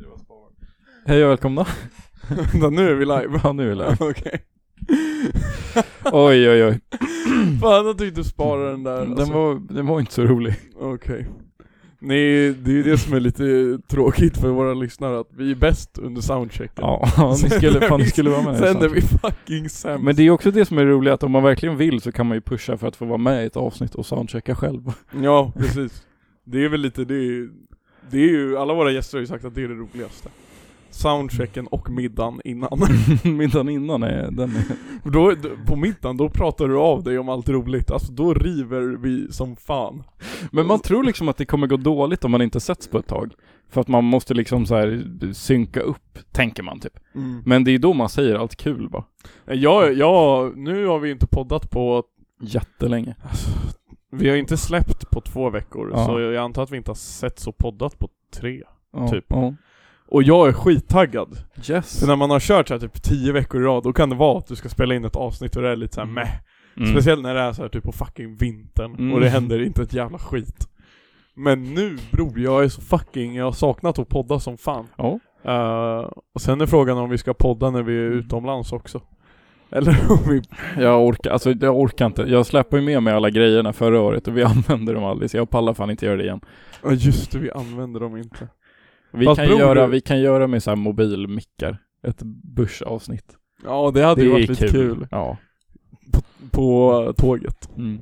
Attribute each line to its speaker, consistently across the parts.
Speaker 1: det var sparvagn.
Speaker 2: Hej och välkomna.
Speaker 1: Vänta, nu är vi live.
Speaker 2: Ja, nu är vi live.
Speaker 1: Okej.
Speaker 2: Oj, oj, oj.
Speaker 1: Fan, jag tyckte du sparade den där.
Speaker 2: Mm.
Speaker 1: alltså.
Speaker 2: Den var, den var inte så rolig.
Speaker 1: Okej. Nej, det är ju det som är lite tråkigt för våra lyssnare, att vi är bäst under soundchecken.
Speaker 2: Ja, ni skulle, fan, ni skulle vara med. i
Speaker 1: Sen är
Speaker 2: soundcheck.
Speaker 1: vi fucking sämst.
Speaker 2: Men det är också det som är roligt, att om man verkligen vill så kan man ju pusha för att få vara med i ett avsnitt och soundchecka själv.
Speaker 1: Ja, precis. Det är väl lite, det är ju, det är ju alla våra gäster har ju sagt att det är det roligaste. Soundchecken och middagen innan.
Speaker 2: Middagen innan är den är...
Speaker 1: Och då, d- på middagen, då pratar du av dig om allt roligt. Alltså då river vi som fan.
Speaker 2: Men man tror liksom att det kommer gå dåligt om man inte setts på ett tag. För att man måste liksom så här synka upp, tänker man typ. Men det är ju då man säger allt kul bara.
Speaker 1: Ja, ja, Eh, nu har vi inte poddat på,
Speaker 2: Jättelänge.
Speaker 1: vi har inte släppt på två veckor.
Speaker 2: Ja.
Speaker 1: Så jag antar att vi inte har sett så poddat på tre.
Speaker 2: Ja,
Speaker 1: Typ.
Speaker 2: Ja.
Speaker 1: Och jag är skittaggad.
Speaker 2: Yes.
Speaker 1: För när man har kört så här typ tio veckor i rad, då kan det vara att du ska spela in ett avsnitt och det är lite så här
Speaker 2: Mm.
Speaker 1: meh.
Speaker 2: Mm.
Speaker 1: Speciellt när det är så här typ på fucking vintern
Speaker 2: Mm.
Speaker 1: och det händer inte ett jävla skit. Men nu bror, jag är så fucking, jag har saknat att podda som fan.
Speaker 2: Ja. Mm.
Speaker 1: Eh, och sen är frågan om vi ska podda när vi är utomlands också. Eller om vi...
Speaker 2: Jag orkar, alltså jag orkar inte. Jag släpper ju med mig alla grejerna förra året och vi använde dem aldrig så jag pallar fan inte göra det igen.
Speaker 1: Ja just det, vi använder dem inte.
Speaker 2: Vi,
Speaker 1: Fast
Speaker 2: kan,
Speaker 1: bror,
Speaker 2: göra,
Speaker 1: du-
Speaker 2: vi kan göra med så här mobilmickar. Ett börsavsnitt.
Speaker 1: Ja det hade ju varit lite kul.
Speaker 2: Ja.
Speaker 1: På eh, tåget.
Speaker 2: Mm.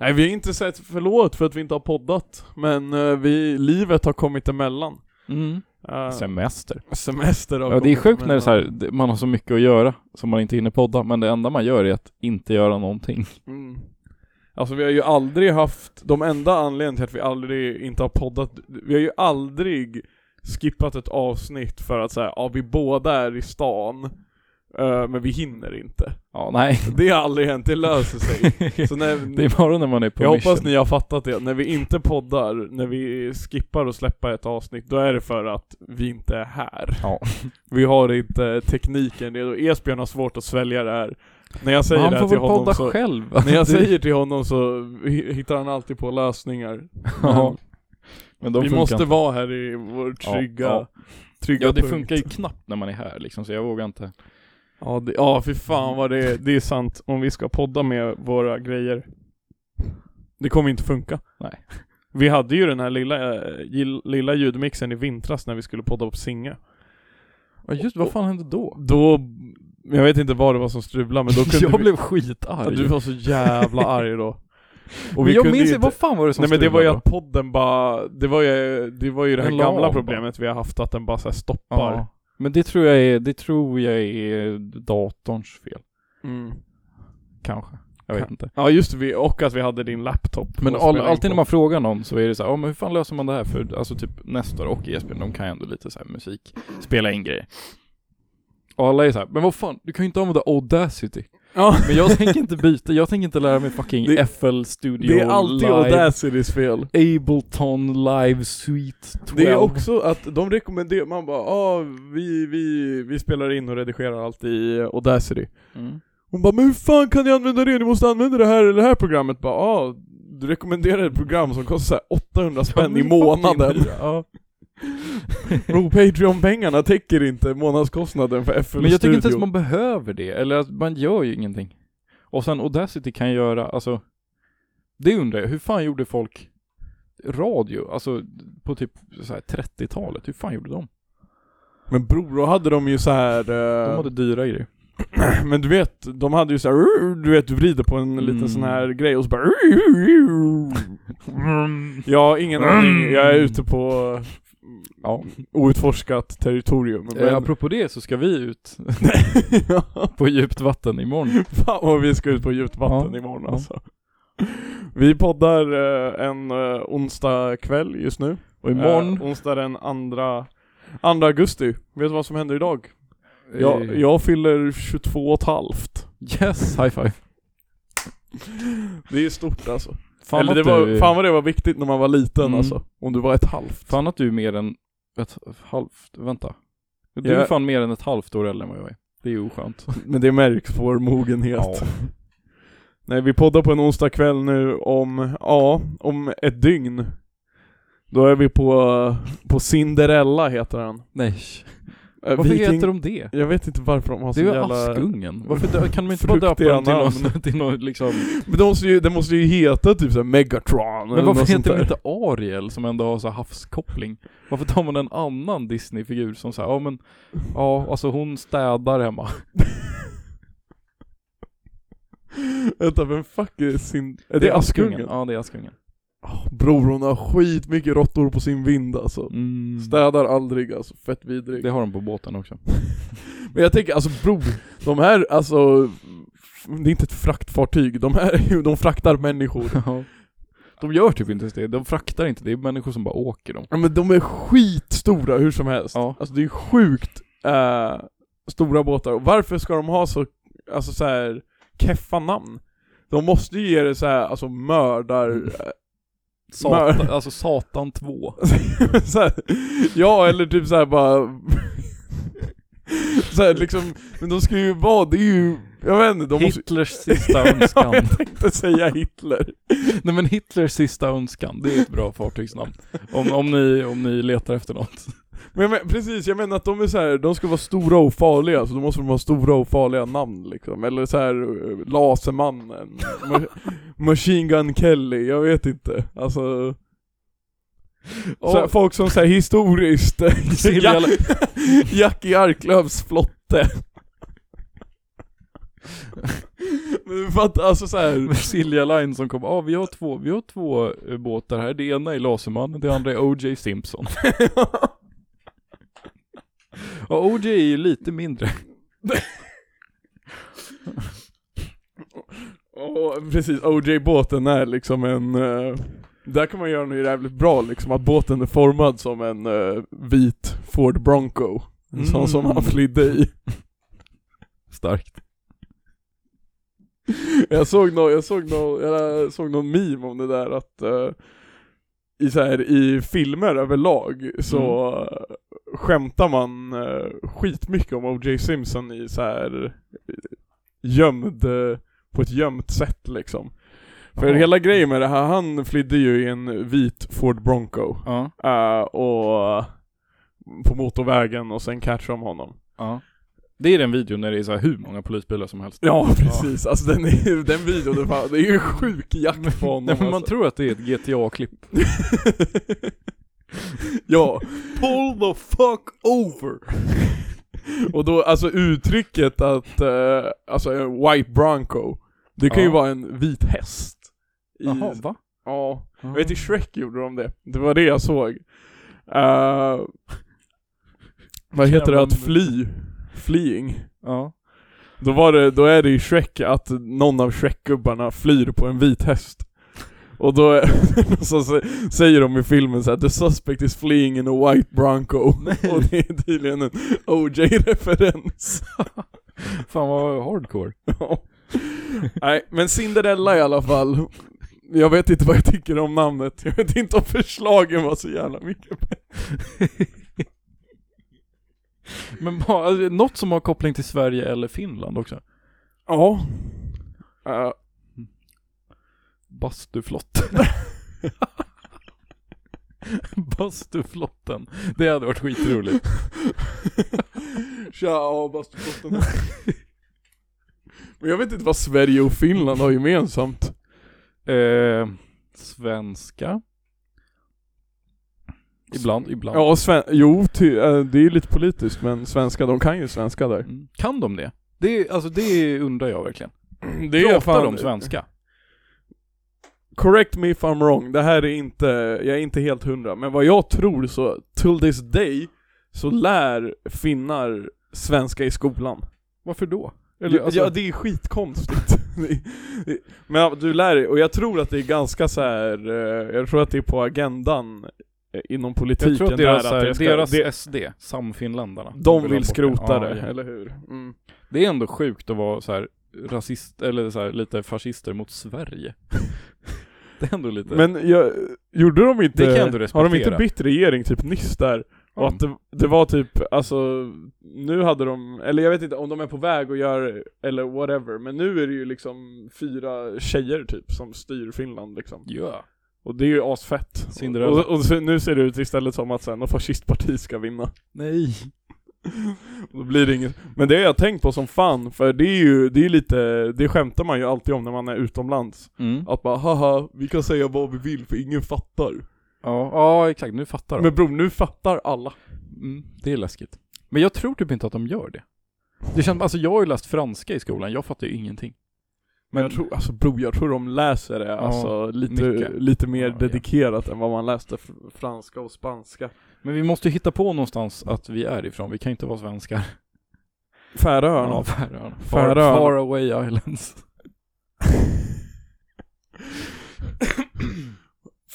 Speaker 1: Nej vi har inte sett, förlåt för att vi inte har poddat. Men eh, vi, livet har kommit emellan.
Speaker 2: Mm.
Speaker 1: Eh,
Speaker 2: Semester.
Speaker 1: semester har
Speaker 2: Ja, det är
Speaker 1: kommit
Speaker 2: sjukt när det är så
Speaker 1: emellan.
Speaker 2: här, det- man har så mycket att göra som man inte hinner podda, men det enda man gör är att inte göra någonting.
Speaker 1: Mm. Alltså vi har ju aldrig haft, de enda anledningarna till att vi aldrig inte har poddat, vi har ju aldrig skippat ett avsnitt för att säga ja vi båda är i stan, eh, men vi hinner inte.
Speaker 2: Ja, nej.
Speaker 1: Det har aldrig hänt, det löser sig. Så när,
Speaker 2: det är bara när man är på
Speaker 1: jag
Speaker 2: mission.
Speaker 1: hoppas ni har fattat det, när vi inte poddar, när vi skippar att släppa ett avsnitt, då är det för att vi inte är här.
Speaker 2: Ja.
Speaker 1: Vi har inte tekniken, det är- Esbjörn har svårt att svälja det här. När jag säger
Speaker 2: Men
Speaker 1: det
Speaker 2: han
Speaker 1: här
Speaker 2: får
Speaker 1: till
Speaker 2: väl
Speaker 1: honom
Speaker 2: podda
Speaker 1: så,
Speaker 2: själv.
Speaker 1: när jag säger till honom så hi- hittar han alltid på lösningar.
Speaker 2: ja. Men de
Speaker 1: vi
Speaker 2: funkar
Speaker 1: måste
Speaker 2: inte.
Speaker 1: vara här i vår trygga,
Speaker 2: ja.
Speaker 1: trygga
Speaker 2: Ja, det
Speaker 1: punkt.
Speaker 2: funkar ju knappt när man är här liksom, så jag vågar inte.
Speaker 1: Ja, det, ja för fan vad det är, det är sant. Om vi ska podda med våra grejer. Det kommer inte funka.
Speaker 2: Nej.
Speaker 1: Vi hade ju den här lilla, eh, gill- lilla ljudmixen i vintras när vi skulle podda på Singe.
Speaker 2: Ja just vad fan hände då?
Speaker 1: Då, jag vet inte vad det var som strulade men då kunde
Speaker 2: jag
Speaker 1: vi...
Speaker 2: blev
Speaker 1: ja,
Speaker 2: skitarg.
Speaker 1: du var så jävla arg då. Och
Speaker 2: men jag
Speaker 1: kunde
Speaker 2: minns
Speaker 1: ju
Speaker 2: inte, vad fan var det som
Speaker 1: Nej men det var ju
Speaker 2: strulade
Speaker 1: att podden bara, det var ju det, var ju det här
Speaker 2: Den la
Speaker 1: gamla
Speaker 2: av
Speaker 1: problemet vi har haft att den bara så här
Speaker 2: då?
Speaker 1: stoppar.
Speaker 2: ja. Men det tror jag är, det tror jag är datorns fel.
Speaker 1: Mm.
Speaker 2: Kanske. Jag vet
Speaker 1: Kan-
Speaker 2: inte.
Speaker 1: Ja just det, vi- och att vi hade din laptop.
Speaker 2: Men
Speaker 1: att
Speaker 2: all,
Speaker 1: spela in
Speaker 2: alltid
Speaker 1: på.
Speaker 2: när man frågar någon så är det så här, ja men hur fan löser man det här? För alltså typ Nestor och Jesper, de kan ju ändå lite så här musik, spela in grejer. Och alla är så här, men vad fan, du kan ju inte använda Audacity.
Speaker 1: Ja,
Speaker 2: Men jag tänker inte byta, jag tänker inte lära mig fucking
Speaker 1: Det-
Speaker 2: FL Studio
Speaker 1: det är alltid
Speaker 2: Live,
Speaker 1: Audacitys fel.
Speaker 2: Ableton Live Suite 12.
Speaker 1: Det är också att de rekommenderar, man bara ah, vi, vi, vi spelar in och redigerar allt i Audacity.
Speaker 2: Mm.
Speaker 1: Hon bara 'Men hur fan kan ni använda det? Ni måste använda det här eller det här programmet' bara ah, du rekommenderar ett program som kostar så här 800
Speaker 2: Ja,
Speaker 1: spänn
Speaker 2: men
Speaker 1: i
Speaker 2: fucking-
Speaker 1: månaden.
Speaker 2: Ja.
Speaker 1: Bro, Patreon-pengarna täcker inte månadskostnaden för FL Studio.
Speaker 2: Men jag tycker inte ens man behöver det, eller att man gör ju ingenting. Och sen Audacity kan göra, alltså, det undrar jag, hur fan gjorde folk radio, alltså på typ så här 30-talet, hur fan gjorde de?
Speaker 1: Men bror, då hade de ju så här. eh,
Speaker 2: De hade dyra grejer.
Speaker 1: Men du vet, de hade ju så här, du vet du vrider på en liten
Speaker 2: Mm.
Speaker 1: sån här grej och så bara Jag har ingen
Speaker 2: Mm.
Speaker 1: aning, jag är ute på eh,
Speaker 2: Ja.
Speaker 1: outforskat territorium
Speaker 2: Men...
Speaker 1: men...
Speaker 2: Apropå det så ska vi ut
Speaker 1: ja,
Speaker 2: på djupt vatten imorgon.
Speaker 1: fan vad vi ska ut på djupt vatten
Speaker 2: Ja.
Speaker 1: imorgon
Speaker 2: Ja.
Speaker 1: alltså Vi poddar eh, en eh, onsdag kväll just nu
Speaker 2: Och imorgon,
Speaker 1: Eh, Onsdag den andra, andra augusti, vet du vad som händer idag? Jag,
Speaker 2: eh,
Speaker 1: jag fyller 22 och ett halvt
Speaker 2: yes, high five.
Speaker 1: Det är stort alltså
Speaker 2: Fan,
Speaker 1: Eller
Speaker 2: att
Speaker 1: det var,
Speaker 2: du,
Speaker 1: fan vad det var viktigt när man var liten
Speaker 2: Mm.
Speaker 1: alltså. Om du var ett halvt.
Speaker 2: fan att du är mer än ett halvt, vänta. Du
Speaker 1: Jag-
Speaker 2: är fan mer än ett halvt år äldre än vad jag är. Det är oskönt.
Speaker 1: Men det märks på vår mogenhet. Nej vi poddar på en onsdag kväll nu om, ja, om ett dygn. Då är vi på, på Cinderella heter den.
Speaker 2: Nej.
Speaker 1: Eh,
Speaker 2: Varför
Speaker 1: Viking-
Speaker 2: heter de det?
Speaker 1: Jag vet inte varför de har
Speaker 2: Det
Speaker 1: så
Speaker 2: är ju
Speaker 1: jävla...
Speaker 2: Askungen. Varför dö- kan de inte bara döpa
Speaker 1: Fruktiga
Speaker 2: dem till
Speaker 1: namn.
Speaker 2: något, till något liksom...
Speaker 1: Men de måste ju, det måste ju heta typ såhär Megatron eller
Speaker 2: Men varför
Speaker 1: något sånt
Speaker 2: heter de
Speaker 1: där.
Speaker 2: inte Ariel som ändå har så här havskoppling? Varför tar man en annan Disney-figur som säger ja men, ja alltså hon städar hemma.
Speaker 1: Vänta, vem fuck är sin... Är det Askungen?
Speaker 2: Ja det är Askungen.
Speaker 1: Bror hon har skitmycket råttor på sin vind alltså.
Speaker 2: Mm.
Speaker 1: Städar aldrig alltså, fett vidrig.
Speaker 2: Det har de på båten också.
Speaker 1: Men jag tänker alltså bror, de här alltså, det är inte ett fraktfartyg, de här är ju- de fraktar människor.
Speaker 2: De gör typ inte ens det, de fraktar inte, det är människor som bara åker dem.
Speaker 1: Ja men de är skitstora hur som helst.
Speaker 2: Ja.
Speaker 1: Alltså det är sjukt eh, stora båtar, och varför ska de ha så, alltså så här keffa namn? De måste ju ge det så här, alltså mördar...
Speaker 2: Satan, alltså Satan 2.
Speaker 1: eh, så här, ja eller typ så här bara... så här, liksom, men de ska ju vara, det är ju, jag vet inte, de måste
Speaker 2: Hitlers sista
Speaker 1: Ja,
Speaker 2: önskan.
Speaker 1: jag tänkte säga Hitler.
Speaker 2: Nej men Hitlers sista önskan, det är ett bra fartygsnamn. Om, om, ni, om ni letar efter något.
Speaker 1: Men, jag men precis, jag menar att de är så här, de ska vara stora och farliga, så då måste de ha stora och farliga namn liksom. Eller så här eh, Lasermannen, Ma- Machine Gun Kelly, jag vet inte. Alltså, så här,
Speaker 2: Ja,
Speaker 1: folk som säger historiskt,
Speaker 2: Silja,
Speaker 1: Jack, Jackie Arklövs flotte. Men du fattar, alltså så här.
Speaker 2: Silja Line som kom, ah, vi har två, vi har två eh, båtar här, det ena är Lasermannen, det andra är O.J. Simpson. Ja, O.J. är ju lite mindre.
Speaker 1: Och precis, OJ-båten är liksom en... eh, där kan man göra något jävligt bra liksom, att båten är formad som en eh, vit Ford Bronco. En sån som
Speaker 2: Mm.
Speaker 1: han flydde i.
Speaker 2: Starkt.
Speaker 1: Jag såg någon, jag såg någon, jag såg någon meme om det där att eh, i, så här, i filmer överlag så
Speaker 2: Mm.
Speaker 1: eh, skämtar man eh, skitmycket om O.J. Simpson i så här eh, gömd, eh, på ett gömt sätt liksom. För
Speaker 2: Jaha.
Speaker 1: hela grejen med det här, han flydde ju i en vit Ford Bronco
Speaker 2: Ja,
Speaker 1: eh, och på motorvägen och sen catchade de honom.
Speaker 2: ja. Det är den videon när det är så här hur många polisbilar som helst.
Speaker 1: Ja precis, alltså den, är, den videon, det, fan, det är ju sjuk jakt på honom
Speaker 2: Nej, men man
Speaker 1: alltså.
Speaker 2: tror att det är ett GTA-klipp.
Speaker 1: Ja,
Speaker 2: Pull the fuck over!
Speaker 1: och då alltså uttrycket att, eh, alltså en white bronco, det kan ju
Speaker 2: Ja.
Speaker 1: vara en vit häst. I,
Speaker 2: Jaha, va?
Speaker 1: Ja, jag vet i Shrek gjorde de det, det var det jag såg. Eh, vad heter det att fly? Fleeing?
Speaker 2: Ja.
Speaker 1: Då, var det, då är det i Shrek att någon av Shrek-gubbarna flyr på en vit häst. Och då så sä- säger de i filmen så här: 'The suspect is fleeing in a white Bronco' Och det är tydligen en OJ-referens.
Speaker 2: Fan vad hardcore.
Speaker 1: Ja. Nej, men Cinderella i alla fall. Jag vet inte vad jag tycker om namnet, jag vet inte om förslagen var så jävla mycket
Speaker 2: Men bara, alltså, något som har koppling till Sverige eller Finland också.
Speaker 1: Ja. Eh,
Speaker 2: Bastuflotten. Bastuflotten. Det hade varit skitroligt.
Speaker 1: Tja, ja, bastupotten. Men jag vet inte vad Sverige och Finland har gemensamt.
Speaker 2: Eh, svenska. Ibland, ibland.
Speaker 1: Ja, sven- jo, ty- eh, det är ju lite politiskt men svenska, de kan ju svenska där.
Speaker 2: Mm. Kan de det? Det, är- alltså, det undrar jag verkligen.
Speaker 1: Det
Speaker 2: Pratar de svenska?
Speaker 1: Correct me if I'm wrong, det här är inte, jag är inte helt hundra, men vad jag tror så, till this day, så lär finnar svenska i skolan.
Speaker 2: Varför då?
Speaker 1: Eller,
Speaker 2: Eller, alltså,
Speaker 1: Ja det är skitkonstigt. Det- det- Men ja, du lär dig, och jag tror att det är ganska så här. eh, jag tror att det är på agendan eh, inom politiken
Speaker 2: jag tror att deras,
Speaker 1: där
Speaker 2: så här,
Speaker 1: det ska-
Speaker 2: deras
Speaker 1: det,
Speaker 2: SD, samfinländarna.
Speaker 1: de vill
Speaker 2: ha bort
Speaker 1: skrota
Speaker 2: Ja,
Speaker 1: det,
Speaker 2: ja.
Speaker 1: eller hur? Mm.
Speaker 2: Det är ändå sjukt att vara så här rasist, eller så här, lite fascister mot Sverige. det är ändå lite...
Speaker 1: Men jag, gjorde de inte,
Speaker 2: Det kan jag ändå
Speaker 1: har de inte
Speaker 2: respektera.
Speaker 1: bytt regering typ nyss där? Och att det, det var typ, alltså, nu hade de, eller jag vet inte om de är på väg att göra, eller whatever, men nu är det ju liksom fyra tjejer typ som styr Finland liksom.
Speaker 2: Ja.
Speaker 1: Och det är ju asfett.
Speaker 2: Cinderella.
Speaker 1: Och, och så, nu ser det ut istället som att sen något fascistparti ska vinna.
Speaker 2: Nej.
Speaker 1: Och Då blir det inget. Men det har jag tänkt på som fan, för det är ju, det är lite, det skämtar man ju alltid om när man är utomlands.
Speaker 2: Mm. Ja.
Speaker 1: Att bara haha, vi kan säga vad vi vill för ingen fattar.
Speaker 2: ja, exakt. Nu fattar de.
Speaker 1: Men bror, nu fattar alla.
Speaker 2: Mm, det är läskigt. Men jag tror typ inte att de gör det. Det känns, alltså jag har ju läst franska i skolan, jag fattar ju ingenting.
Speaker 1: Men jag tror, alltså bror, jag tror de läser det alltså lite,
Speaker 2: mycket.
Speaker 1: lite mer
Speaker 2: Ja, ja.
Speaker 1: dedikerat än vad man läste f- franska och spanska.
Speaker 2: Men vi måste ju hitta på någonstans att vi är ifrån, vi kan ju inte vara svenskar.
Speaker 1: Färöarna.
Speaker 2: Ja, Färöarna. Far,
Speaker 1: Färöarna.
Speaker 2: far away islands.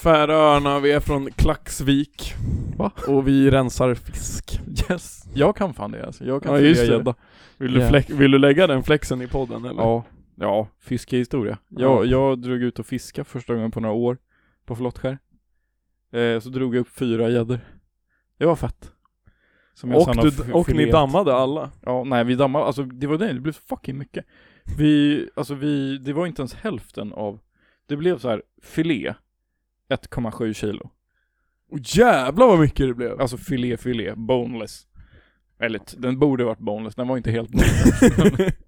Speaker 1: Färöarna, vi är från Klaxvik.
Speaker 2: Va?
Speaker 1: Och vi rensar fisk.
Speaker 2: Yes. Jag kan fan det alltså, jag kan
Speaker 1: Ja,
Speaker 2: fria
Speaker 1: just det.
Speaker 2: gädda.
Speaker 1: Vill du,
Speaker 2: Ja.
Speaker 1: fläck, vill du lägga den flexen i podden eller?
Speaker 2: Ja, ja, fiskehistoria.
Speaker 1: Ja.
Speaker 2: Jag, jag drog ut och fiskade första gången på några år på flottskär. Eh, så drog jag upp fyra gäddor. Det var fett. Som
Speaker 1: Och,
Speaker 2: sen har f-
Speaker 1: du, och ni
Speaker 2: fileat.
Speaker 1: dammade alla?
Speaker 2: Ja, nej vi dammade, alltså det var det, det blev så fucking mycket. Vi, alltså vi, det var inte ens hälften av, det blev så här filé, 1,7 kilo.
Speaker 1: Oh, jävlar vad mycket det blev!
Speaker 2: Alltså filé, filé, boneless. Eller t- den borde varit boneless, den var inte helt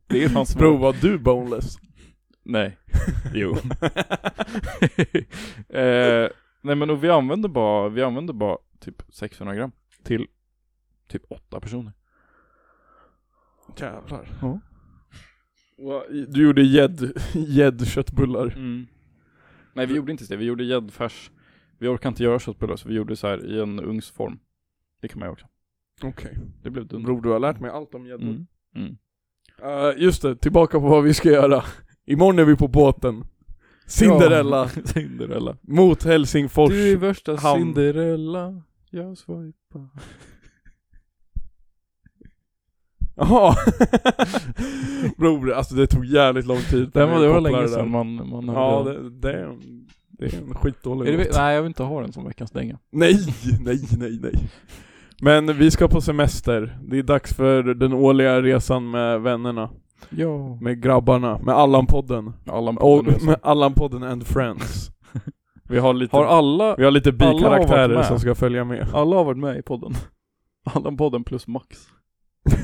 Speaker 2: Det är fan små.
Speaker 1: Bro, var du boneless?
Speaker 2: Nej. Jo. eh, nej men och vi använde bara, vi använde bara typ 600 gram till typ åtta personer.
Speaker 1: Jävlar.
Speaker 2: Ja.
Speaker 1: Va, i- Du gjorde gädd- gäddköttbullar.
Speaker 2: Mm. Nej vi gjorde inte det, vi gjorde gäddfärs. Vi orkade inte göra köttbullar så vi gjorde så här i en ugnsform. Det kan man göra också.
Speaker 1: Okej.
Speaker 2: Det blev dumt.
Speaker 1: Bror, du har lärt mig allt om gäddor.
Speaker 2: Mm.
Speaker 1: Eh, just det, tillbaka på vad vi ska göra. Imorgon är vi på båten. Cinderella
Speaker 2: Ja. Cinderella.
Speaker 1: mot Helsingfors.
Speaker 2: Du är värsta
Speaker 1: hamn.
Speaker 2: Cinderella. Jag swipar.
Speaker 1: Jaha. Bror, alltså det tog jävligt lång tid.
Speaker 2: Den var, det var
Speaker 1: Kopplar
Speaker 2: länge
Speaker 1: där.
Speaker 2: sedan man, man hörde
Speaker 1: Ja,
Speaker 2: den.
Speaker 1: det, det, är en, det är en skitdålig
Speaker 2: Är det,
Speaker 1: låt.
Speaker 2: nej jag vill inte ha den som veckans dänga.
Speaker 1: Nej, nej, nej, nej. Men vi ska på semester. Det är dags för den årliga resan med vännerna.
Speaker 2: Ja.
Speaker 1: Med grabbarna. Med Allan-podden.
Speaker 2: Allan
Speaker 1: Och
Speaker 2: Podden
Speaker 1: med Allan-podden and friends. Vi har lite,
Speaker 2: Har alla,
Speaker 1: vi har lite
Speaker 2: alla har varit
Speaker 1: bikaraktärer
Speaker 2: med.
Speaker 1: som ska följa med.
Speaker 2: alla har varit med i podden? Allan Podden plus Max.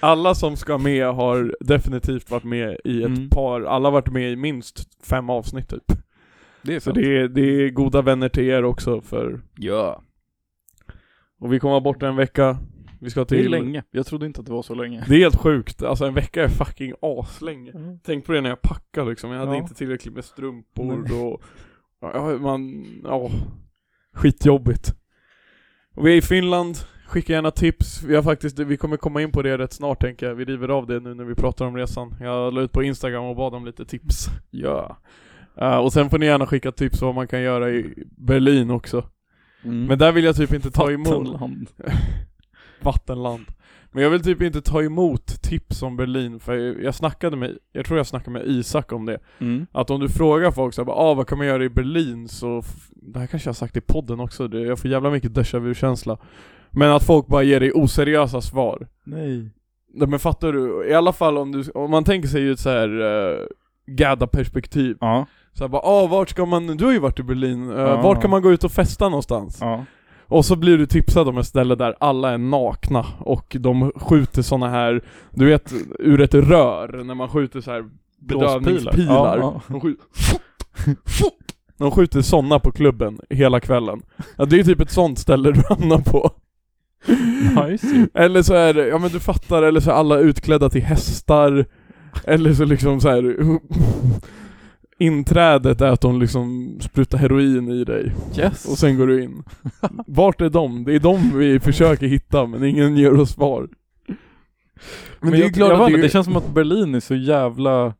Speaker 1: Alla som ska med har definitivt varit med i ett
Speaker 2: Mm.
Speaker 1: par, alla har varit med i minst fem avsnitt typ.
Speaker 2: Det är
Speaker 1: Så det är, det är goda vänner till er också för,
Speaker 2: Ja.
Speaker 1: och vi kommer vara borta en vecka, vi ska
Speaker 2: Det
Speaker 1: till...
Speaker 2: är länge. Jag trodde inte att det var så länge.
Speaker 1: Det är helt sjukt, alltså en vecka är fucking aslänge.
Speaker 2: Mm.
Speaker 1: Tänk på det när jag packade liksom, jag hade
Speaker 2: Ja.
Speaker 1: inte tillräckligt med strumpor och, ja, man, ja, skitjobbigt. Och vi är i Finland, skicka gärna tips. Vi har faktiskt, vi kommer komma in på det rätt snart tänker jag. Vi river av det nu när vi pratar om resan. Jag la ut på Instagram och bad om lite tips.
Speaker 2: Ja.
Speaker 1: Eh, och sen får ni gärna skicka tips på vad man kan göra i Berlin också.
Speaker 2: Mm.
Speaker 1: Men där vill jag typ inte ta emot
Speaker 2: Vattenland.
Speaker 1: vattenland. Men jag vill typ inte ta emot tips om Berlin, för jag jag snackade med, jag tror jag snackade med Isak om det.
Speaker 2: Mm.
Speaker 1: Att om du frågar folk såhär bara, ah, vad kan man göra i Berlin? Så, f- det här kanske jag har sagt i podden också, det, jag får jävla mycket déjà vu-känsla. Men att folk bara ger dig oseriösa svar.
Speaker 2: Nej.
Speaker 1: Nej, men fattar du? I alla fall om du, om man tänker sig ju ett såhär uh, gadda-perspektiv.
Speaker 2: Ja.
Speaker 1: Såhär bara, ah, vart ska man, du har ju varit i Berlin, uh,
Speaker 2: Ja.
Speaker 1: vart kan man gå ut och festa någonstans?
Speaker 2: Ja.
Speaker 1: Och så blir du tipsad om ett ställe där alla är nakna och de skjuter såna här, du vet, ur ett rör när man skjuter så här bedövningspilar.
Speaker 2: Ja, ja.
Speaker 1: De, skjuter, de skjuter såna på klubben hela kvällen. Ja, det är typ ett sånt ställe du hamnar på.
Speaker 2: Nice. ju.
Speaker 1: Eller så är det, ja men du fattar, eller så är alla utklädda till hästar. Eller så liksom så här. Inträdet är att de liksom sprutar heroin i dig.
Speaker 2: Yes.
Speaker 1: Och sen går du in. Vart är de? Det är de vi försöker hitta men ingen ger oss svar. Men, det är ju
Speaker 2: jag-
Speaker 1: klart
Speaker 2: jag
Speaker 1: att
Speaker 2: vet
Speaker 1: det,
Speaker 2: inte,
Speaker 1: är-
Speaker 2: det känns som att Berlin är så jävla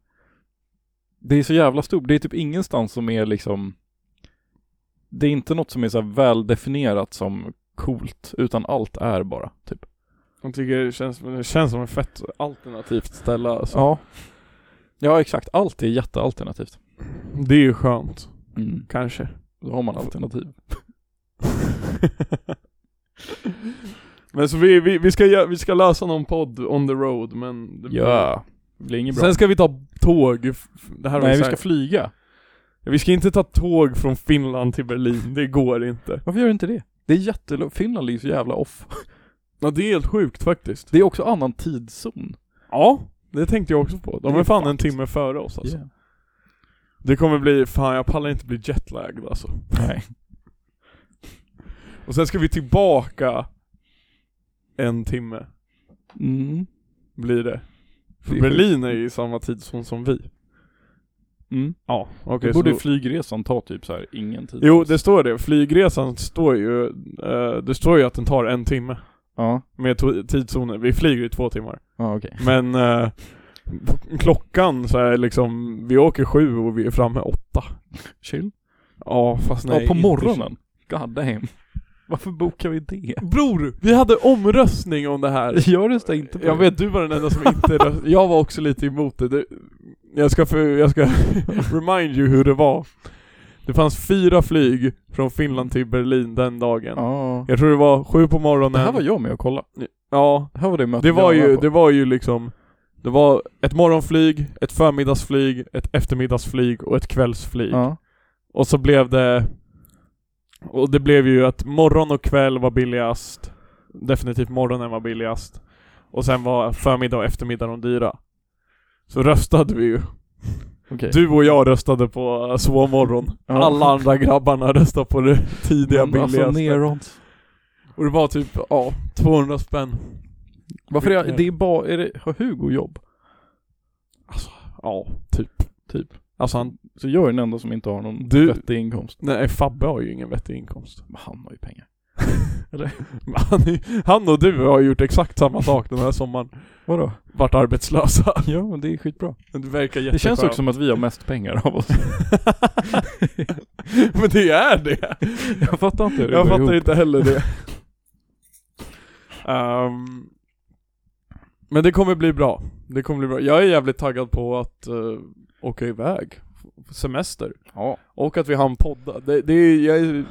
Speaker 2: Det är så jävla stort, det är typ ingenstans som är liksom Det är inte något som är så här väldefinierat som coolt, utan allt är bara typ
Speaker 1: jag tycker det känns, det känns som ett fett alternativt ställe alltså.
Speaker 2: Ja Ja exakt, allt är jättealternativt
Speaker 1: Det är ju skönt,
Speaker 2: mm.
Speaker 1: kanske.
Speaker 2: Då har man alternativ
Speaker 1: men så vi, vi, vi, ska, gö- vi ska lösa någon podd on the road men det blir-
Speaker 2: Det blir inget bra
Speaker 1: Sen ska vi ta tåg, f- det här var
Speaker 2: Nej
Speaker 1: ju
Speaker 2: vi
Speaker 1: så här-
Speaker 2: ska flyga
Speaker 1: Vi ska inte ta tåg från Finland till Berlin, det går inte.
Speaker 2: Varför gör du inte det? Det är jättelångt, Finland ligger så jävla off.
Speaker 1: Ja det är helt sjukt faktiskt.
Speaker 2: Det är också annan tidszon.
Speaker 1: Ja, det tänkte jag också på. De
Speaker 2: Det
Speaker 1: är
Speaker 2: är
Speaker 1: fan en
Speaker 2: faktiskt-
Speaker 1: timme före oss alltså.
Speaker 2: Yeah.
Speaker 1: Det kommer bli, fan jag pallar inte bli jetlagged alltså.
Speaker 2: Nej.
Speaker 1: Och sen ska vi tillbaka en timme,
Speaker 2: Mm.
Speaker 1: blir det. För
Speaker 2: Det är
Speaker 1: Berlin är ju i samma tidszon som vi.
Speaker 2: Mm.
Speaker 1: Ja, okej.
Speaker 2: Då
Speaker 1: så
Speaker 2: borde
Speaker 1: då-
Speaker 2: flygresan ta typ så här ingen tid.
Speaker 1: Jo, det står det. Flygresan står ju, eh, det står ju att den tar en timme.
Speaker 2: Ja,
Speaker 1: Med to- tidszoner. Vi flyger i två timmar.
Speaker 2: ja okej.
Speaker 1: Men eh, p- klockan så är liksom, vi åker sju och vi är framme åtta.
Speaker 2: Chill.
Speaker 1: Ja, fast nej.
Speaker 2: ja, på
Speaker 1: inte-
Speaker 2: morgonen. God damn. Varför bokar vi det?
Speaker 1: Bror, vi hade omröstning om det här.
Speaker 2: Jag röstar inte på
Speaker 1: Jag
Speaker 2: det.
Speaker 1: vet, du var den enda som inte röstade. Jag var också lite emot det. det jag ska, för, jag ska remind you hur det var. Det fanns fyra flyg från Finland till Berlin den dagen.
Speaker 2: Ja.
Speaker 1: Jag tror det var sju på morgonen.
Speaker 2: Det här var jag med och kolla.
Speaker 1: Ja,
Speaker 2: Det här var det mötet
Speaker 1: det var,
Speaker 2: jag
Speaker 1: ju,
Speaker 2: på.
Speaker 1: det var ju liksom Det var ett morgonflyg, ett förmiddagsflyg, ett eftermiddagsflyg och ett kvällsflyg.
Speaker 2: Ja.
Speaker 1: Och så blev det Och det blev ju att morgon och kväll var billigast Definitivt morgonen var billigast Och sen var förmiddag och eftermiddag de dyra Så röstade vi ju
Speaker 2: Okej.
Speaker 1: Du och jag röstade på eh, sovmorgon
Speaker 2: Ja.
Speaker 1: Alla andra grabbarna röstade på det tidiga
Speaker 2: Men alltså,
Speaker 1: billigaste
Speaker 2: nerons.
Speaker 1: Och det var typ, ja, 200 spänn
Speaker 2: Varför är
Speaker 1: Vilken-
Speaker 2: jag, det är bara, är det, har Hugo jobb?
Speaker 1: Ja, typ
Speaker 2: Typ.
Speaker 1: Alltså han,
Speaker 2: Så jag är den enda som inte har någon
Speaker 1: Du-
Speaker 2: vettig inkomst.
Speaker 1: nej Fabbe har ju ingen vettig inkomst
Speaker 2: Men han har ju pengar.
Speaker 1: Han, han och du har gjort exakt samma sak den här sommaren.
Speaker 2: Vadå?
Speaker 1: Varit arbetslösa.
Speaker 2: Ja, men det är skitbra.
Speaker 1: Du verkar jätteskön.
Speaker 2: Det känns också som att vi har mest pengar av oss.
Speaker 1: Men det är det.
Speaker 2: Jag fattar inte hur det
Speaker 1: Jag
Speaker 2: går
Speaker 1: fattar
Speaker 2: ihop.
Speaker 1: inte heller det. Ehm, men det kommer bli bra. Det kommer bli bra. Jag är jävligt taggad på att eh, åka iväg. F- Semester.
Speaker 2: Ja.
Speaker 1: Och att vi har en podda. Det, det, är, jag är,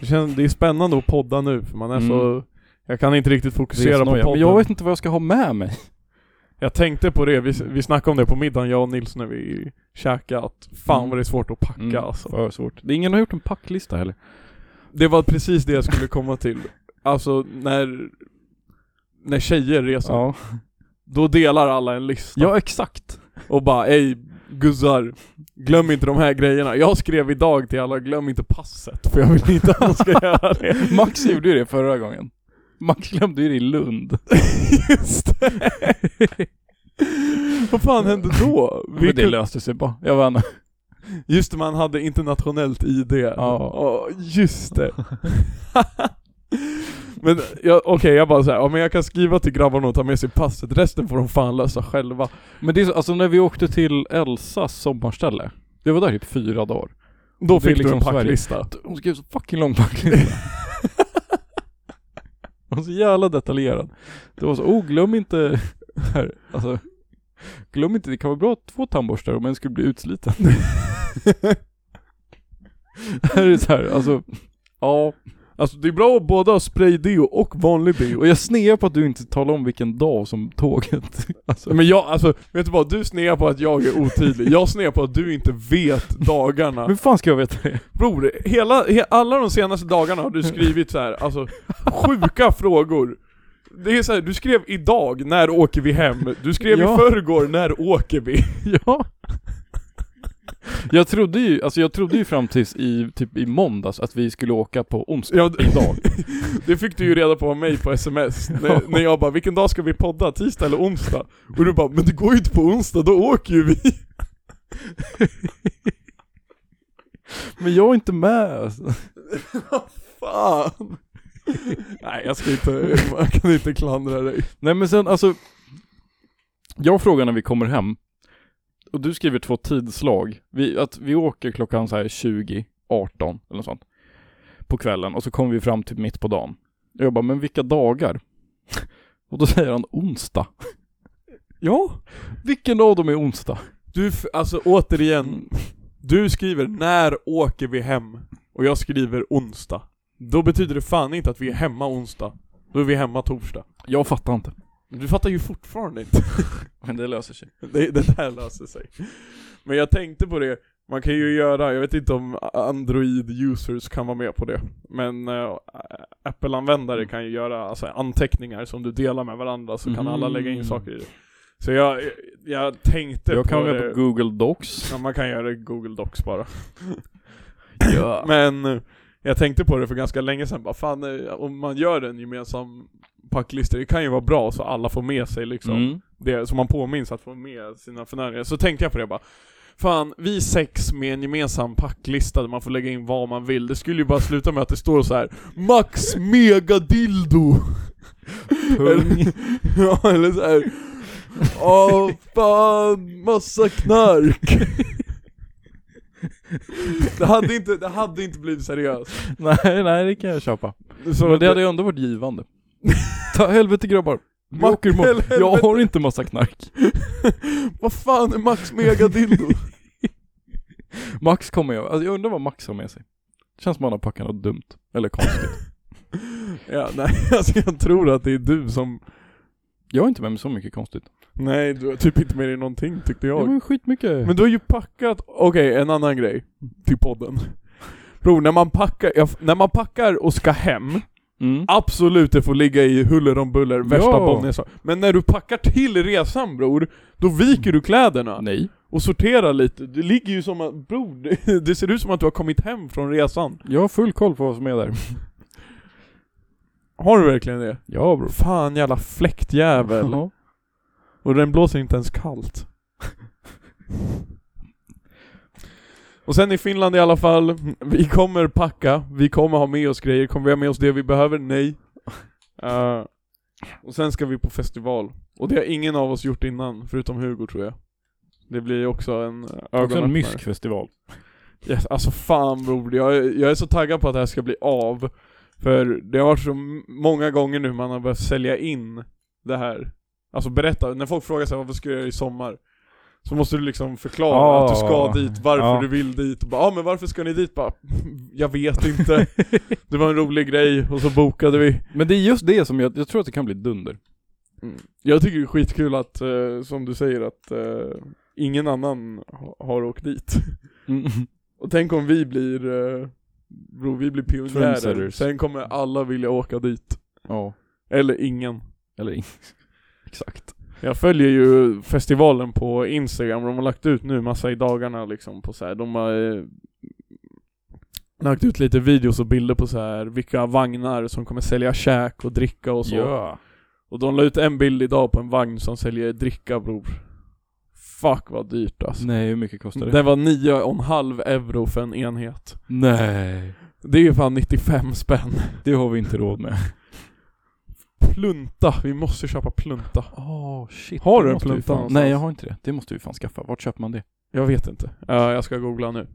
Speaker 1: det, känns, det är spännande att podda nu för man är
Speaker 2: Mm.
Speaker 1: så... Jag kan inte riktigt fokusera på
Speaker 2: Resnoja.
Speaker 1: podden.
Speaker 2: Men jag vet inte vad jag ska ha med mig.
Speaker 1: Jag tänkte på det, vi, vi snackade om det på middagen jag och Nils när vi käkade att fan
Speaker 2: Mm.
Speaker 1: vad det är svårt att packa
Speaker 2: Mm,
Speaker 1: alltså.
Speaker 2: För svårt. Det är ingen som har gjort en packlista heller.
Speaker 1: Det var precis det jag skulle komma till. Alltså när, när tjejer reser,
Speaker 2: Ja.
Speaker 1: då delar alla en lista
Speaker 2: ja, exakt.
Speaker 1: och bara ej guzzar, glöm inte de här grejerna. Jag skrev idag till alla, glöm inte passet för jag vill inte att de ska göra det.
Speaker 2: Max gjorde ju det förra gången. Max glömde ju det i Lund.
Speaker 1: Just det. Vad fan hände då?
Speaker 2: Men det
Speaker 1: kunde-
Speaker 2: löste sig bara. Jag vann.
Speaker 1: Just det, man hade internationellt ID.
Speaker 2: Ja.
Speaker 1: Ja, just det. men jag, okej, jag bara såhär, ja, men jag kan skriva till grabbarna och ta med sig passet, resten får de fan lösa själva.
Speaker 2: Men det är så, alltså när vi åkte till Elsas sommarställe. Det var där typ fyra dagar.
Speaker 1: Då
Speaker 2: Det är
Speaker 1: fick du en
Speaker 2: liksom Sverige.
Speaker 1: packlista.
Speaker 2: Hon skrev så fucking lång packlista. Hon var så jävla detaljerad. Det var så, oh glöm inte, här, alltså, glöm inte, det kan vara bra att ha två tandborstar om en skulle bli utsliten. Det här är så här, alltså, ja.
Speaker 1: Alltså det är bra att både ha spraydeo och vanlig deo.
Speaker 2: Och jag snear på att du inte talar om vilken dag som tåget, alltså.
Speaker 1: Men jag, alltså vet du vad? Du snear på att jag är otydlig, jag snear på att du inte vet dagarna.
Speaker 2: Hur fan ska jag veta det?
Speaker 1: Bror, hela, he, alla de senaste dagarna har du skrivit så här, alltså sjuka frågor. Det är så här, du skrev idag, när åker vi hem? Du skrev i
Speaker 2: Ja.
Speaker 1: förrgår, när åker vi?
Speaker 2: Ja. Jag trodde ju, alltså jag trodde ju fram tills i, typ i måndags att vi skulle åka på onsdag
Speaker 1: Ja, d-
Speaker 2: idag.
Speaker 1: det fick du ju reda på av mig på sms, när, när jag bara 'Vilken dag ska vi podda? Tisdag eller onsdag?' Och du bara 'Men det går ju inte på onsdag, då åker ju vi'
Speaker 2: Men jag är inte med alltså.
Speaker 1: Fan! Nej jag ska inte, man kan inte klandra dig.
Speaker 2: Nej men sen alltså Jag frågar när vi kommer hem Och du skriver två tidslag vi, Att vi åker klockan så här 20, 18 eller något sånt På kvällen och så kommer vi fram till mitt på dagen Och jag bara, men vilka dagar? Och då säger han onsdag
Speaker 1: Ja,
Speaker 2: Vilken av dem är onsdag?
Speaker 1: Du, f- alltså
Speaker 2: Mm.
Speaker 1: återigen, du skriver 'När åker vi hem?' och jag skriver 'onsdag' Då betyder det fan inte att vi är hemma onsdag, då är vi hemma torsdag
Speaker 2: Jag fattar inte
Speaker 1: Du fattar ju fortfarande inte,
Speaker 2: Men det löser sig
Speaker 1: det, det där löser sig Men jag tänkte på det, Man kan ju göra, jag vet inte om Android-users kan vara med på det, men eh, Apple-användare
Speaker 2: Mm.
Speaker 1: kan ju göra alltså, anteckningar som du delar med varandra så kan alla lägga in
Speaker 2: Mhm.
Speaker 1: saker i det. Så jag, jag tänkte
Speaker 2: Jag
Speaker 1: Typ på
Speaker 2: kan
Speaker 1: det.
Speaker 2: vara på Google Docs.
Speaker 1: Ja, man kan göra det i Google Docs bara.
Speaker 2: Ja.
Speaker 1: Men eh, jag tänkte på det för ganska länge sedan, bara fan eh, om man gör en gemensam packlista, det kan ju vara bra så alla får med sig liksom
Speaker 2: Mm.
Speaker 1: det, så man påminns att få med sina funderingar. Så tänkte jag på det bara. Fan, vi sex med en gemensam packlista där man får lägga in vad man vill. Det skulle ju bara sluta med att det står så här Max megadildo!
Speaker 2: Pung.
Speaker 1: ja, eller så här. Åh fan, massa knark! det, hade inte, det hade inte blivit seriöst.
Speaker 2: nej, nej det kan jag köpa.
Speaker 1: Så
Speaker 2: Men det hade ju ändå varit givande. Ta helvete grabbar. Vi
Speaker 1: Mac-
Speaker 2: åker imorgon. Jag
Speaker 1: helvete.
Speaker 2: har inte massa knark.
Speaker 1: Vad fan är Max megadildo?
Speaker 2: Max kommer jag, alltså jag undrar vad Max har med sig. Känns som han har packat något dumt. Eller konstigt.
Speaker 1: ja, nej, alltså jag tror att det är du som
Speaker 2: Jag har inte med mig så mycket konstigt.
Speaker 1: Nej, du har typ inte med dig någonting tyckte
Speaker 2: Jag
Speaker 1: jag.
Speaker 2: har ju skitmycket.
Speaker 1: Men du har ju packat, okej en annan grej till podden. Bror, när man packar, ja, f- när man packar och ska hem,
Speaker 2: Mm.
Speaker 1: absolut det får ligga i huller om buller, värsta
Speaker 2: Ja.
Speaker 1: Bonniers Men när du packar till resan bror, då viker du kläderna
Speaker 2: Nej.
Speaker 1: och sorterar lite. Det ligger ju som att, bror, det- det ser ut som att du har kommit hem från resan.
Speaker 2: Jag har full koll på vad som är där.
Speaker 1: Har du verkligen det?
Speaker 2: Ja bror.
Speaker 1: Fan jävla fläktjävel.
Speaker 2: Ja.
Speaker 1: Och den blåser inte ens kallt. Och sen i Finland i alla fall, vi kommer packa, vi kommer ha med oss grejer, kommer vi ha med oss det vi behöver? Nej. Eh, och sen ska vi på festival. Och det har ingen av oss gjort innan, förutom Hugo tror jag. Det blir också en eh,
Speaker 2: Också en
Speaker 1: ögonöppnare.
Speaker 2: myskfestival.
Speaker 1: Yes, alltså fan bror, jag, är- jag är så taggad på att det här ska bli av. För det har varit så m- många gånger nu man har behövt sälja in det här. Alltså berätta, när folk frågar sig varför ska jag göra i sommar? Så måste du liksom förklara
Speaker 2: Ja.
Speaker 1: att du ska dit, varför
Speaker 2: Ja.
Speaker 1: du vill dit. Och bara, ah, men varför ska ni dit? Bara, jag vet inte. det var en rolig grej och så bokade vi.
Speaker 2: Men det är just det som jag, jag tror att det kan bli dunder.
Speaker 1: Jag tycker det är skitkul att, eh, som du säger, att eh, ingen annan ha, har åkt dit.
Speaker 2: Mm.
Speaker 1: Och tänk om vi blir, eh, bro, vi blir pionjärer.
Speaker 2: Trendsetters.
Speaker 1: Sen kommer alla vilja åka dit.
Speaker 2: Ja.
Speaker 1: Eller ingen.
Speaker 2: Eller inget. Exakt.
Speaker 1: Jag följer ju festivalen på Instagram, de har lagt ut nu massa i dagarna liksom på så här. de har eh, lagt ut lite videos och bilder på så här vilka vagnar som kommer sälja käk och dricka och så.
Speaker 2: Ja.
Speaker 1: Och de la ut en bild idag på en vagn som säljer dricka bror. Fuck vad dyrt alltså.
Speaker 2: Nej, hur mycket kostar det?
Speaker 1: Det var 9,5 euro för en enhet.
Speaker 2: Nej.
Speaker 1: Det är ju fan 95 spänn.
Speaker 2: Det har vi inte råd med.
Speaker 1: Plunta, vi måste köpa plunta.
Speaker 2: Oh, shit.
Speaker 1: Har
Speaker 2: det
Speaker 1: du en
Speaker 2: måste vi
Speaker 1: plunta
Speaker 2: fan-
Speaker 1: någonstans?
Speaker 2: Nej, jag har inte det. Det måste vi fan skaffa. Vart köper man det?
Speaker 1: Jag vet inte. Ja, jag ska googla nu.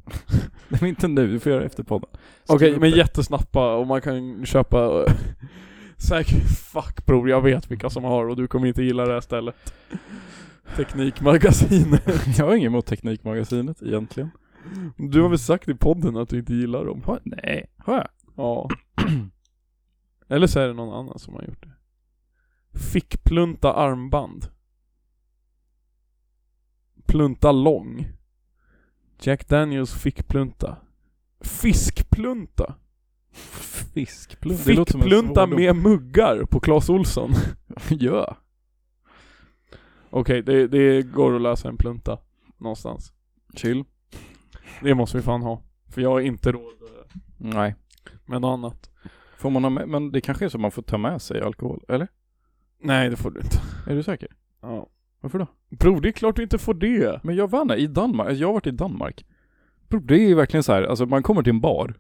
Speaker 2: Nej, men inte nu. Du får göra det efter podden. Skriv
Speaker 1: Okej,
Speaker 2: upp
Speaker 1: men
Speaker 2: det.
Speaker 1: jättesnappa och man kan köpa... eh, Säkert, fuck bror, jag vet vilka som har och du kommer inte gilla det här stället. Teknikmagasinet.
Speaker 2: jag har inget emot Teknikmagasinet egentligen.
Speaker 1: Du har väl sagt i podden att du inte gillar dem?
Speaker 2: Har, nej, har jag?
Speaker 1: Ja. Eller så är det någon annan som har gjort det. Fickplunta armband. Plunta lång. Jack Daniels fickplunta. Fiskplunta.
Speaker 2: Fiskplunta. Det låter som en
Speaker 1: Fickplunta
Speaker 2: svordom.
Speaker 1: med muggar på Clas Olsson.
Speaker 2: ja.
Speaker 1: Okej, det, det går att lösa en plunta. Någonstans.
Speaker 2: Chill.
Speaker 1: Det måste vi fan ha. För jag har inte råd
Speaker 2: Nej.
Speaker 1: med något annat.
Speaker 2: Får man ha med, men det kanske är så man får ta med sig alkohol, eller?
Speaker 1: Nej, det får du inte.
Speaker 2: Är du säker?
Speaker 1: Ja.
Speaker 2: Varför då?
Speaker 1: Bror, det är klart du inte får det.
Speaker 2: Men jag vann i Danmark, jag har varit i Danmark. Bror, det är ju verkligen så här, alltså man kommer till en bar,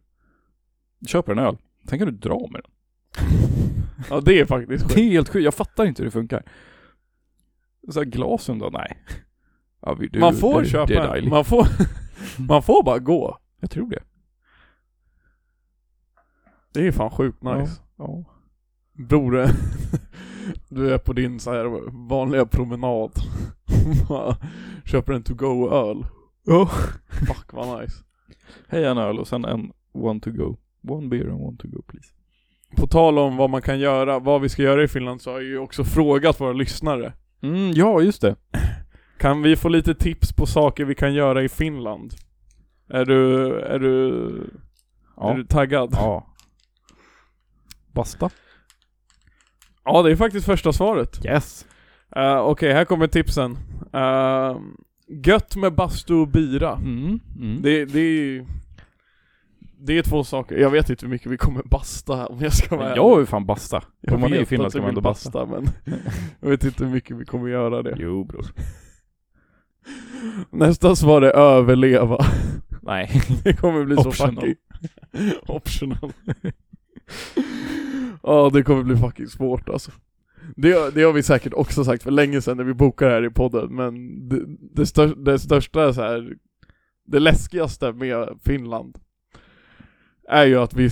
Speaker 2: köper en öl, sen kan du dra med den.
Speaker 1: Ja, det är faktiskt
Speaker 2: Det är helt sjukt, jag fattar inte hur det funkar. Så här, glasen då? Nej. Ja, vi- du,
Speaker 1: man får
Speaker 2: du, det är
Speaker 1: köpa,
Speaker 2: dejligt.
Speaker 1: man får, man får bara gå.
Speaker 2: Jag tror det.
Speaker 1: Det är ju fan sjukt nice.
Speaker 2: Ja.
Speaker 1: Bror, du är på din så här vanliga promenad. Bara Köper en to-go-öl.
Speaker 2: Ja.
Speaker 1: Fuck vad nice.
Speaker 2: Hej en öl och sen en one to go. One beer and one to go please.
Speaker 1: På tal om vad man kan göra, vad vi ska göra i Finland så har jag ju också frågat våra lyssnare.
Speaker 2: Mm, ja just det.
Speaker 1: Kan vi få lite tips på saker vi kan göra i Finland? Är du, är du,
Speaker 2: Ja.
Speaker 1: är du taggad?
Speaker 2: ja. Basta.
Speaker 1: Ja, det är faktiskt första svaret.
Speaker 2: Yes.
Speaker 1: Eh, Okej, här kommer tipsen. Eh, gött med bastu och bira.
Speaker 2: Mm. Mm.
Speaker 1: Det, det är ju- Det är två saker. Jag vet inte hur mycket vi kommer basta om jag ska vara
Speaker 2: Men
Speaker 1: ärlig.
Speaker 2: jag har ju fan basta.
Speaker 1: Jag
Speaker 2: Om man är i
Speaker 1: vet
Speaker 2: Finland
Speaker 1: att
Speaker 2: ska
Speaker 1: jag
Speaker 2: man
Speaker 1: vill
Speaker 2: ändå basta.
Speaker 1: men jag vet inte hur mycket vi kommer göra det.
Speaker 2: Jo bror.
Speaker 1: Nästa svar är överleva.
Speaker 2: Nej.
Speaker 1: Det kommer bli så
Speaker 2: Optional.
Speaker 1: fucking... Optional. Ja, det kommer bli fucking svårt alltså. Det, det har vi säkert också sagt för länge sedan när vi bokade här i podden, men det, det, stör, det största så här, det läskigaste med Finland är ju att vi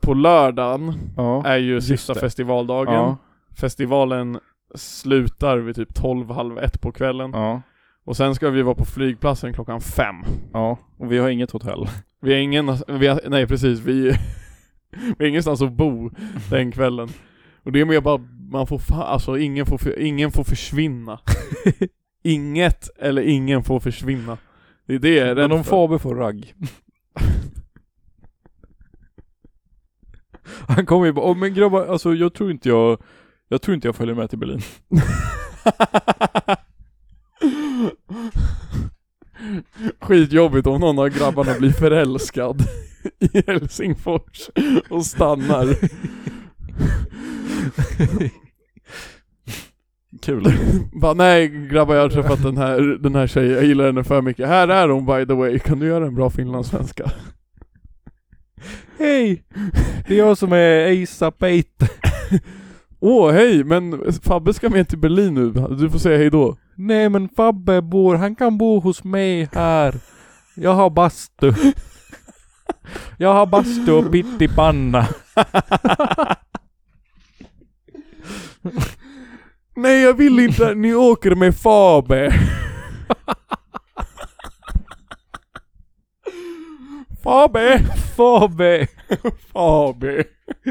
Speaker 1: på lördagen
Speaker 2: Ja.
Speaker 1: är ju sista
Speaker 2: det.
Speaker 1: festivaldagen.
Speaker 2: Ja.
Speaker 1: Festivalen slutar vid typ 12, halv ett på kvällen.
Speaker 2: Ja.
Speaker 1: Och sen ska vi vara på flygplatsen klockan fem.
Speaker 2: Ja. Och vi har inget hotell.
Speaker 1: Vi har ingen, vi har, nej precis, vi, vi har ingenstans att bo den kvällen. Och det är mer bara, man får fa- alltså ingen får, för- ingen får försvinna. Inget eller ingen får försvinna. Det är det jag är rädd
Speaker 2: Men om
Speaker 1: för.
Speaker 2: Faber får ragg. Han kommer ju bara, "Åh, men grabbar, alltså jag tror inte jag, jag tror inte jag följer med till Berlin.
Speaker 1: Skitjobbigt om någon av grabbarna blir förälskad i Helsingfors och stannar.
Speaker 2: Kul.
Speaker 1: Bara nej grabbar jag har träffat den här, den här tjejen, jag gillar henne för mycket. Här är hon by the way, kan du göra en bra finlandssvenska?
Speaker 2: Hej! Det är jag som är ASAP Bait.
Speaker 1: Åh hej, men Fabbe ska med till Berlin nu, du får säga hej då.
Speaker 2: Nej men Fabbe bor, han kan bo hos mig här. Jag har bastu. Jag har bastu och pyttipanna.
Speaker 1: Nej jag vill inte, ni åker med Fabe. Fabe!
Speaker 2: Fabbe!
Speaker 1: Fabe.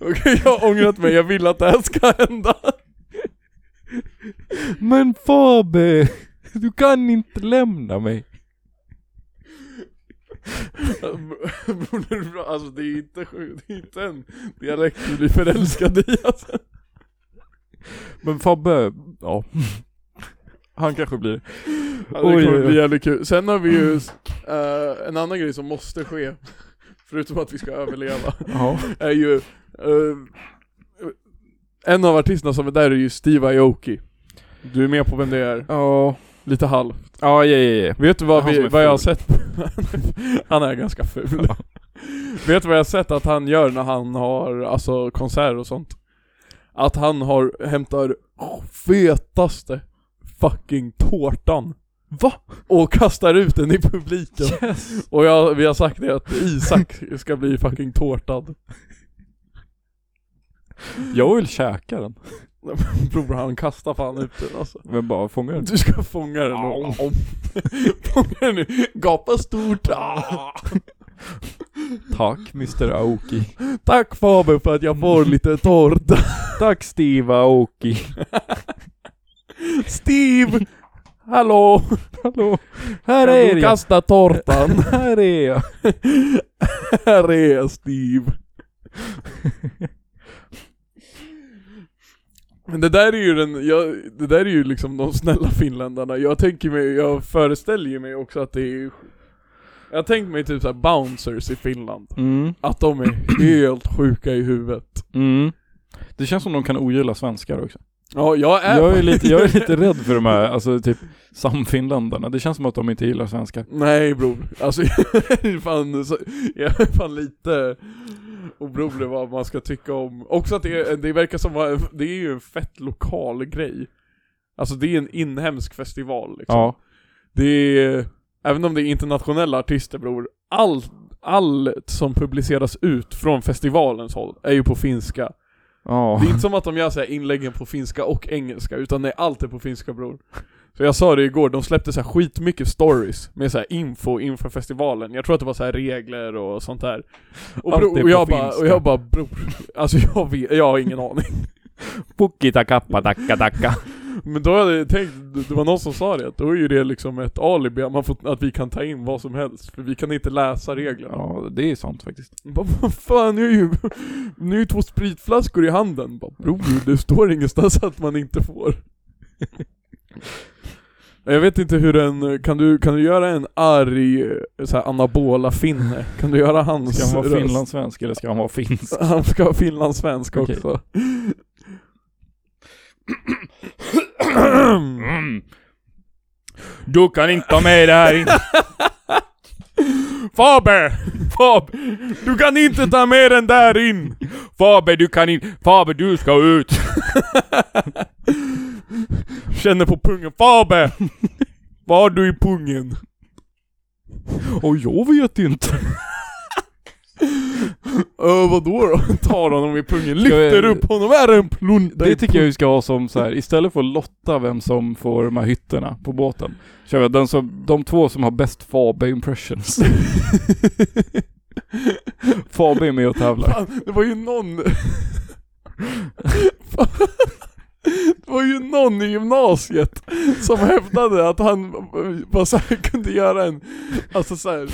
Speaker 1: Okej, jag har ångrat mig, jag vill att det här ska hända.
Speaker 2: Men Fabbe! Du kan inte lämna mig.
Speaker 1: Bror, det är bra. Alltså det är inte sjukt, det är inte en dialekt du blir förälskad i alltså.
Speaker 2: Men Fabbe, ja. Han kanske blir
Speaker 1: Ja, det
Speaker 2: Oj,
Speaker 1: kommer
Speaker 2: oj, oj.
Speaker 1: bli jävligt kul. Sen har vi ju eh, en annan grej som måste ske, förutom att vi ska överleva,
Speaker 2: Ja.
Speaker 1: är ju eh, En av artisterna som är där är ju Steve Aoki. Du är med på vem det är,
Speaker 2: Ja.
Speaker 1: lite halv.
Speaker 2: Ja, ja, ja, ja.
Speaker 1: Vet du vad,
Speaker 2: Han
Speaker 1: vi,
Speaker 2: som är
Speaker 1: vad jag har
Speaker 2: ful.
Speaker 1: sett? han är ganska ful. Vet du vad jag har sett att han gör när han har, alltså konserter och sånt? Att han har, hämtar fetaste fucking tårtan.
Speaker 2: Va?
Speaker 1: Och kastar ut den i publiken.
Speaker 2: Yes!
Speaker 1: Och jag, vi har sagt det att Isak ska bli fucking tårtad.
Speaker 2: Jag vill käka den.
Speaker 1: Bror han kastar fan ut den alltså.
Speaker 2: Men bara fånga den.
Speaker 1: Du ska fånga den och... fånga den nu. Gapa stort. Ah.
Speaker 2: Tack Mr Aoki.
Speaker 1: Tack Faber för att jag får lite tårta.
Speaker 2: Tack Steve Aoki.
Speaker 1: Steve! Hallå!
Speaker 2: Hallå.
Speaker 1: Här
Speaker 2: Här är
Speaker 1: är
Speaker 2: jag.
Speaker 1: Kasta tårtan.
Speaker 2: Här är jag.
Speaker 1: Här är jag Steve. Men det där är ju den, jag, det där är ju liksom de snälla finländarna. Jag tänker mig, jag föreställer mig också att det är Jag tänker mig typ såhär bouncers i Finland.
Speaker 2: Mm.
Speaker 1: Att de är helt sjuka i huvudet.
Speaker 2: Mm. Det känns som de kan ogilla svenskar också.
Speaker 1: Ja, jag är,
Speaker 2: Jag är lite, jag är lite rädd för de här, alltså typ samfinländarna. Det känns som att de inte gillar svenskar.
Speaker 1: Nej bror, alltså jag är fan, så, jag är fan lite orolig vad man ska tycka om, också att det, det verkar som, vara- det är ju en fett lokal grej Alltså det är en inhemsk festival liksom.
Speaker 2: Ja.
Speaker 1: Det är, även om det är internationella artister bror, allt, allt som publiceras ut från festivalens håll är ju på finska
Speaker 2: Ja.
Speaker 1: det är inte som att de gör så här inläggen på finska och engelska, utan det är alltid på finska bror. Så jag sa det igår, de släppte så här skitmycket stories med så här info inför festivalen. Jag tror att det var så här regler och sånt där. Och,
Speaker 2: Allt
Speaker 1: bror, och,
Speaker 2: är på
Speaker 1: jag, bara,
Speaker 2: finska.
Speaker 1: och jag bara bror, alltså jag, vet, jag har ingen aning.
Speaker 2: Pukkita kappa tacka tacka.
Speaker 1: Men då hade jag tänkt, det var någon som sa det, att då är ju det liksom ett alibi, att man får, att vi kan ta in vad som helst, för vi kan inte läsa reglerna.
Speaker 2: Ja, det är sant faktiskt.
Speaker 1: Bara, Vad fan, nu är ju, nu är ju två spritflaskor i handen. Bara, Bror, det står ingenstans att man inte får. Jag vet inte hur en, kan du, kan du göra en arg eh, så här, anabola-finne? Kan du göra hans
Speaker 2: Ska han vara
Speaker 1: röst?
Speaker 2: finlandssvensk eller ska han vara finsk?
Speaker 1: Han ska vara finlandssvensk
Speaker 2: Okej.
Speaker 1: också.
Speaker 2: Du kan inte ta med det här in.
Speaker 1: Faber! Faber! Du kan inte ta med den där in!
Speaker 2: Faber, du kan inte. Faber, du ska ut.
Speaker 1: Känner på pungen. Faber! Vad har du i pungen?
Speaker 2: Och jag vet inte.
Speaker 1: Öh, vadå då? Tar honom i pungen,
Speaker 2: Ska vi-
Speaker 1: lyfter upp honom, är det en plon...
Speaker 2: Det tycker jag vi ska ha som så här. istället för att lotta vem som får de här hytterna på båten. Kör vi den som, de två som har bäst Faber impressions. Faber är med och tävlar.
Speaker 1: Fan, det var ju någon... Fan. det var ju någon i gymnasiet som hävdade att han bara så här kunde göra en, alltså så här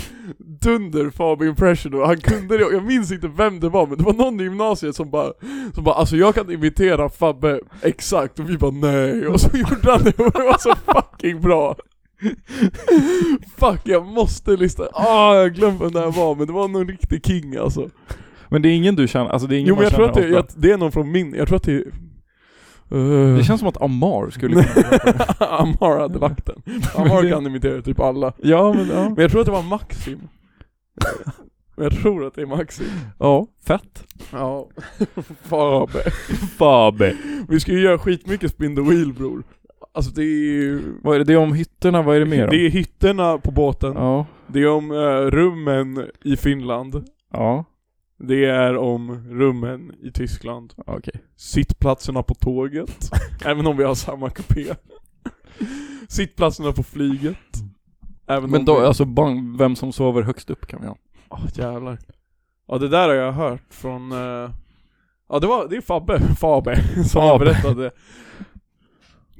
Speaker 1: dunder Fab impression och han kunde det, och jag minns inte vem det var men det var någon i gymnasiet som bara, som bara alltså jag kan imitera Fabbe exakt och vi bara nej och så gjorde han det och det var så fucking bra. Fuck jag måste lyssna, ah jag glömde vem det här var men det var någon riktig king alltså.
Speaker 2: Men det är ingen du känner, alltså det är ingen
Speaker 1: Jo men
Speaker 2: man
Speaker 1: jag tror att
Speaker 2: känner
Speaker 1: det, jag,
Speaker 2: ofta.
Speaker 1: det är någon från min, jag tror att det är...
Speaker 2: Det
Speaker 1: Uh,
Speaker 2: känns som att Amar skulle kunna göra det.
Speaker 1: Amar hade lagt den.
Speaker 2: Men
Speaker 1: Amar
Speaker 2: det-
Speaker 1: kan imitera typ alla.
Speaker 2: Ja, men ja.
Speaker 1: Men jag tror att det var Maxim. jag tror att det är Maxim.
Speaker 2: Ja, fett.
Speaker 1: Ja. Fabe.
Speaker 2: Faber.
Speaker 1: Vi ska ju göra skitmycket spin the wheel bror. Alltså det är ju...
Speaker 2: Vad är det, det är om hytterna, vad är det mer om?
Speaker 1: Det är hytterna på båten,
Speaker 2: Ja,
Speaker 1: det är om eh, rummen i Finland,
Speaker 2: ja,
Speaker 1: det är om rummen i Tyskland,
Speaker 2: okej.
Speaker 1: sittplatserna på tåget, även om vi har samma kupé. Sittplatserna på flyget. Även
Speaker 2: Men
Speaker 1: om
Speaker 2: då,
Speaker 1: vi...
Speaker 2: alltså bang, vem som sover högst upp kan vi ha.
Speaker 1: Åh, jävlar. Ja det där har jag hört från... eh, Ja det var, det är Fabbe, Fabe, som har
Speaker 2: Fabe.
Speaker 1: berättat det.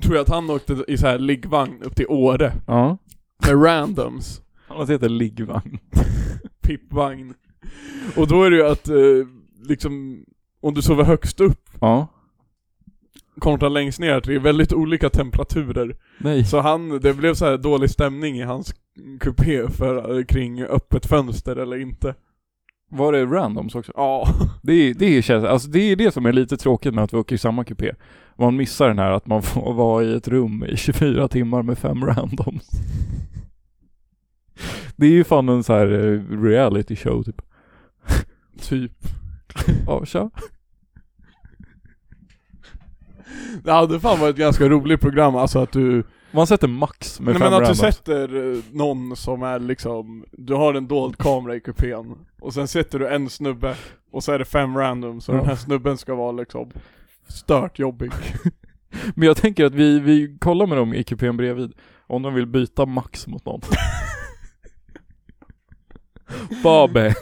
Speaker 1: Tror jag att han åkte i så här liggvagn upp till Åre
Speaker 2: Ja.
Speaker 1: med randoms.
Speaker 2: Han heter Liggvagn.
Speaker 1: Pippvagn. Och då är det ju att eh, liksom, om du sover högst upp
Speaker 2: Ja.
Speaker 1: kontra längst ner, det är väldigt olika temperaturer.
Speaker 2: Nej.
Speaker 1: Så han, det blev så här dålig stämning i hans kupé för, eh, kring öppet fönster eller inte.
Speaker 2: Var det randoms också?
Speaker 1: Ja.
Speaker 2: Det är, det är, känns- alltså det är det som är lite tråkigt med att vi åker i samma kupé. Man missar den här att man får vara i ett rum i 24 timmar med fem randoms. Det är ju fan en så här eh, reality show typ.
Speaker 1: Typ.
Speaker 2: Ja, tja.
Speaker 1: Det hade fan varit ett ganska roligt program, alltså att du...
Speaker 2: Man sätter max
Speaker 1: Nej
Speaker 2: med fem
Speaker 1: men att du
Speaker 2: randoms.
Speaker 1: sätter eh, någon som är liksom, du har en dold kamera i kupén, och sen sätter du en snubbe, och så är det fem randoms, och
Speaker 2: Ja.
Speaker 1: den här snubben ska vara liksom stört jobbig.
Speaker 2: Men jag tänker att vi, vi kollar med dem i kupén bredvid. Om de vill byta max mot någon. Babe,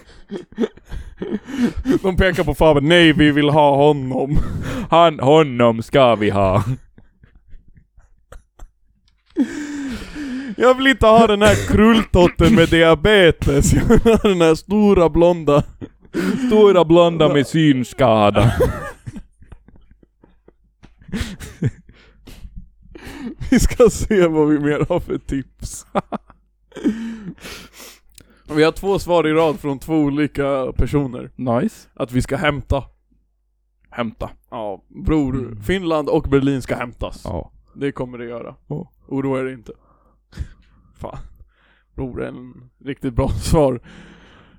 Speaker 1: De pekar på Faber, nej vi vill ha honom.
Speaker 2: han, honom ska vi ha.
Speaker 1: Jag vill inte ha den här krulltotten med diabetes, jag vill ha den här stora blonda.
Speaker 2: Stora blonda med synskada.
Speaker 1: Vi ska se vad vi mer har för tips. Vi har två svar i rad från två olika personer.
Speaker 2: Nice.
Speaker 1: Att vi ska hämta.
Speaker 2: Hämta.
Speaker 1: Ja, Mm. bror. Finland och Berlin ska hämtas.
Speaker 2: Ja.
Speaker 1: Det kommer det göra.
Speaker 2: Ja.
Speaker 1: Oroa er inte. Fan. Bror, en riktigt bra svar.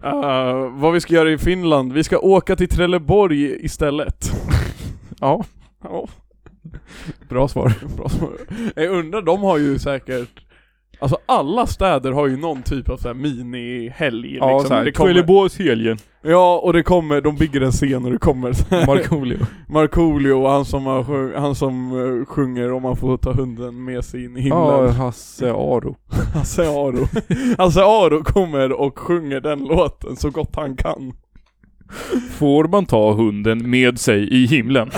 Speaker 1: Eh, vad vi ska göra i Finland? Vi ska åka till Trelleborg istället.
Speaker 2: Ja.
Speaker 1: Ja,
Speaker 2: Bra svar.
Speaker 1: bra svar. Jag undrar, de har ju säkert Alltså alla städer har ju någon typ av så här mini-helg
Speaker 2: Ja,
Speaker 1: liksom.
Speaker 2: så här,
Speaker 1: det kommer,
Speaker 2: Trelleborgshelgen.
Speaker 1: ja, och det kommer, de bygger en scen och det kommer så här-
Speaker 2: Markoolio.
Speaker 1: Markoolio och han som, har sjung, han som eh, sjunger om man får ta hunden med sig in i himlen.
Speaker 2: Ja, Hasse Aro.
Speaker 1: Hasse Aro. Hasse Aro kommer och sjunger den låten så gott han kan.
Speaker 2: Får man ta hunden med sig i himlen?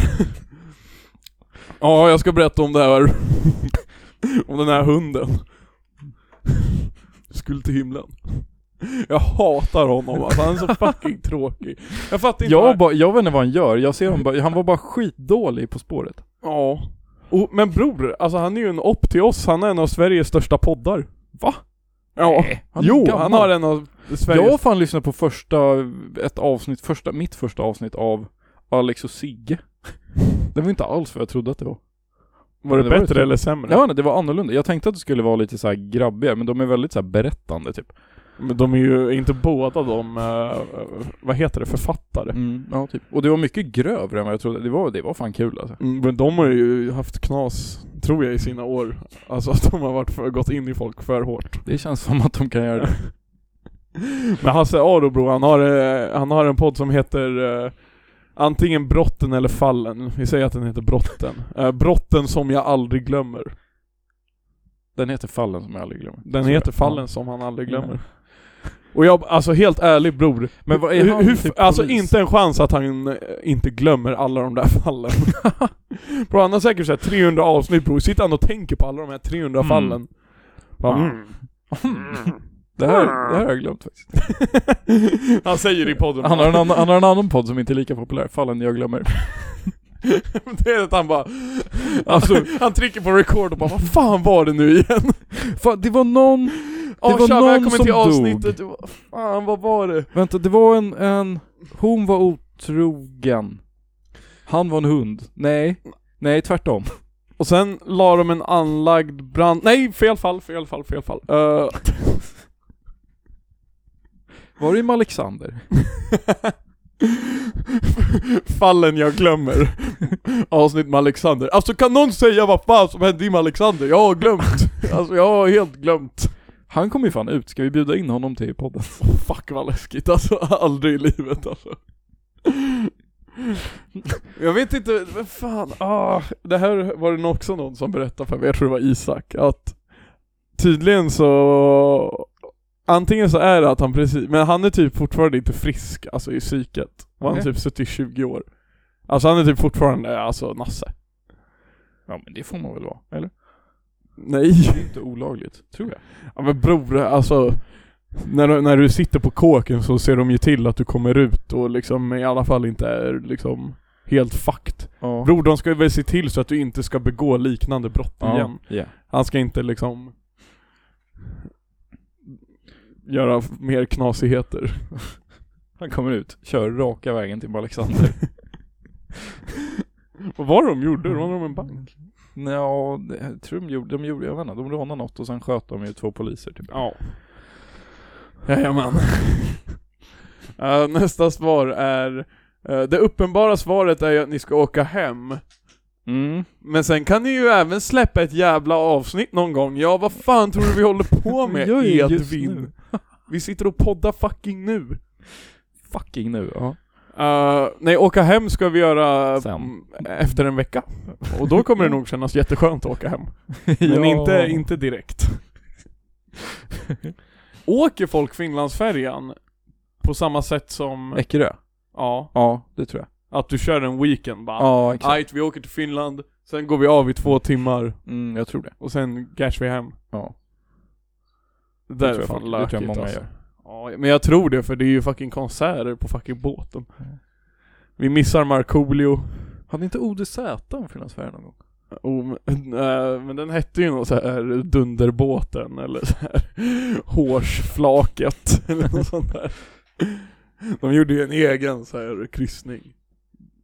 Speaker 1: Ja, jag ska berätta om det här Om den här hunden Skulle till himlen Jag hatar honom alltså, han är så fucking tråkig Jag fattar inte
Speaker 2: Jag,
Speaker 1: vad-
Speaker 2: bara, jag vet inte vad han gör, jag ser honom bara, han var bara skitdålig På spåret.
Speaker 1: Ja Och- Men bror, alltså han är ju en upp till oss, han är en av Sveriges största poddar
Speaker 2: Va?
Speaker 1: Ja,
Speaker 2: Nej, han är
Speaker 1: jo
Speaker 2: gammal.
Speaker 1: han har en av
Speaker 2: Jag har
Speaker 1: Sveriges
Speaker 2: fan lyssnat på första, ett avsnitt, första, mitt första avsnitt av Alex och Sigge. Det var inte alls vad jag trodde att det var.
Speaker 1: Var
Speaker 2: Ja,
Speaker 1: det
Speaker 2: det var
Speaker 1: bättre
Speaker 2: det.
Speaker 1: eller sämre?
Speaker 2: Ja, nej, det var annorlunda. Jag tänkte att det skulle vara lite så här grabbiga, men de är väldigt så här berättande typ.
Speaker 1: Men de är ju inte båda de, eh, vad heter det, författare
Speaker 2: Mm, ja, typ. Och det var mycket grövre än vad jag trodde. Det var, det var fan kul alltså.
Speaker 1: Mm, Men de har ju haft knas, tror jag, i sina år. Alltså att de har varit för, gått in i folk för hårt.
Speaker 2: Det känns som att de kan göra det.
Speaker 1: Men Hasse Aro bro, han har, eh, han har en podd som heter eh, Antingen brotten eller fallen. Vi säger att den heter brotten. Eh, brotten som jag aldrig glömmer.
Speaker 2: Den heter Fallen som jag aldrig glömmer.
Speaker 1: Den
Speaker 2: Så-
Speaker 1: heter
Speaker 2: ja.
Speaker 1: fallen som han aldrig glömmer. Och jag, alltså helt ärligt bror.
Speaker 2: Men vad är
Speaker 1: hur-
Speaker 2: han
Speaker 1: hur,
Speaker 2: typ
Speaker 1: Alltså
Speaker 2: polis?
Speaker 1: inte en chans att han eh, inte glömmer alla de där fallen. bro han har säkert såhär 300 avsnitt bror, sitter han och tänker på alla de här 300
Speaker 2: Mm.
Speaker 1: fallen. Bara,
Speaker 2: Mm.
Speaker 1: mm.
Speaker 2: Det här, det här har jag glömt faktiskt.
Speaker 1: han säger i podden
Speaker 2: Han har, en annan, han har en annan podd som inte är lika populär, Fallen jag glömmer.
Speaker 1: Det är att han bara...
Speaker 2: Alltså,
Speaker 1: han trycker på record och bara 'Vad fan var det nu igen?'
Speaker 2: fan, det var någon
Speaker 1: Ja
Speaker 2: var
Speaker 1: tja,
Speaker 2: någon
Speaker 1: välkommen
Speaker 2: som
Speaker 1: till
Speaker 2: dog.
Speaker 1: avsnittet, Det var- fan vad var det?
Speaker 2: Vänta, det var en, en... Hon var otrogen. Han var en hund. Nej. Nej, tvärtom.
Speaker 1: Och sen la de en anlagd brand... Nej, fel fall, fel fall, fel fall. Eh,
Speaker 2: Var det med Alexander?
Speaker 1: Fallen jag glömmer. Avsnitt med Alexander. Alltså kan någon säga vad fan som hände med Alexander? Jag har glömt. Alltså jag har helt glömt.
Speaker 2: Han kom ju fan ut, ska vi bjuda in honom till podden?
Speaker 1: Fuck vad läskigt alltså, aldrig i livet alltså. Jag vet inte, vad fan, ah, det här var det nog också någon som berättade för mig, jag tror det var Isak, att tydligen så Antingen så är det att han precis, men han är typ fortfarande inte frisk, alltså i psyket. Och han har
Speaker 2: Nej.
Speaker 1: typ suttit i 20 år. Alltså han är typ fortfarande, alltså Nasse.
Speaker 2: Ja men det får man väl vara, eller?
Speaker 1: Nej.
Speaker 2: Det är inte olagligt, tror jag.
Speaker 1: Ja men bror, alltså när du, när du sitter på kåken så ser de ju till att du kommer ut och liksom i alla fall inte är liksom helt fucked.
Speaker 2: Ja.
Speaker 1: Bror, de ska ju väl se till så att du inte ska begå liknande brott igen.
Speaker 2: Ja.
Speaker 1: Han ska inte liksom göra f- mer knasigheter.
Speaker 2: Han kommer ut, kör raka vägen till Alexander.
Speaker 1: Vad var det de gjorde? Rånade de en bank?
Speaker 2: Nja, det- jag tror de gjorde, de gjorde, jag vet inte, de rånade något och sen sköt de ju två poliser typ.
Speaker 1: Ja. Jajamän. Eh, nästa svar är eh, Det uppenbara svaret är ju att ni ska åka hem.
Speaker 2: Mm.
Speaker 1: Men sen kan ni ju även släppa ett jävla avsnitt någon gång. Ja, vad fan tror du vi håller på med
Speaker 2: Jag är just
Speaker 1: Edvin?
Speaker 2: nu.
Speaker 1: Vi sitter och poddar fucking nu.
Speaker 2: Fucking nu, ja.
Speaker 1: Eh, nej, åka hem ska vi göra
Speaker 2: Sen.
Speaker 1: mm, efter en vecka. Och då kommer det nog kännas jätteskönt att åka hem. Men
Speaker 2: Ja.
Speaker 1: inte, inte direkt. Åker folk Finlandsfärjan på samma sätt som,
Speaker 2: Eckerö?
Speaker 1: ja,
Speaker 2: Ja, det tror jag.
Speaker 1: att du kör en weekend bara?
Speaker 2: Ja, exakt.
Speaker 1: Ajt, vi åker till Finland, sen går vi av i två timmar
Speaker 2: Mm, jag tror det.
Speaker 1: och sen gash vi hem.
Speaker 2: Ja.
Speaker 1: Det där
Speaker 2: tror
Speaker 1: är
Speaker 2: jag
Speaker 1: fan
Speaker 2: folk- det tror jag
Speaker 1: lökigt
Speaker 2: många
Speaker 1: alltså.
Speaker 2: gör.
Speaker 1: Ja, men jag tror det för det är ju fucking konserter på fucking båten. Vi missar Markoolio.
Speaker 2: Hade inte ODZ en Finlandsfärja någon gång?
Speaker 1: Oh, men, eh, men den hette ju något så här Dunderbåten eller så här Hårsflaket eller något sånt där. De gjorde ju en egen så här kryssning.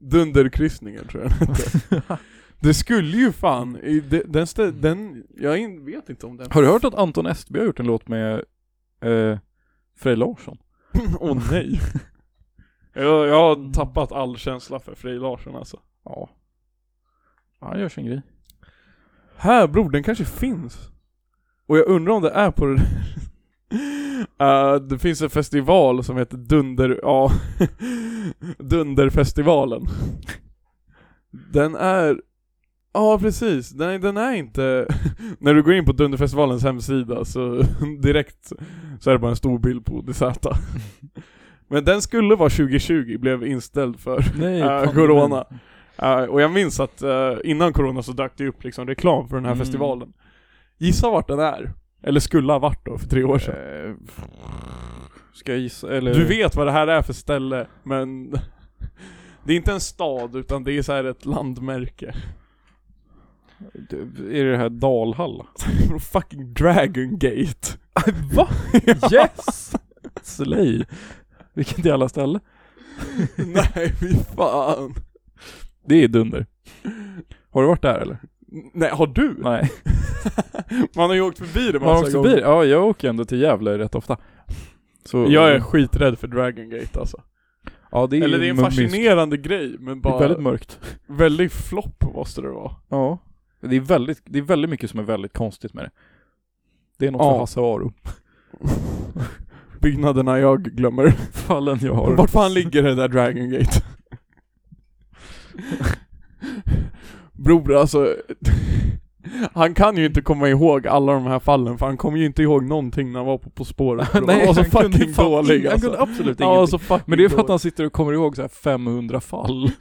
Speaker 1: Dunderkryssningen tror jag den hette. Det skulle ju fan, i de- den, stä- den jag in, vet inte om den
Speaker 2: Har du hört att Anton Estby har gjort en låt med eh, Frej Larsson?
Speaker 1: Åh nej. Jag, jag har tappat all känsla för Frej Larsson alltså.
Speaker 2: Ja. Han gör sin grej.
Speaker 1: Här bror, den kanske finns. Och jag undrar om det är på det där. Eh, det finns en festival som heter Dunder, ja, Dunderfestivalen. Den är, ja precis, den, den är inte, när du går in på Dunderfestivalens hemsida så direkt så är det bara en stor bild på DZ. Men den skulle vara 2020, blev inställd för
Speaker 2: Nej,
Speaker 1: Eh,
Speaker 2: fan,
Speaker 1: corona.
Speaker 2: men-
Speaker 1: Eh, och jag minns att eh, innan corona så dök det upp liksom reklam för den här
Speaker 2: Mm.
Speaker 1: festivalen. Gissa vart den är? Eller skulle ha varit då, för tre år sedan.
Speaker 2: Eh, Ska jag gissa, eller?
Speaker 1: Du vet vad det här är för ställe, men det är inte en stad utan det är så här ett landmärke.
Speaker 2: Är det det här Dalhalla?
Speaker 1: Fucking Dragon Gate.
Speaker 2: Va? Yes! Slay! Vilket jävla ställe.
Speaker 1: Nej, fy fan.
Speaker 2: Det är dunder. Har du varit där eller?
Speaker 1: Nej, har du?
Speaker 2: Nej.
Speaker 1: Man har ju åkt förbi det
Speaker 2: Man har
Speaker 1: massa
Speaker 2: åkt
Speaker 1: gånger.
Speaker 2: förbi? Ja, jag åker ändå till Gävle rätt ofta. Så,
Speaker 1: Jag är skiträdd för Dragon Gate alltså.
Speaker 2: Ja, det är
Speaker 1: Eller det är en
Speaker 2: mummiskt.
Speaker 1: fascinerande grej, men
Speaker 2: Det är
Speaker 1: bara
Speaker 2: väldigt
Speaker 1: väldigt,
Speaker 2: mörkt.
Speaker 1: flopp måste det vara.
Speaker 2: Ja. Det är väldigt, det är väldigt mycket som är väldigt konstigt med det. Det är något
Speaker 1: Ja.
Speaker 2: för Hasse Aro.
Speaker 1: Byggnaderna jag glömmer.
Speaker 2: Fallen jag har.
Speaker 1: Vart fan ligger det där Dragon Gate? Bror alltså, han kan ju inte komma ihåg alla de här fallen för han kommer ju inte ihåg någonting när han var på På spåret. bror. han var så
Speaker 2: kunde
Speaker 1: fucking
Speaker 2: fan
Speaker 1: dålig
Speaker 2: ing- Han
Speaker 1: alltså.
Speaker 2: kunde absolut
Speaker 1: Han var
Speaker 2: ingenting.
Speaker 1: så fucking
Speaker 2: Men det är för att
Speaker 1: dålig.
Speaker 2: han sitter och kommer ihåg så här 500 fall.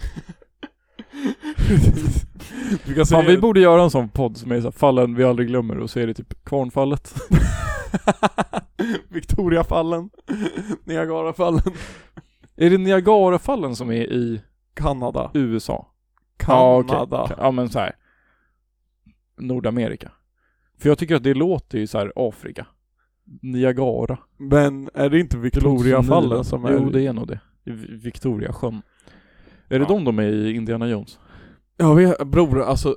Speaker 1: Du kan
Speaker 2: Fan,
Speaker 1: säga-
Speaker 2: vi borde göra en sån podd som är så här, fallen vi aldrig glömmer och så är det typ Kvarnfallet.
Speaker 1: Victoriafallen, Niagarafallen,
Speaker 2: Är det Niagarafallen som är i
Speaker 1: Kanada.
Speaker 2: USA? Ja, okej.
Speaker 1: Kanada.
Speaker 2: Ja men så här. Nordamerika. För jag tycker att det låter ju så här Afrika. Niagara.
Speaker 1: Men är det inte
Speaker 2: Det låter
Speaker 1: Victoriafallen
Speaker 2: Nilen.
Speaker 1: som är...
Speaker 2: Jo det är nog det. I Vi- Victoriasjön. Är det
Speaker 1: Ja.
Speaker 2: de de är i Indiana Jones?
Speaker 1: Jag vet, bror alltså...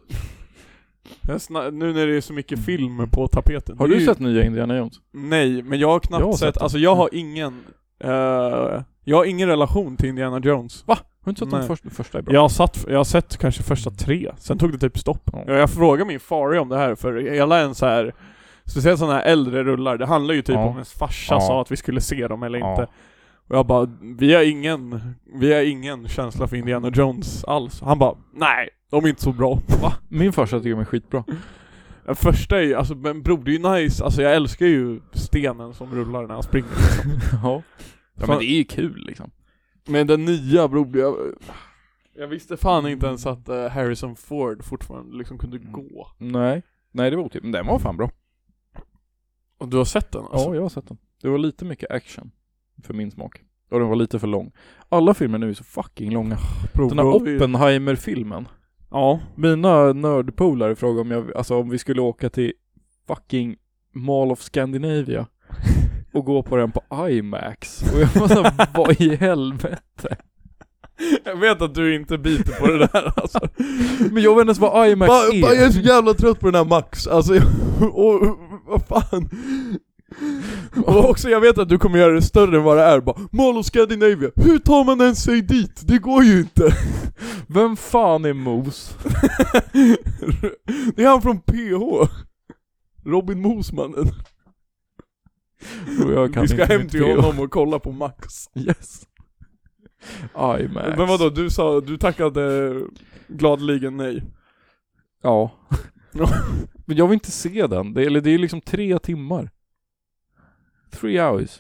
Speaker 1: Jag sna- nu när det är så mycket film på tapeten.
Speaker 2: Mm. Har
Speaker 1: det är
Speaker 2: du
Speaker 1: ju-
Speaker 2: sett nya Indiana Jones?
Speaker 1: Nej, men jag har knappt
Speaker 2: Jag har
Speaker 1: sett,
Speaker 2: sett Mm. den.
Speaker 1: alltså jag har ingen... eh, jag har ingen relation till Indiana Jones.
Speaker 2: Har du inte sett
Speaker 1: Nej.
Speaker 2: de första? första är bra. Mm.
Speaker 1: Jag har, satt, jag har sett kanske första tre, sen tog det typ stopp.
Speaker 2: Ja.
Speaker 1: Ja, Jag frågade min far om det här, för hela en så här speciellt sådana här äldre rullar, det handlar ju typ
Speaker 2: Ja.
Speaker 1: om ens farsa
Speaker 2: Ja.
Speaker 1: sa att vi skulle se dem eller
Speaker 2: Ja.
Speaker 1: inte. Och jag bara, vi har ingen, vi har ingen känsla för Indiana Jones alls. Han bara, nej, de är inte så bra. Va?
Speaker 2: Min farsa tycker de är skitbra.
Speaker 1: Den första är ju, alltså men bror det är ju nice, alltså jag älskar ju stenen som rullar när han springer.
Speaker 2: ja. ja men det är ju kul liksom.
Speaker 1: Men den nya bror, jag, jag visste fan inte ens att eh, Harrison Ford fortfarande liksom kunde
Speaker 2: Mm.
Speaker 1: gå.
Speaker 2: Nej. Nej det var otippat. Men den var fan bra.
Speaker 1: Och du har sett den alltså?
Speaker 2: Ja, jag har sett den. Det var lite mycket action. För min smak. Och den var lite för lång. Alla filmer nu är så fucking långa.
Speaker 1: Bro,
Speaker 2: Den här Oppenheimer-filmen.
Speaker 1: Ja.
Speaker 2: Mina nördpolare frågade om, jag, alltså, om vi skulle åka till fucking Mall of Scandinavia och gå på den på IMAX. Och jag var såhär, vad i helvete?
Speaker 1: Jag vet att du inte biter på det där alltså.
Speaker 2: Men jag vet inte ens vad IMAX
Speaker 1: Ba- ba-
Speaker 2: är.
Speaker 1: är så jävla trött på den här Max, alltså jag, och, och, vad fan. Och också jag vet att du kommer göra det större än vad det är bara Mall of Scandinavia, hur tar man ens sig dit? Det går ju inte!
Speaker 2: Vem fan är Mos?
Speaker 1: Det är han från PH Robin Mosmannen.
Speaker 2: Och jag kan
Speaker 1: Vi ska
Speaker 2: inte
Speaker 1: hem
Speaker 2: mitt
Speaker 1: till
Speaker 2: PO.
Speaker 1: honom och kolla på Max.
Speaker 2: Yes. IMAX.
Speaker 1: Men vadå, du sa, du tackade gladeligen nej.
Speaker 2: Ja.
Speaker 1: Ja.
Speaker 2: Men jag vill inte se den. Det, eller det är liksom tre timmar. Three hours.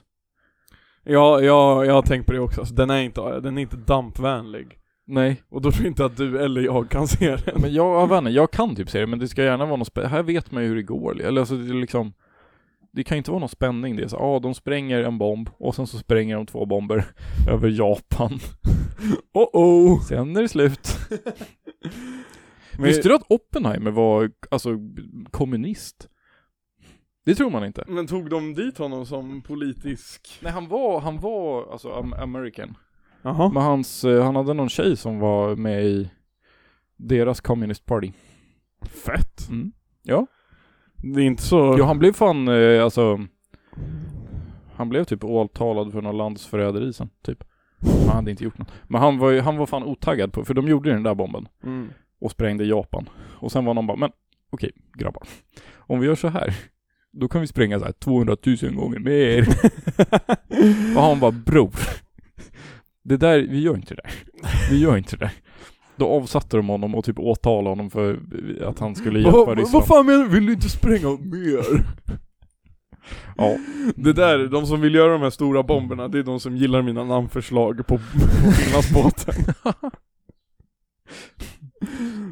Speaker 1: Ja, ja, jag har tänkt på det också, alltså, den, är inte, den är inte dampvänlig.
Speaker 2: Nej,
Speaker 1: Och då tror jag inte att du eller jag kan se den.
Speaker 2: men jag, jag vet inte, jag kan typ se det men det ska gärna vara någon spä- Här vet man ju hur det går. Eller alltså det är liksom Det kan ju inte vara någon spänning det. är Så, ah, de spränger en bomb och sen så spränger de två bomber över Japan.
Speaker 1: Oh-oh!
Speaker 2: Sen är det slut.
Speaker 1: Men-
Speaker 2: Visste du att Oppenheimer var alltså kommunist? Det tror man inte.
Speaker 1: Men tog de dit honom som politisk?
Speaker 2: Nej han var, han var alltså am- American.
Speaker 1: Jaha.
Speaker 2: Men hans, eh, han hade någon tjej som var med i deras communist party.
Speaker 1: Fett.
Speaker 2: Mm. Ja.
Speaker 1: Det är inte så...
Speaker 2: ja, han blev fan eh, alltså Han blev typ åtalad för någon landsförräderi sen, typ. Han hade inte gjort något. Men han var, ju- han var fan otaggad på, för de gjorde ju den där bomben
Speaker 1: Mm.
Speaker 2: och sprängde Japan. Och sen var någon bara, men okej grabbar. Om vi gör så här, då kan vi spränga så här 200 000 gånger mer. och han bara, bror. Det där, vi gör inte det där. Vi gör inte det där. Då avsatte de honom och typ åtalade honom för att han skulle
Speaker 1: Va-
Speaker 2: hjälpa
Speaker 1: va-
Speaker 2: Ryssland.
Speaker 1: Vad fan menar du? Vill du inte spränga mer?
Speaker 2: Ja.
Speaker 1: Det där, de som vill göra de här stora bomberna, det är de som gillar mina namnförslag på, på Finlandsbåten.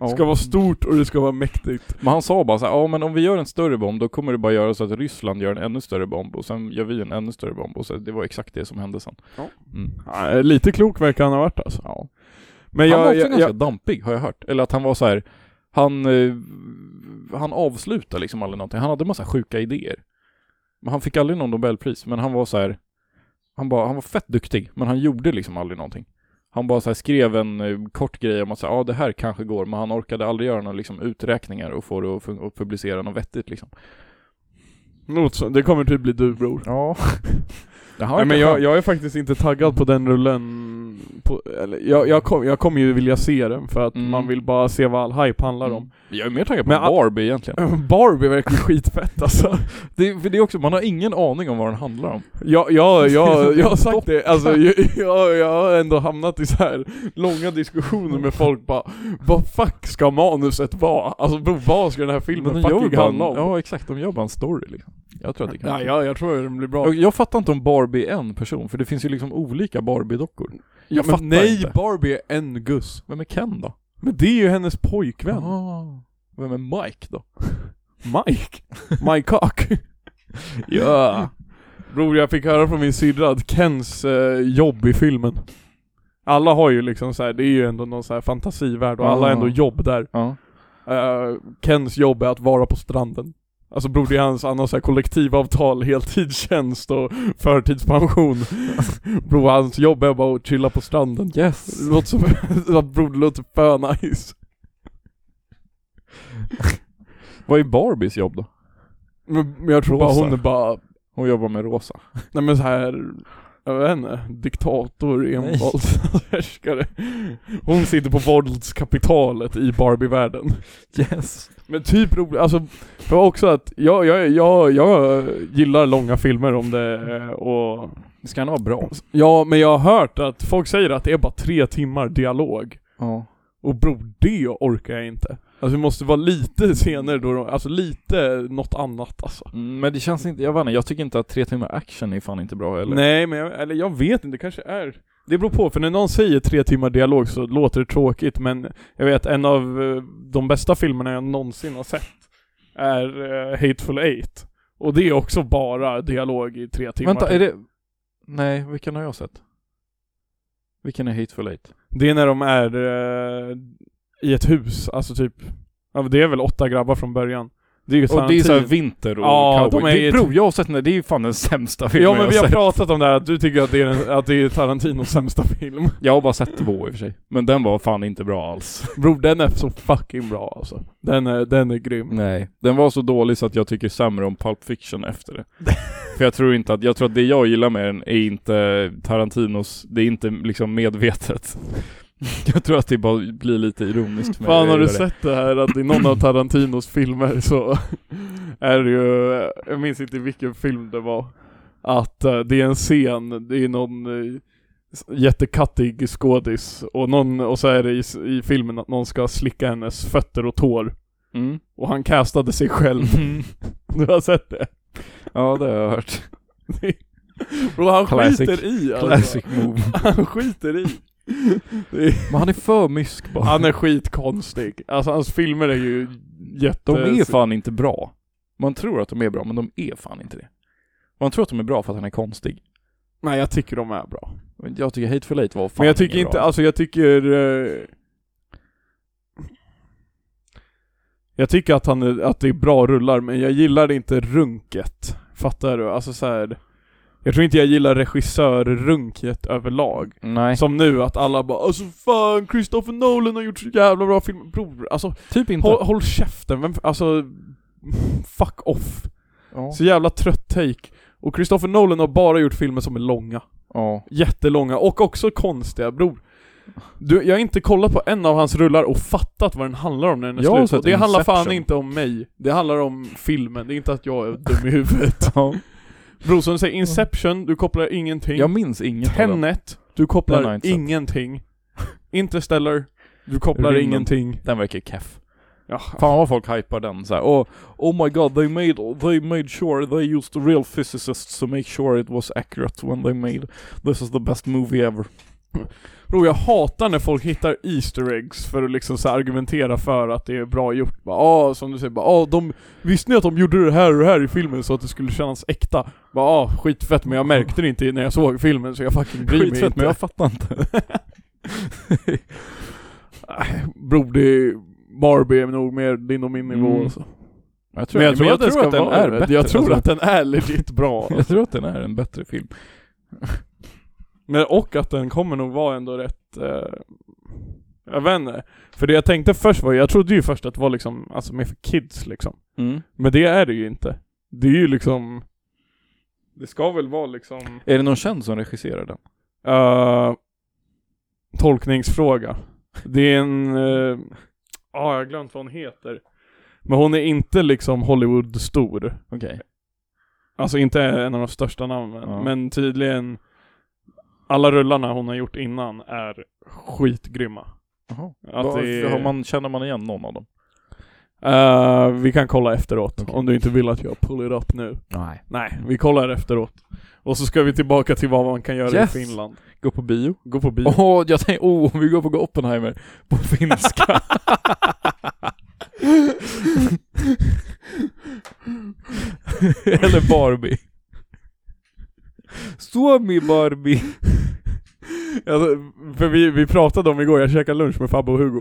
Speaker 1: Det ska vara stort och det ska vara mäktigt.
Speaker 2: Men han sa bara så här, ja men om vi gör en större bomb då kommer det bara göra så att Ryssland gör en ännu större bomb och sen gör vi en ännu större bomb och så det var exakt det som hände sen.
Speaker 1: Ja.
Speaker 2: Mm.
Speaker 1: Ja, lite klok verkar han ha varit alltså.
Speaker 2: Ja.
Speaker 1: Men
Speaker 2: han var
Speaker 1: jag,
Speaker 2: också
Speaker 1: jag,
Speaker 2: ganska
Speaker 1: jag,
Speaker 2: dampig har jag hört. Eller att han var så här, han, eh, han avslutade liksom aldrig någonting. Han hade massa sjuka idéer. Men han fick aldrig någon Nobelpris, men han var så här, han, bara, han var fett duktig, men han gjorde liksom aldrig någonting. Han bara så här skrev en eh, kort grej om att säga, ja det här kanske går, men han orkade aldrig göra några liksom, uträkningar och få det att fun- att publicera något vettigt liksom.
Speaker 1: något sånt. det kommer typ bli du bror.
Speaker 2: Ja.
Speaker 1: Nej, men jag, jag är faktiskt inte taggad på den rullen. På, eller, jag, jag, kom, jag kommer ju vilja se den för att
Speaker 2: Mm.
Speaker 1: man vill bara se vad all hype handlar om.
Speaker 2: Jag är mer taggad på
Speaker 1: Men a-
Speaker 2: Barbie egentligen.
Speaker 1: Barbie verkar skitfett alltså.
Speaker 2: Det, för det är också, man har ingen aning om vad den handlar om.
Speaker 1: Jag, jag, jag, jag har sagt det, alltså jag, jag, jag har ändå hamnat i så här långa diskussioner med folk bara Vad fuck ska manuset vara? Alltså bro, vad ska den här filmen
Speaker 2: de gör
Speaker 1: fucking
Speaker 2: bara en,
Speaker 1: handla om?
Speaker 2: Ja exakt, de gör bara en story liksom. Jag tror att det kan
Speaker 1: ja, jag, jag tror att den blir bra.
Speaker 2: jag, jag fattar inte om Barbie är en person, för det finns ju liksom olika Barbie-dockor. jag
Speaker 1: men
Speaker 2: fattar
Speaker 1: nej,
Speaker 2: inte.
Speaker 1: Barbie är en guss.
Speaker 2: Vem är Ken då?
Speaker 1: Men det är ju hennes pojkvän.
Speaker 2: Ah. Vem är Mike då?
Speaker 1: Mike. Mike Cock.
Speaker 2: Ja!
Speaker 1: Bror jag fick höra från min syrra att Kens eh, jobb i filmen Alla har ju liksom så här, det är ju ändå någon så här fantasivärld och alla har
Speaker 2: Ja.
Speaker 1: ändå jobb där
Speaker 2: ja.
Speaker 1: Eh, Kens jobb är att vara på stranden Alltså bror det är hans annars så här kollektivavtal, heltidstjänst och förtidspension Bror hans jobb är bara att chilla på stranden
Speaker 2: Yes!
Speaker 1: Det låter som, bror det låter för nice
Speaker 2: Vad är Barbies jobb då?
Speaker 1: Men men jag tror bara
Speaker 2: Rosa.
Speaker 1: hon är bara,
Speaker 2: Hon jobbar med rosa.
Speaker 1: nej men så här jag vet inte, diktator, envåldshärskare Hon sitter på våldskapitalet i Barbie-världen
Speaker 2: Yes!
Speaker 1: Men typ roligt, alltså det var också att jag, jag, jag, jag gillar långa filmer om det eh, och
Speaker 2: Ska han vara bra?
Speaker 1: Ja men jag har hört att folk säger att det är bara tre timmar dialog
Speaker 2: Ja.
Speaker 1: Och bror det orkar jag inte Alltså det måste vara lite scener då, de- alltså lite något annat alltså
Speaker 2: Mm, Men det känns inte, jag vet inte, jag tycker inte att tre timmar action är fan inte bra eller?
Speaker 1: Nej men jag, eller jag vet inte, det kanske är Det beror på, för när någon säger tre timmar dialog så låter det tråkigt men Jag vet en av eh, de bästa filmerna jag någonsin har sett Är eh, Hateful Eight Och det är också bara dialog i tre timmar
Speaker 2: Vänta, är det... Nej, vilken har jag sett? Vilken är Hateful Eight?
Speaker 1: Det är när de är eh, i ett hus, alltså typ ja, men Det är väl åtta grabbar från början Det är ju
Speaker 2: Och det är såhär
Speaker 1: Tarantino.
Speaker 2: vinter och
Speaker 1: Ja,
Speaker 2: cowboy.
Speaker 1: de är
Speaker 2: det,
Speaker 1: ju-
Speaker 2: bro, jag har sett den där, det är ju fan den sämsta filmen
Speaker 1: Ja men vi
Speaker 2: jag
Speaker 1: har
Speaker 2: sett.
Speaker 1: pratat om det här, att du tycker att det är, den, att det är Tarantinos sämsta film
Speaker 2: Jag har bara sett två i och för sig. Men den var fan inte bra alls.
Speaker 1: Bror den är så fucking bra alltså Den är, den är grym
Speaker 2: Nej. Den var så dålig så att jag tycker sämre om Pulp Fiction efter det. för jag tror inte att, jag tror att det jag gillar med den är inte Tarantinos, det är inte liksom medvetet. jag tror att det bara blir lite ironiskt för mig.
Speaker 1: Fan
Speaker 2: Jag
Speaker 1: har du
Speaker 2: gillar det.
Speaker 1: sett det här att i någon av Tarantinos filmer så är det ju, jag minns inte vilken film det var, att eh, det är en scen, det är någon eh, jättekattig skådis och, någon, och så är det i, i filmen att någon ska slicka hennes fötter och tår
Speaker 2: Mm.
Speaker 1: och han castade sig själv. Du har sett det?
Speaker 2: Ja, det har jag hört.
Speaker 1: Och han
Speaker 2: Classic.
Speaker 1: skiter i alltså.
Speaker 2: Classic move.
Speaker 1: Han skiter i. Det är,
Speaker 2: Men han är för mysk bara.
Speaker 1: han är skitkonstig. Alltså hans filmer är ju jätte...
Speaker 2: De är fan inte bra. Man tror att de är bra, men de är fan inte det. Man tror att de är bra för att han är konstig.
Speaker 1: Nej jag tycker de är bra.
Speaker 2: Men Jag tycker Hateful Eight var fan
Speaker 1: Men jag tycker
Speaker 2: ingen
Speaker 1: inte,
Speaker 2: bra.
Speaker 1: alltså jag tycker... eh, jag tycker att, han är, att det är bra rullar, men jag gillar inte runket. Fattar du? Alltså så här. Jag tror inte jag gillar regissörrunket överlag.
Speaker 2: Nej.
Speaker 1: Som nu att alla bara 'Alltså fan, Christopher Nolan har gjort så jävla bra film' Bror, alltså
Speaker 2: typ inte.
Speaker 1: håll, håll käften, vem, alltså Fuck off.
Speaker 2: ja.
Speaker 1: Så jävla trött take. Och Christopher Nolan har bara gjort filmer som är långa.
Speaker 2: ja.
Speaker 1: Jättelånga och också konstiga, bror. Du, jag har inte kollat på en av hans rullar och fattat vad den handlar om när den är
Speaker 2: Jag har
Speaker 1: slut.
Speaker 2: sett
Speaker 1: Och det handlar fan
Speaker 2: Inception.
Speaker 1: inte om mig. Det handlar om filmen, det är inte att jag är dum i huvudet. Bror som du säger, Inception, du kopplar ingenting.
Speaker 2: Jag minns inget av dem.
Speaker 1: Tenet, du
Speaker 2: Den har jag
Speaker 1: kopplar
Speaker 2: inte sett.
Speaker 1: ingenting. Interstellar, du kopplar
Speaker 2: Rymden.
Speaker 1: ingenting.
Speaker 2: Den verkar keff.
Speaker 1: Ja.
Speaker 2: Fan vad folk hypar den så här. Oh, oh my god, they made, they made sure they used real physicists to make sure it was accurate when they made this is the best movie ever.
Speaker 1: Bro, jag hatar när folk hittar Easter eggs för att liksom så här argumentera för att det är bra gjort. Bara, ah, som du säger, bara, ah, de, visste ni att de gjorde det här och det här i filmen så att det skulle kännas äkta? Bara, ah, skitfett men jag märkte det inte när jag såg filmen så jag fucking bryr mig
Speaker 2: Skitfett
Speaker 1: inte.
Speaker 2: men jag fattar inte.
Speaker 1: Bror, det är Barbie är nog mer din och min nivå
Speaker 2: Mm.
Speaker 1: alltså.
Speaker 2: Jag
Speaker 1: Men jag tror,
Speaker 2: jag
Speaker 1: jag tror
Speaker 2: ska
Speaker 1: att den
Speaker 2: vara
Speaker 1: är
Speaker 2: det.
Speaker 1: bättre. Jag tror
Speaker 2: Alltså-
Speaker 1: att den är legit bra.
Speaker 2: jag tror att den är en bättre film.
Speaker 1: Men och att den kommer nog vara ändå rätt, eh, jag vet inte. För det jag tänkte först var, jag trodde ju först att det var liksom, alltså mer för kids liksom.
Speaker 2: Mm.
Speaker 1: Men det är det ju inte. Det är ju liksom, det ska väl vara liksom,
Speaker 2: Är det någon känd som regisserar den?
Speaker 1: eh, tolkningsfråga. Det är en, ja eh, ah, jag har glömt vad hon heter. Men hon är inte liksom Hollywood-stor.
Speaker 2: Okej.
Speaker 1: Alltså inte en av de största namnen,
Speaker 2: Ja.
Speaker 1: men tydligen alla rullarna hon har gjort innan är skitgrymma.
Speaker 2: Jaha.
Speaker 1: Att
Speaker 2: Vad-
Speaker 1: det är-
Speaker 2: har man, känner man igen någon av dem?
Speaker 1: Eh, vi kan kolla efteråt,
Speaker 2: Okej.
Speaker 1: om du inte vill att jag pull it up nu.
Speaker 2: Nej.
Speaker 1: Nej, vi kollar efteråt. Och så ska vi tillbaka till vad man kan göra
Speaker 2: Yes.
Speaker 1: i Finland.
Speaker 2: Gå på bio?
Speaker 1: Gå på bio.
Speaker 2: Åh, jag tänkte, oh, om vi går på Oppenheimer på finska. Eller Barbie. Suomi Barbie.
Speaker 1: Alltså, för vi, vi pratade om igår, jag käkade lunch med Fabbe och Hugo.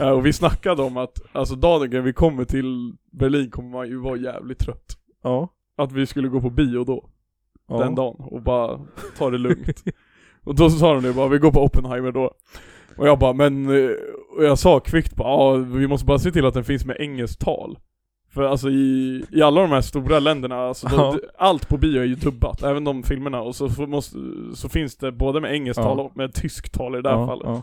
Speaker 1: Eh, och vi snackade om att, alltså dagen vi kommer till Berlin kommer man ju vara jävligt trött.
Speaker 2: Ja.
Speaker 1: Att vi skulle gå på bio då.
Speaker 2: ja.
Speaker 1: den dagen och bara ta det lugnt. och då så sa de det bara, vi går på Oppenheimer då. Och jag bara, men, eh, och jag sa kvickt bara, ja vi måste bara se till att den finns med engelskt tal. För alltså i, i alla de här stora länderna, alltså då,
Speaker 2: Ja.
Speaker 1: d- allt på bio är ju dubbat, även de filmerna. Och så, får- måste, så finns det både med engelskt
Speaker 2: Ja.
Speaker 1: tal och med tyskt tal i det här
Speaker 2: ja,
Speaker 1: fallet.
Speaker 2: Ja.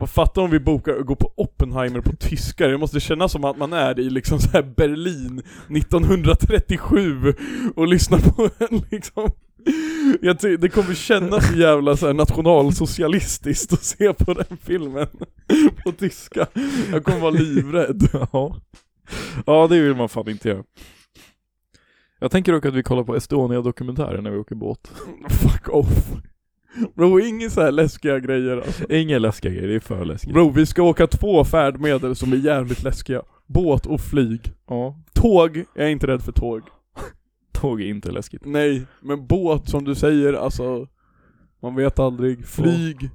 Speaker 1: Vad fattar om vi bokar och går på Oppenheimer på tyska? Det måste kännas som att man är i liksom så här Berlin 1937 och lyssnar på en liksom jag ty- det kommer kännas så jävla så här nationalsocialistiskt att se på den filmen på tyska. Jag kommer vara livrädd.
Speaker 2: Ja. ja, det vill man fan inte göra. Jag tänker dock att vi kollar på Estonia-dokumentären när vi åker båt.
Speaker 1: Fuck off. Bro, inga så här läskiga grejer alltså.
Speaker 2: Inga läskiga grejer, det är för läskigt.
Speaker 1: Bro, vi ska åka två färdmedel som är jävligt läskiga. Båt och flyg.
Speaker 2: Ja,
Speaker 1: Tåg, jag är inte rädd för tåg.
Speaker 2: tåg är inte läskigt.
Speaker 1: Nej, men båt som du säger, alltså Man vet aldrig, flyg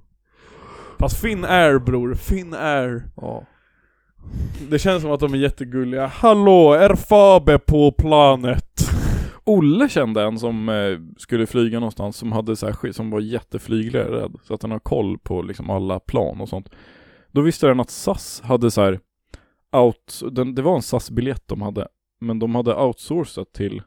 Speaker 1: Fast Finnair bror, Finnair
Speaker 2: Ja.
Speaker 1: Det känns som att de är jättegulliga Hallå, är Fabe på planet?
Speaker 2: Olle kände en som eh, skulle flyga någonstans som hade så här, sky- som var jätteflygrädd så att han har koll på liksom alla plan och sånt. Då visste den att SAS hade så här out, den, det var en SAS-biljett de hade, men de hade outsourcat till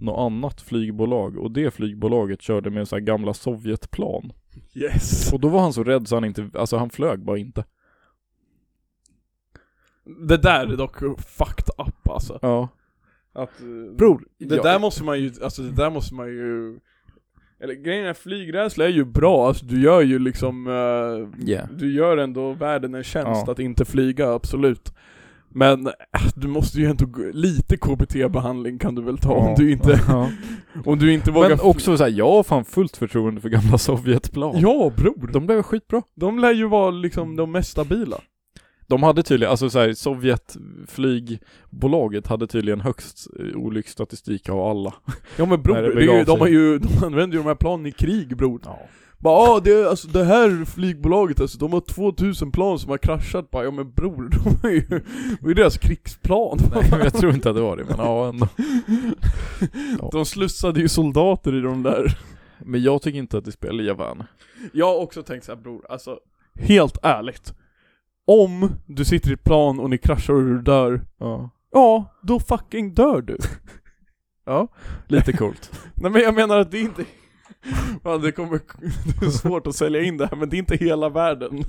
Speaker 2: något annat flygbolag och det flygbolaget körde med så här gamla Sovjetplan.
Speaker 1: Yes
Speaker 2: Och då var han så rädd så han inte, alltså han flög bara inte.
Speaker 1: Det där är dock fucked up alltså
Speaker 2: Ja.
Speaker 1: att, eh,
Speaker 2: Bror,
Speaker 1: Det där måste man ju, alltså det där måste man ju Eller grejen är, flygrädsla är ju bra, alltså du gör ju liksom eh,
Speaker 2: yeah.
Speaker 1: Du gör ändå världen en tjänst
Speaker 2: Ja.
Speaker 1: att inte flyga, absolut. Men äh, du måste ju ändå, gå- lite KBT-behandling kan du väl ta om du inte,
Speaker 2: Ja.
Speaker 1: om du inte vågar
Speaker 2: Men
Speaker 1: fly-
Speaker 2: också såhär, jag har fan fullt förtroende för gamla Sovjetplan.
Speaker 1: Ja bror! De,
Speaker 2: De blev skitbra.
Speaker 1: de lär ju vara liksom de mest stabila.
Speaker 2: De hade tydligen, alltså såhär, Sovjetflygbolaget hade tydligen högst eh, olycksstatistik av alla.
Speaker 1: Ja men bror,
Speaker 2: När
Speaker 1: det
Speaker 2: det
Speaker 1: är ju,
Speaker 2: begav
Speaker 1: de,
Speaker 2: sig.
Speaker 1: har ju, de använder ju de här planen i krig bror.
Speaker 2: Ja.
Speaker 1: Bara ah, det, alltså, det här flygbolaget alltså, de har 2000 plan som har kraschat. Bara, ja men bror, de är ju, det är ju deras krigsplan.
Speaker 2: Nej, men jag tror inte att det var det, men ja ändå.
Speaker 1: De slussade ju soldater i de där
Speaker 2: Men jag tycker inte att det spelar, jag vann.
Speaker 1: Jag har också tänkt såhär bror, alltså Helt ärligt Om du sitter i ett plan och ni kraschar och du dör
Speaker 2: Ja.
Speaker 1: Ja, då fucking dör du
Speaker 2: Lite coolt.
Speaker 1: Nej men jag menar att det är inte Fan, det kommer Det är svårt att sälja in det här men det är inte hela världen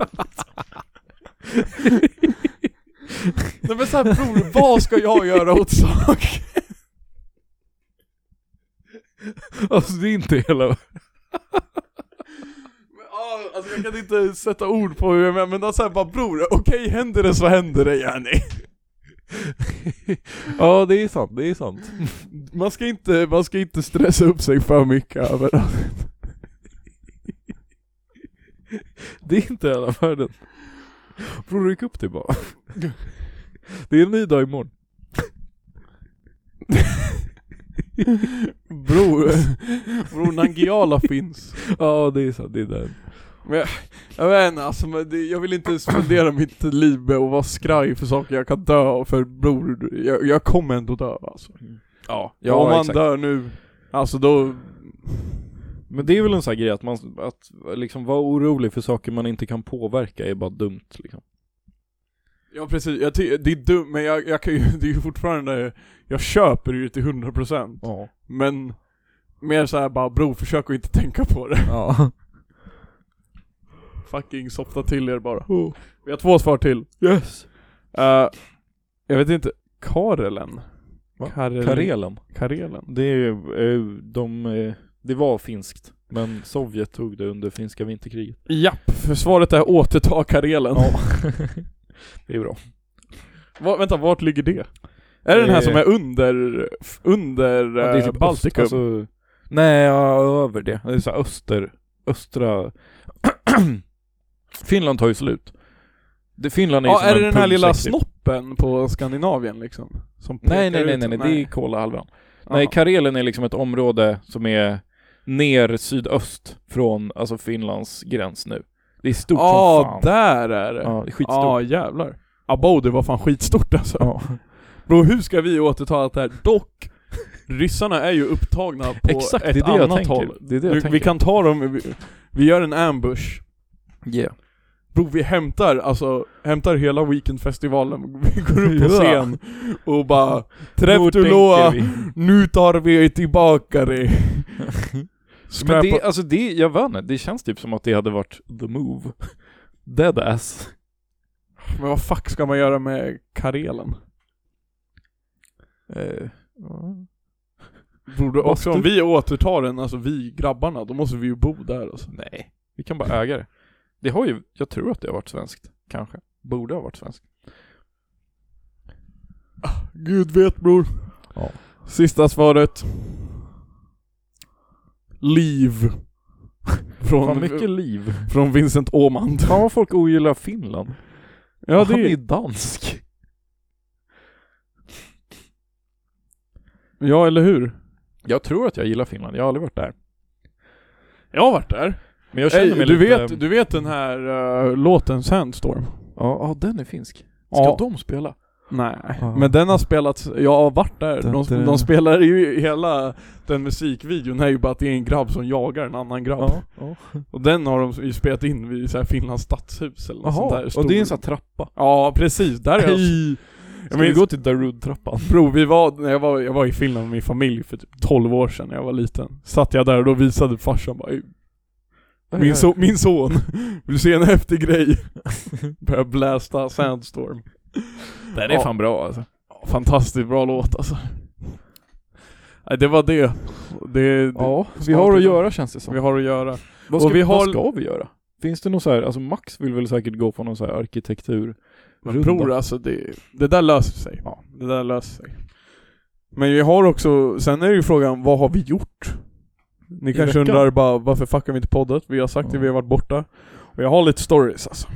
Speaker 1: Nej men såhär bror, vad ska jag göra åt saken?
Speaker 2: alltså det är inte hela...
Speaker 1: Men, ah, Alltså jag kan inte sätta ord på hur jag menar, men då såhär bara bror, okej händer det så händer det yani
Speaker 2: ja det är sant, det är sant.
Speaker 1: Man ska inte, man ska inte stressa upp sig för mycket över
Speaker 2: Det är inte hela världen. Bror ryck upp dig bara. Det är en ny dag imorgon.
Speaker 1: Bror, bror Nangiala finns.
Speaker 2: Ja det är sant, det är den.
Speaker 1: Jag vet inte, alltså, men det, jag vill inte spendera mitt liv med att vara skraj för saker jag kan dö av, för bror, jag, jag kommer ändå dö alltså.
Speaker 2: Ja,
Speaker 1: Om man
Speaker 2: exakt.
Speaker 1: dör nu, alltså då,
Speaker 2: Men det är väl en sån här grej att man, att liksom vara orolig för saker man inte kan påverka är bara dumt liksom.
Speaker 1: ja precis, jag ty- det är dumt, men jag, jag kan ju, det är ju fortfarande, jag köper ju till 100%
Speaker 2: Ja.
Speaker 1: Men, mer så här bara bror, försök att inte tänka på det.
Speaker 2: Ja.
Speaker 1: Fucking softa till er bara. Vi har två svar till.
Speaker 2: Oh. Yes!
Speaker 1: Eh, jag vet inte, Karelen?
Speaker 2: Va?
Speaker 1: Karel-
Speaker 2: Karelen.
Speaker 1: Karelen?
Speaker 2: Eh, Det är ju, eh, de, eh, det var finskt. Men Sovjet tog det under finska vinterkriget.
Speaker 1: Japp, för svaret är återta Karelen.
Speaker 2: det är bra.
Speaker 1: Va, vänta, vart ligger det? Är det den här
Speaker 2: Eh.
Speaker 1: som är under, f- under
Speaker 2: Ja, typ
Speaker 1: eh, Baltikum?
Speaker 2: Öst, alltså, nej, ja, över det. Det är så här öster, östra... Finland tar ju slut. Det, Finland är ju
Speaker 1: ja,
Speaker 2: som
Speaker 1: är det
Speaker 2: en
Speaker 1: den här lilla
Speaker 2: pulsexit.
Speaker 1: snoppen på Skandinavien liksom? Som
Speaker 2: Nej,
Speaker 1: pekar
Speaker 2: nej, nej,
Speaker 1: ut?
Speaker 2: nej, nej, det är Kolahalvön.
Speaker 1: Jaha.
Speaker 2: Nej, Karelen är liksom ett område som är ner sydöst från alltså Finlands gräns nu. Det är stort
Speaker 1: Ja,
Speaker 2: som fan.
Speaker 1: där är det.
Speaker 2: Ja, det är skitstort.
Speaker 1: Ja, jävlar. Abode var fan skitstort alltså.
Speaker 2: Ja.
Speaker 1: Bro, hur ska vi återta allt det här? Dock, ryssarna är ju upptagna på
Speaker 2: Exakt, det är
Speaker 1: ett
Speaker 2: det jag
Speaker 1: annat
Speaker 2: tänker.
Speaker 1: håll.
Speaker 2: Det är det jag
Speaker 1: Nu,
Speaker 2: tänker.
Speaker 1: vi kan ta dem, vi, vi gör en ambush.
Speaker 2: Yeah.
Speaker 1: Bro, vi hämtar, alltså, hämtar hela weekendfestivalen, vi går upp på
Speaker 2: Ja.
Speaker 1: scen och bara
Speaker 2: Nu
Speaker 1: Träff du
Speaker 2: tänker
Speaker 1: Loa,
Speaker 2: vi.
Speaker 1: nu tar vi tillbaka det!
Speaker 2: Men det,
Speaker 1: Skräpa.
Speaker 2: alltså det, jag vet inte, det känns typ som att det hade varit the move. Dead ass.
Speaker 1: Men vad fuck ska man göra med Karelen?
Speaker 2: Eh,
Speaker 1: Bro, det- också
Speaker 2: Bastu.
Speaker 1: om vi återtar den, alltså vi grabbarna, då måste vi ju bo där alltså.
Speaker 2: nej, vi kan bara äga det. Det har ju, jag tror att det har varit svenskt, kanske. Borde ha varit svenskt.
Speaker 1: Gud vet bror.
Speaker 2: Ja.
Speaker 1: Sista svaret. Liv.
Speaker 2: Fan
Speaker 1: Från,
Speaker 2: mycket liv.
Speaker 1: från Vincent Åhman.
Speaker 2: Fan vad folk ogillar Finland.
Speaker 1: Ja
Speaker 2: Han är
Speaker 1: det
Speaker 2: ju
Speaker 1: är,
Speaker 2: dansk.
Speaker 1: ja eller hur?
Speaker 2: Jag tror att jag gillar Finland, jag har aldrig varit där.
Speaker 1: Jag har varit där.
Speaker 2: Men jag känner
Speaker 1: Ey,
Speaker 2: mig
Speaker 1: du,
Speaker 2: lite...
Speaker 1: vet, du vet den här eh, låten Sandstorm?
Speaker 2: Ja, ja, den är finsk. Ska
Speaker 1: Ja.
Speaker 2: de spela?
Speaker 1: Nej,
Speaker 2: Ja.
Speaker 1: men den har spelats, jag har varit där,
Speaker 2: Dun,
Speaker 1: de,
Speaker 2: dun.
Speaker 1: de spelar ju hela den musikvideon är ju bara att det är en grabb som jagar en annan grabb.
Speaker 2: ja.
Speaker 1: Och den har de ju spelat in vid så här Finlands stadshus eller något sånt
Speaker 2: Jaha,
Speaker 1: där.
Speaker 2: och det är en
Speaker 1: Stor-
Speaker 2: sån här trappa.
Speaker 1: Ja precis, där är jag.
Speaker 2: Hej! Ska
Speaker 1: Jag minns-
Speaker 2: vi gå till Darud-trappan?
Speaker 1: Bro, vi var, när jag var, jag var i Finland med min familj för typ 12 år sedan när jag var liten. Satt jag där och då visade farsan bara "Ey, min, so- min son, vill du se en häftig grej? Började blästa Sandstorm.
Speaker 2: Den
Speaker 1: Ja.
Speaker 2: är fan bra alltså.
Speaker 1: Fantastiskt bra låt alltså. Nej, det var det. det, det
Speaker 2: Ja, vi
Speaker 1: snart
Speaker 2: har att
Speaker 1: idag.
Speaker 2: göra känns det som.
Speaker 1: Vi har att göra.
Speaker 2: Vad ska,
Speaker 1: och vi har-
Speaker 2: vad ska vi göra? Finns det något så här, alltså Max vill väl säkert gå på någon så här arkitektur.
Speaker 1: Men
Speaker 2: Runda.
Speaker 1: bror alltså, det, det där löser sig.
Speaker 2: Ja.
Speaker 1: Det där löser sig. Men vi har också, sen är det ju frågan, vad har vi gjort? Ni
Speaker 2: I
Speaker 1: kanske
Speaker 2: veckan?
Speaker 1: undrar bara, varför fuckar vi inte poddat? Vi har sagt det,
Speaker 2: Ja.
Speaker 1: vi har varit borta. Och jag har lite stories alltså.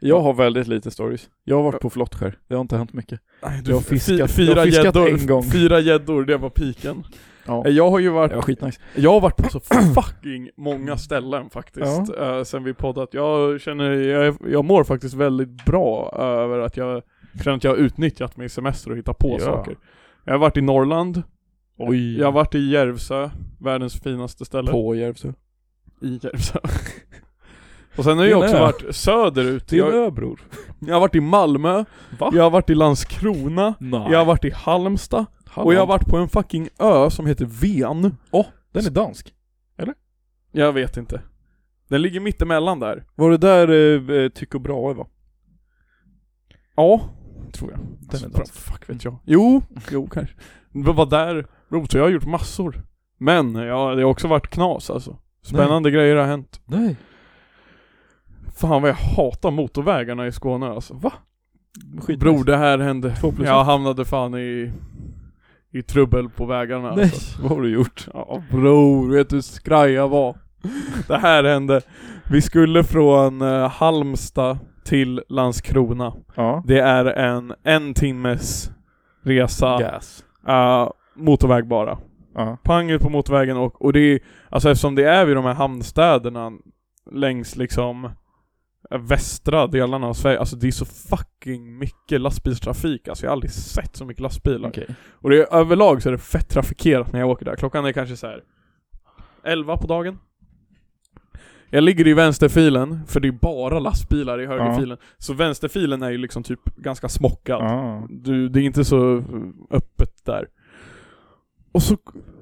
Speaker 2: Jag har väldigt lite stories. Jag har varit på Flottskär. Det har inte hänt mycket.
Speaker 1: Nej,
Speaker 2: Jag har fiskat- jag har
Speaker 1: fyra
Speaker 2: fiskat
Speaker 1: gäddor,
Speaker 2: en gång.
Speaker 1: Fyra gäddor, det var piken.
Speaker 2: Ja.
Speaker 1: Jag har ju
Speaker 2: Det
Speaker 1: varit
Speaker 2: var skitnice.
Speaker 1: Jag har varit på så fucking många ställen faktiskt, eh, sen vi poddat. Jag känner, jag, jag mår faktiskt väldigt bra eh, över att jag känner att jag har utnyttjat min semester och hittat på
Speaker 2: Ja.
Speaker 1: saker. Jag har varit i Norrland,
Speaker 2: Oj.
Speaker 1: jag har varit i Järvsö, världens finaste ställe.
Speaker 2: på Järvsö.
Speaker 1: I Järvsö. och sen har jag
Speaker 2: Det är
Speaker 1: också
Speaker 2: en ö.
Speaker 1: varit söderut.
Speaker 2: Till
Speaker 1: Jag,
Speaker 2: ö bror.
Speaker 1: jag har varit i Malmö,
Speaker 2: Va?
Speaker 1: jag har varit i Landskrona,
Speaker 2: Nej. Ah.
Speaker 1: jag har varit i Halmstad, och jag har varit på en fucking ö som heter Ven.
Speaker 2: Den är dansk.
Speaker 1: Jag vet inte. Den ligger mittemellan där.
Speaker 2: Var det där eh, Tycho Brahe va?
Speaker 1: Ja, tror jag. Den
Speaker 2: är
Speaker 1: bra,
Speaker 2: dansk.
Speaker 1: fuck vet jag. Jo, jo kanske. Men var där, bro, så jag har gjort massor. Men ja, det har också varit knas alltså. Spännande grejer har hänt.
Speaker 2: Nej.
Speaker 1: Fan vad jag hatar motorvägarna i Skåne alltså. Va?
Speaker 2: Skit
Speaker 1: Bror det här hände.
Speaker 2: Två plus
Speaker 1: Jag hamnade fan i, i trubbel på vägarna
Speaker 2: Nej.
Speaker 1: alltså.
Speaker 2: Vad har du gjort?
Speaker 1: Ja bror, vet du hur skraj jag var? Det här hände. Vi skulle från eh, Halmstad till Landskrona.
Speaker 2: Ja.
Speaker 1: Det är en en timmes resa,
Speaker 2: Gas.
Speaker 1: eh, motorväg bara.
Speaker 2: Ja.
Speaker 1: Pang ut på motorvägen och, och det är, alltså eftersom det är vid de här hamnstäderna längs liksom eh, västra delarna av Sverige, alltså det är så fucking mycket lastbilstrafik, alltså jag har aldrig sett så mycket lastbilar.
Speaker 2: Okej.
Speaker 1: Och det är, överlag så är det fett trafikerat när jag åker där. Klockan är kanske så här 11 på dagen. Jag ligger i vänsterfilen, för det är bara lastbilar i högerfilen. Så vänsterfilen är ju liksom typ ganska smockad.
Speaker 2: Ja.
Speaker 1: Du, det är inte så öppet där. Och så,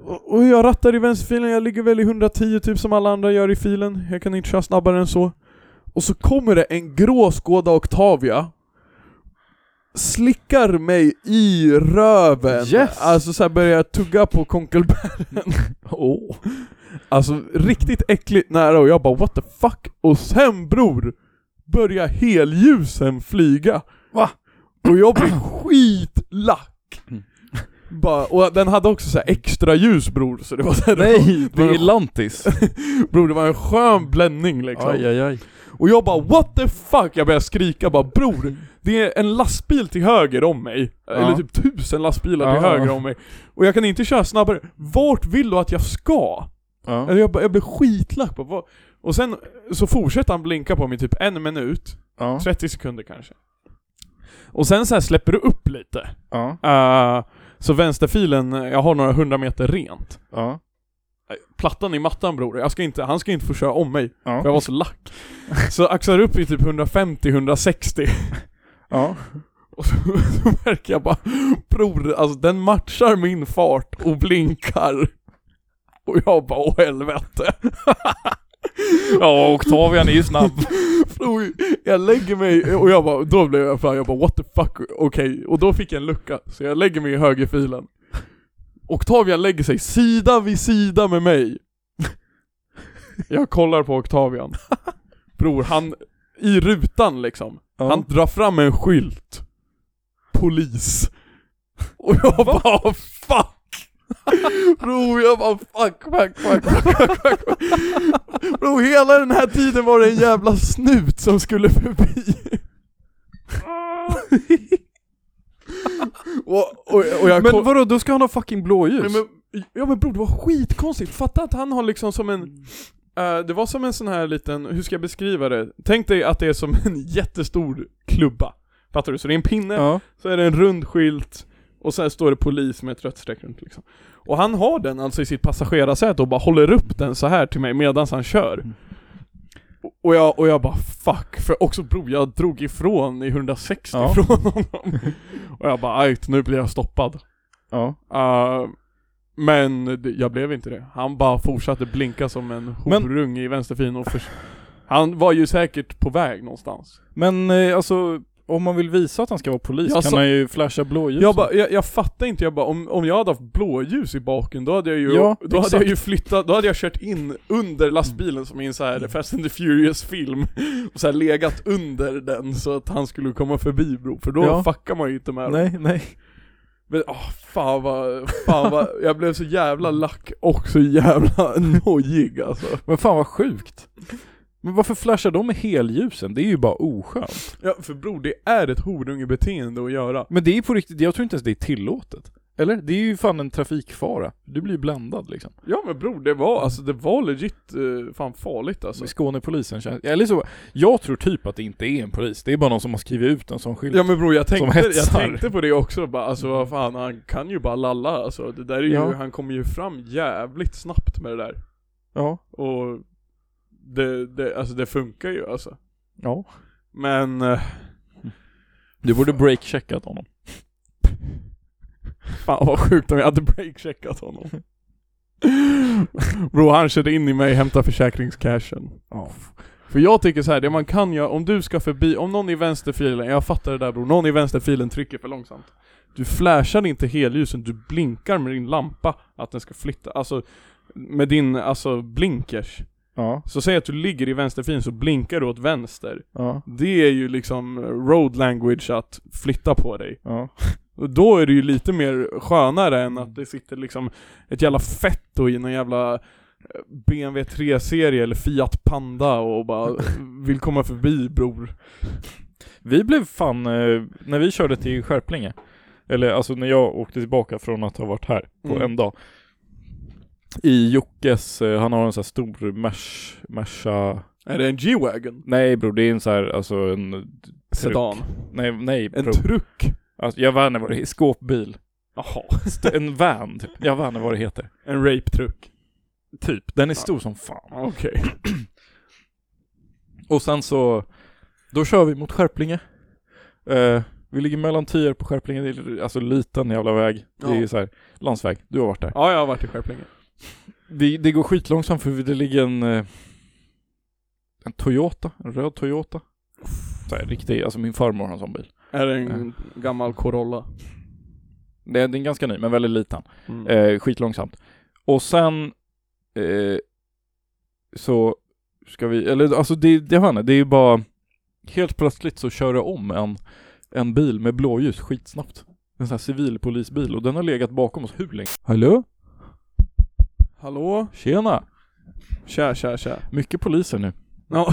Speaker 1: och och jag rattar i vänsterfilen, jag ligger väl i 110 typ som alla andra gör i filen. Jag kan inte köra snabbare än så. Och så kommer det en grå Skoda Octavia Slickar mig i röven.
Speaker 2: Yes!
Speaker 1: Alltså såhär börjar jag tugga på konkelbären.
Speaker 2: Åh.
Speaker 1: Alltså riktigt äckligt nära och jag bara what the fuck? Och sen bror, börjar helljusen flyga.
Speaker 2: Va?
Speaker 1: Och jag blev skitlack.
Speaker 2: Mm.
Speaker 1: Bara, och den hade också så här extra ljus bror, så det var såhär,
Speaker 2: Nej, det är lantis.
Speaker 1: bror det var en skön bländning liksom.
Speaker 2: Aj, aj, aj.
Speaker 1: Och jag bara what the fuck? Jag började skrika bara bror, det är en lastbil till höger om mig. Eller typ tusen lastbilar till
Speaker 2: Ja.
Speaker 1: höger om mig. Och jag kan inte köra snabbare. Vart vill du att jag ska?
Speaker 2: Ja.
Speaker 1: Eller jag, bara- jag blev skitlack på vad... Och sen så fortsätter han blinka på mig typ en minut,
Speaker 2: Ja.
Speaker 1: 30 sekunder kanske. Och sen så här släpper du upp lite.
Speaker 2: Ja.
Speaker 1: Eh, så vänsterfilen, eh, jag har några hundra meter rent.
Speaker 2: Ja.
Speaker 1: Eh, Plattan i mattan bror, jag ska inte, han ska inte få köra om mig, för jag
Speaker 2: Ja.
Speaker 1: var så lack. Så axlar upp i typ 150-160
Speaker 2: Ja.
Speaker 1: och så, så märker jag bara, bror, alltså den matchar min fart och blinkar. Och jag bara, åh helvete.
Speaker 2: Ja, Octavian är ju snabb.
Speaker 1: Bror, jag lägger mig och jag bara, då blev jag fan, jag bara what the fuck, okej. Och då fick jag en lucka, så jag lägger mig i högerfilen. Octavian lägger sig sida vid sida med mig. Jag kollar på Octavian. Bror, han, i rutan liksom.
Speaker 2: Ja.
Speaker 1: Han drar fram en skylt. Polis. Och jag bara fuck! Bro, jag bara fuck, fuck, fuck, fuck, fuck, fuck. Bro, hela den här tiden var det en jävla snut som skulle förbi. och, och, och jag
Speaker 2: Men
Speaker 1: kom-
Speaker 2: vadå, då ska han ha fucking blåljus?
Speaker 1: Nej, men, ja men bror det var skitkonstigt, fatta att han har liksom som en eh, det var som en sån här liten, hur ska jag beskriva det? Tänk dig att det är som en jättestor klubba. Fattar du? Så det är en pinne,
Speaker 2: Ja.
Speaker 1: så är det en rund skylt och sen står det polis med ett rött streck runt liksom. Och han har den alltså i sitt passagerarsäte och bara håller upp den så här till mig medan han kör.
Speaker 2: Mm.
Speaker 1: Och jag, och jag bara fuck, för också bror jag drog ifrån i 160
Speaker 2: Ja.
Speaker 1: från honom. och jag bara ajt, nu blir jag stoppad.
Speaker 2: Ja.
Speaker 1: Uh, men det- jag blev inte det. Han bara fortsatte blinka som en
Speaker 2: Men-
Speaker 1: horung i vänsterfin och förs- Han var ju säkert på väg någonstans.
Speaker 2: Men eh, alltså, om man vill visa att han ska vara polis
Speaker 1: Ja,
Speaker 2: kan
Speaker 1: så-
Speaker 2: han ju flasha blåljus.
Speaker 1: Jag, bara, jag, jag fattar inte, jag bara, om, om jag hade haft blåljus i baken då hade jag ju,
Speaker 2: Ja,
Speaker 1: då hade
Speaker 2: exakt.
Speaker 1: jag ju flyttat, då hade jag kört in under lastbilen som i en så här Fast and the Furious film och så här legat under den så att han skulle komma förbi bro, för då
Speaker 2: Ja.
Speaker 1: fuckar man ju inte med dem.
Speaker 2: Nej, nej.
Speaker 1: Men åh, fan vad, fan vad, jag blev så jävla lack och så jävla nojig alltså.
Speaker 2: Men fan vad sjukt. Men varför flashar de med helljusen? Det är ju bara oskönt.
Speaker 1: Ja för bror, det är ett horungebeteende att göra.
Speaker 2: Men det är på riktigt, jag tror inte ens det är tillåtet. Eller? Det är ju fan en trafikfara. Du blir bländad liksom.
Speaker 1: Ja men bror, det var alltså, det var legit eh, fan farligt alltså.
Speaker 2: Med Skånepolisen känns... Eller så, jag tror typ att det inte är en polis. Det är bara någon som har skrivit ut en sån skylt.
Speaker 1: Ja men bror jag tänkte, jag
Speaker 2: hetsar. Mm.
Speaker 1: tänkte på det också bara, alltså vad fan han kan ju bara lalla alltså. Det där är ju,
Speaker 2: Ja.
Speaker 1: han kommer ju fram jävligt snabbt med det där.
Speaker 2: Ja.
Speaker 1: Och det, det, alltså det funkar ju alltså.
Speaker 2: ja.
Speaker 1: Men, eh,
Speaker 2: Du borde breakcheckat honom.
Speaker 1: fan vad sjukt om jag hade breakcheckat honom. Bro han körde in i mig, hämtade försäkringscashen.
Speaker 2: Ja.
Speaker 1: För jag tycker så här, det man kan göra, om du ska förbi, om någon i vänsterfilen, jag fattar det där bror, någon i vänsterfilen trycker för långsamt. Du flashar inte helljusen, du blinkar med din lampa att den ska flytta, alltså med din, alltså blinkers.
Speaker 2: Ja.
Speaker 1: Så säg att du ligger i vänsterfilen så blinkar du åt vänster.
Speaker 2: Ja.
Speaker 1: Det är ju liksom road language att flytta på dig.
Speaker 2: Ja.
Speaker 1: Och då Mm. är det ju lite mer skönare än att det sitter liksom ett jävla fetto i någon jävla BMW 3-serie eller Fiat Panda och bara vill komma förbi bror.
Speaker 2: Vi blev fan, eh, när vi körde till Skärplinge, eller alltså när jag åkte tillbaka från att ha varit här på
Speaker 1: Mm.
Speaker 2: en dag. I Jockes, eh, han har en sån här stor Merc- Merca,
Speaker 1: Är det en G-Wagon? nej
Speaker 2: nej bror det är en sån här, alltså en,
Speaker 1: Sedan.
Speaker 2: nej, nej
Speaker 1: En
Speaker 2: bror.
Speaker 1: truck?
Speaker 2: Alltså, jag vann vad det heter, skåpbil.
Speaker 1: Jaha.
Speaker 2: St- en van, typ. jag vann vad det heter.
Speaker 1: En rape-truck?
Speaker 2: Typ, den är stor som fan.
Speaker 1: Okej.
Speaker 2: Och sen så, då kör vi mot Skärplinge. Eh, vi ligger mellan Tierp och Skärplinge, det är alltså liten jävla väg. Det är
Speaker 1: Ja.
Speaker 2: så här, landsväg, du har varit där.
Speaker 1: Ja, jag har varit i Skärplinge.
Speaker 2: Det, det går skitlångsamt för det ligger en, eh, en Toyota, en röd Toyota. Så här, riktig, alltså min farmor har en sån bil.
Speaker 1: Är det en gammal Corolla?
Speaker 2: Det är, den är ganska ny, men väldigt liten.
Speaker 1: Mm.
Speaker 2: Eh, skitlångsamt. Och sen eh, så ska vi, eller alltså det, det, hörni, det är ju bara helt plötsligt så kör det om en, en bil med blåljus skitsnabbt. En sån här civilpolisbil och den har legat bakom oss hur länge? Hallå?
Speaker 1: Hallå?
Speaker 2: Tjena!
Speaker 1: Tja, tja, tja.
Speaker 2: Mycket poliser nu.
Speaker 1: Ja.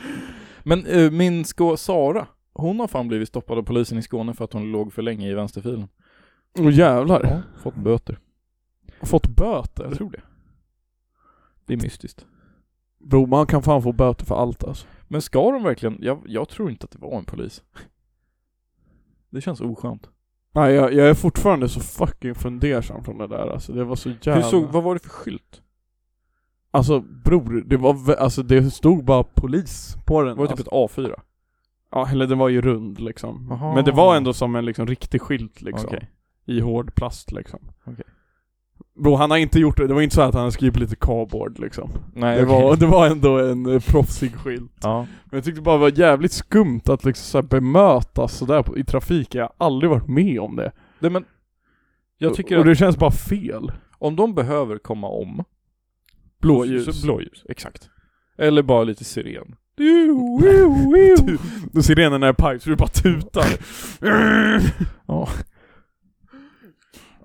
Speaker 2: Men eh, min skå Sara, hon har fan blivit stoppad av polisen i Skåne för att hon låg för länge i vänsterfilen.
Speaker 1: Åh jävlar.
Speaker 2: Fått böter.
Speaker 1: Fått böter?
Speaker 2: Jag tror det. Det är mystiskt.
Speaker 1: Bro, man kan fan få böter för allt alltså.
Speaker 2: Men ska de verkligen? Jag, jag tror inte att det var en polis. Det känns oskönt.
Speaker 1: Nej, jag, jag är fortfarande så fucking fundersam från det där alltså. Det var så jävla...
Speaker 2: Hur såg, vad var det för skylt?
Speaker 1: Alltså bror, det var vä- alltså det stod bara polis på den.
Speaker 2: Var det typ
Speaker 1: alltså,
Speaker 2: ett A4?
Speaker 1: Ja, eller den var ju rund liksom.
Speaker 2: Aha.
Speaker 1: Men det var ändå som en liksom riktig skylt liksom.
Speaker 2: Okej.
Speaker 1: I hård plast liksom.
Speaker 2: Okej.
Speaker 1: Bro, han har inte gjort det, det var inte så att han hade skrivit lite cardboard liksom.
Speaker 2: Nej,
Speaker 1: det,
Speaker 2: okej.
Speaker 1: var, det var ändå en eh, proffsig skylt.
Speaker 2: Ja.
Speaker 1: Men jag tyckte bara det var jävligt skumt att liksom så här bemötas sådär på- i trafik, jag har aldrig varit med om det.
Speaker 2: Nej men, jag tycker
Speaker 1: och, och
Speaker 2: att
Speaker 1: det känns bara fel.
Speaker 2: om de behöver komma om,
Speaker 1: Blåljus.
Speaker 2: Så blåljus, exakt. Eller bara lite siren.
Speaker 1: Du- Då sirenerna är paj så du bara tutar.
Speaker 2: Ja.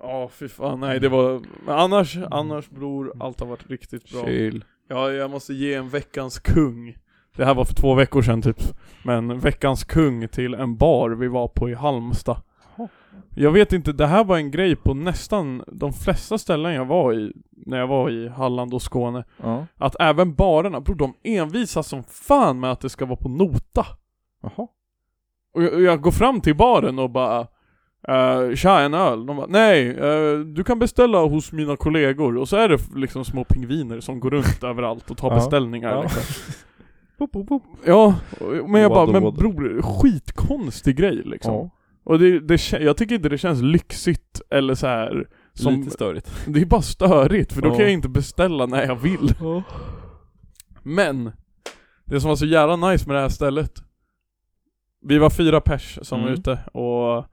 Speaker 1: Ja fy fan, nej det var, men annars, annars bror, allt har varit riktigt bra.
Speaker 2: Chill.
Speaker 1: Ja, jag måste ge en veckans kung. Det här var för två veckor sedan typ. Men veckans kung till en bar vi var på i Halmstad.
Speaker 2: Jaha.
Speaker 1: Jag vet inte, det här var en grej på nästan de flesta ställen jag var i, när jag var i Halland och Skåne.
Speaker 2: Ja.
Speaker 1: Att även barerna, bror de envisas som fan med att det ska vara på nota.
Speaker 2: Jaha.
Speaker 1: Och jag, och jag går fram till baren och bara Uh, tja, en öl. De bara, nej, eh, du kan beställa hos mina kollegor. Och så är det f- liksom små pingviner som går runt överallt och tar
Speaker 2: Ja.
Speaker 1: beställningar.
Speaker 2: Ja.
Speaker 1: Liksom. Ja, och- men jag
Speaker 2: Wadda,
Speaker 1: bara, men
Speaker 2: wadda.
Speaker 1: bror, skitkonstig grej liksom.
Speaker 2: Ja.
Speaker 1: Och det, det, kä- jag tycker inte det känns lyxigt eller så här. Som,
Speaker 2: Lite störigt.
Speaker 1: det är bara störigt, för då
Speaker 2: Ja.
Speaker 1: kan jag inte beställa när jag vill. Men, det som var så jävla nice med det här stället Vi var fyra pers som var
Speaker 2: Mm.
Speaker 1: ute och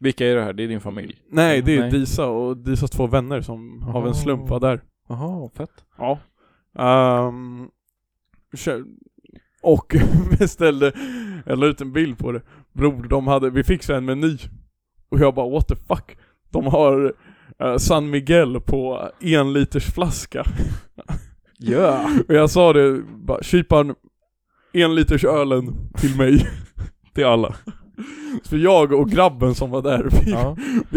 Speaker 2: Vilka är det här? Det är din familj?
Speaker 1: Nej det är
Speaker 2: Nej.
Speaker 1: Disa och Disas två vänner som av en slump var där
Speaker 2: Jaha, fett.
Speaker 1: Ja Ehm, kö- Och beställde, jag la ut en bild på det Bror de hade, vi fick så en meny Och jag bara what the fuck De har eh, San Miguel på en liters flaska
Speaker 2: Ja.
Speaker 1: Och jag sa det, bara kyparen en liters ölen till mig.
Speaker 2: Till alla.
Speaker 1: För jag och grabben som var där, vi,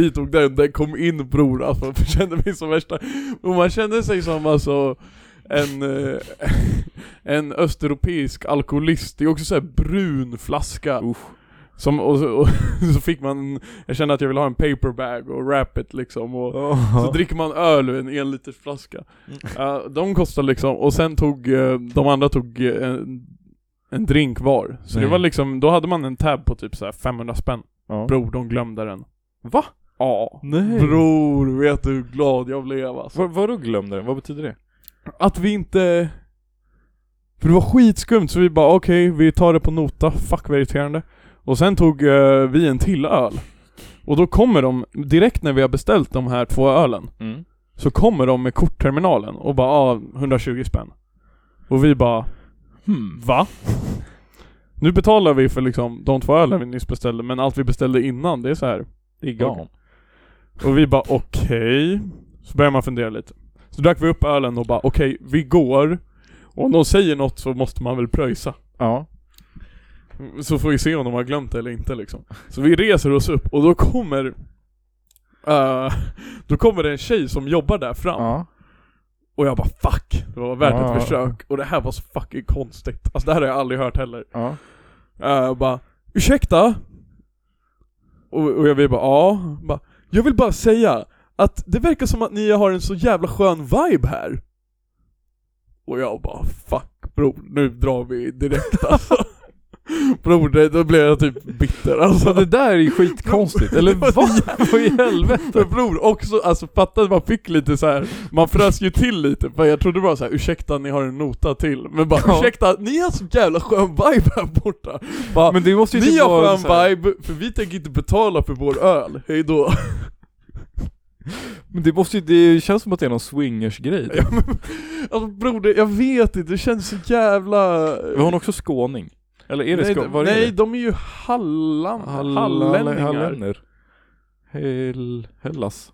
Speaker 1: vi tog den, den kom in bror alltså, jag kände mig som värsta, och man kände sig som alltså en, eh, en östeuropeisk alkoholist, det är också så här brun flaska
Speaker 2: Usch.
Speaker 1: som, och, så- och så fick man, jag kände att jag ville ha en paperbag och wrap it liksom och så dricker man öl ur en enliters flaska.
Speaker 2: Mm.
Speaker 1: Eh, de kostar liksom, och sen tog, eh, de andra tog eh, en, en drink var. Så det
Speaker 2: Nej.
Speaker 1: var liksom, då hade man en tab på typ så här 500 spänn.
Speaker 2: Ja.
Speaker 1: Bror, de glömde den.
Speaker 2: Va?
Speaker 1: Ja.
Speaker 2: Nej.
Speaker 1: Bror, vet du hur glad jag blev alltså.
Speaker 2: Vad, vadå glömde den? Vad betyder det?
Speaker 1: Att vi inte... För det var skitskumt så vi bara okej, vi tar det på nota, fuck vad irriterande. Och sen tog eh, vi en till öl. Och då kommer de, direkt när vi har beställt de här två ölen,
Speaker 2: Mm.
Speaker 1: så kommer de med kortterminalen och bara ah, 120 spänn. Och vi bara
Speaker 2: Hmm.
Speaker 1: va? Nu betalar vi för liksom de två ölen vi nyss beställde men allt vi beställde innan det är så här.
Speaker 2: Det är
Speaker 1: Och vi bara okej. Så börjar man fundera lite. Så drack vi upp ölen och bara okej, vi går. Och om de säger något så måste man väl pröjsa.
Speaker 2: Ja.
Speaker 1: Så får vi se om de har glömt det eller inte liksom. Så vi reser oss upp och då kommer eh, Då kommer det en tjej som jobbar där fram.
Speaker 2: Ja.
Speaker 1: Och jag bara fuck, det var värt
Speaker 2: Ja.
Speaker 1: ett försök. Och det här var så fucking konstigt. Alltså det här har jag aldrig hört heller.
Speaker 2: Ja.
Speaker 1: Eh, och bara ursäkta? Och, och jag vi bara ja. Bara, jag vill bara säga att det verkar som att ni har en så jävla skön vibe här. Och jag bara fuck bror, nu drar vi direkt alltså. bror, det, då blev jag typ bitter alltså.
Speaker 2: Så det där är ju skitkonstigt, eller
Speaker 1: Det var
Speaker 2: vad? Vad i helvete?
Speaker 1: Men bror, också, alltså fatta att man fick lite så här. man frös ju till lite, för jag trodde bara så här, ursäkta ni har en nota till, men bara
Speaker 2: Ja.
Speaker 1: ursäkta, ni har så jävla skön vibe här borta. Bara,
Speaker 2: Men det måste ju
Speaker 1: ni
Speaker 2: typ vara
Speaker 1: har
Speaker 2: så här-
Speaker 1: skön vibe, för vi tänker inte betala för vår öl, hejdå.
Speaker 2: Men det måste ju, det känns som att det är någon swingers-grej.
Speaker 1: Ja, men- alltså bror, det, jag vet inte, det känns så jävla...
Speaker 2: Var hon också skåning? Eller är det
Speaker 1: nej,
Speaker 2: skå- var är
Speaker 1: nej
Speaker 2: det?
Speaker 1: de är ju hallan, hallänningar.
Speaker 2: Hallänningar. Hell, Hellas.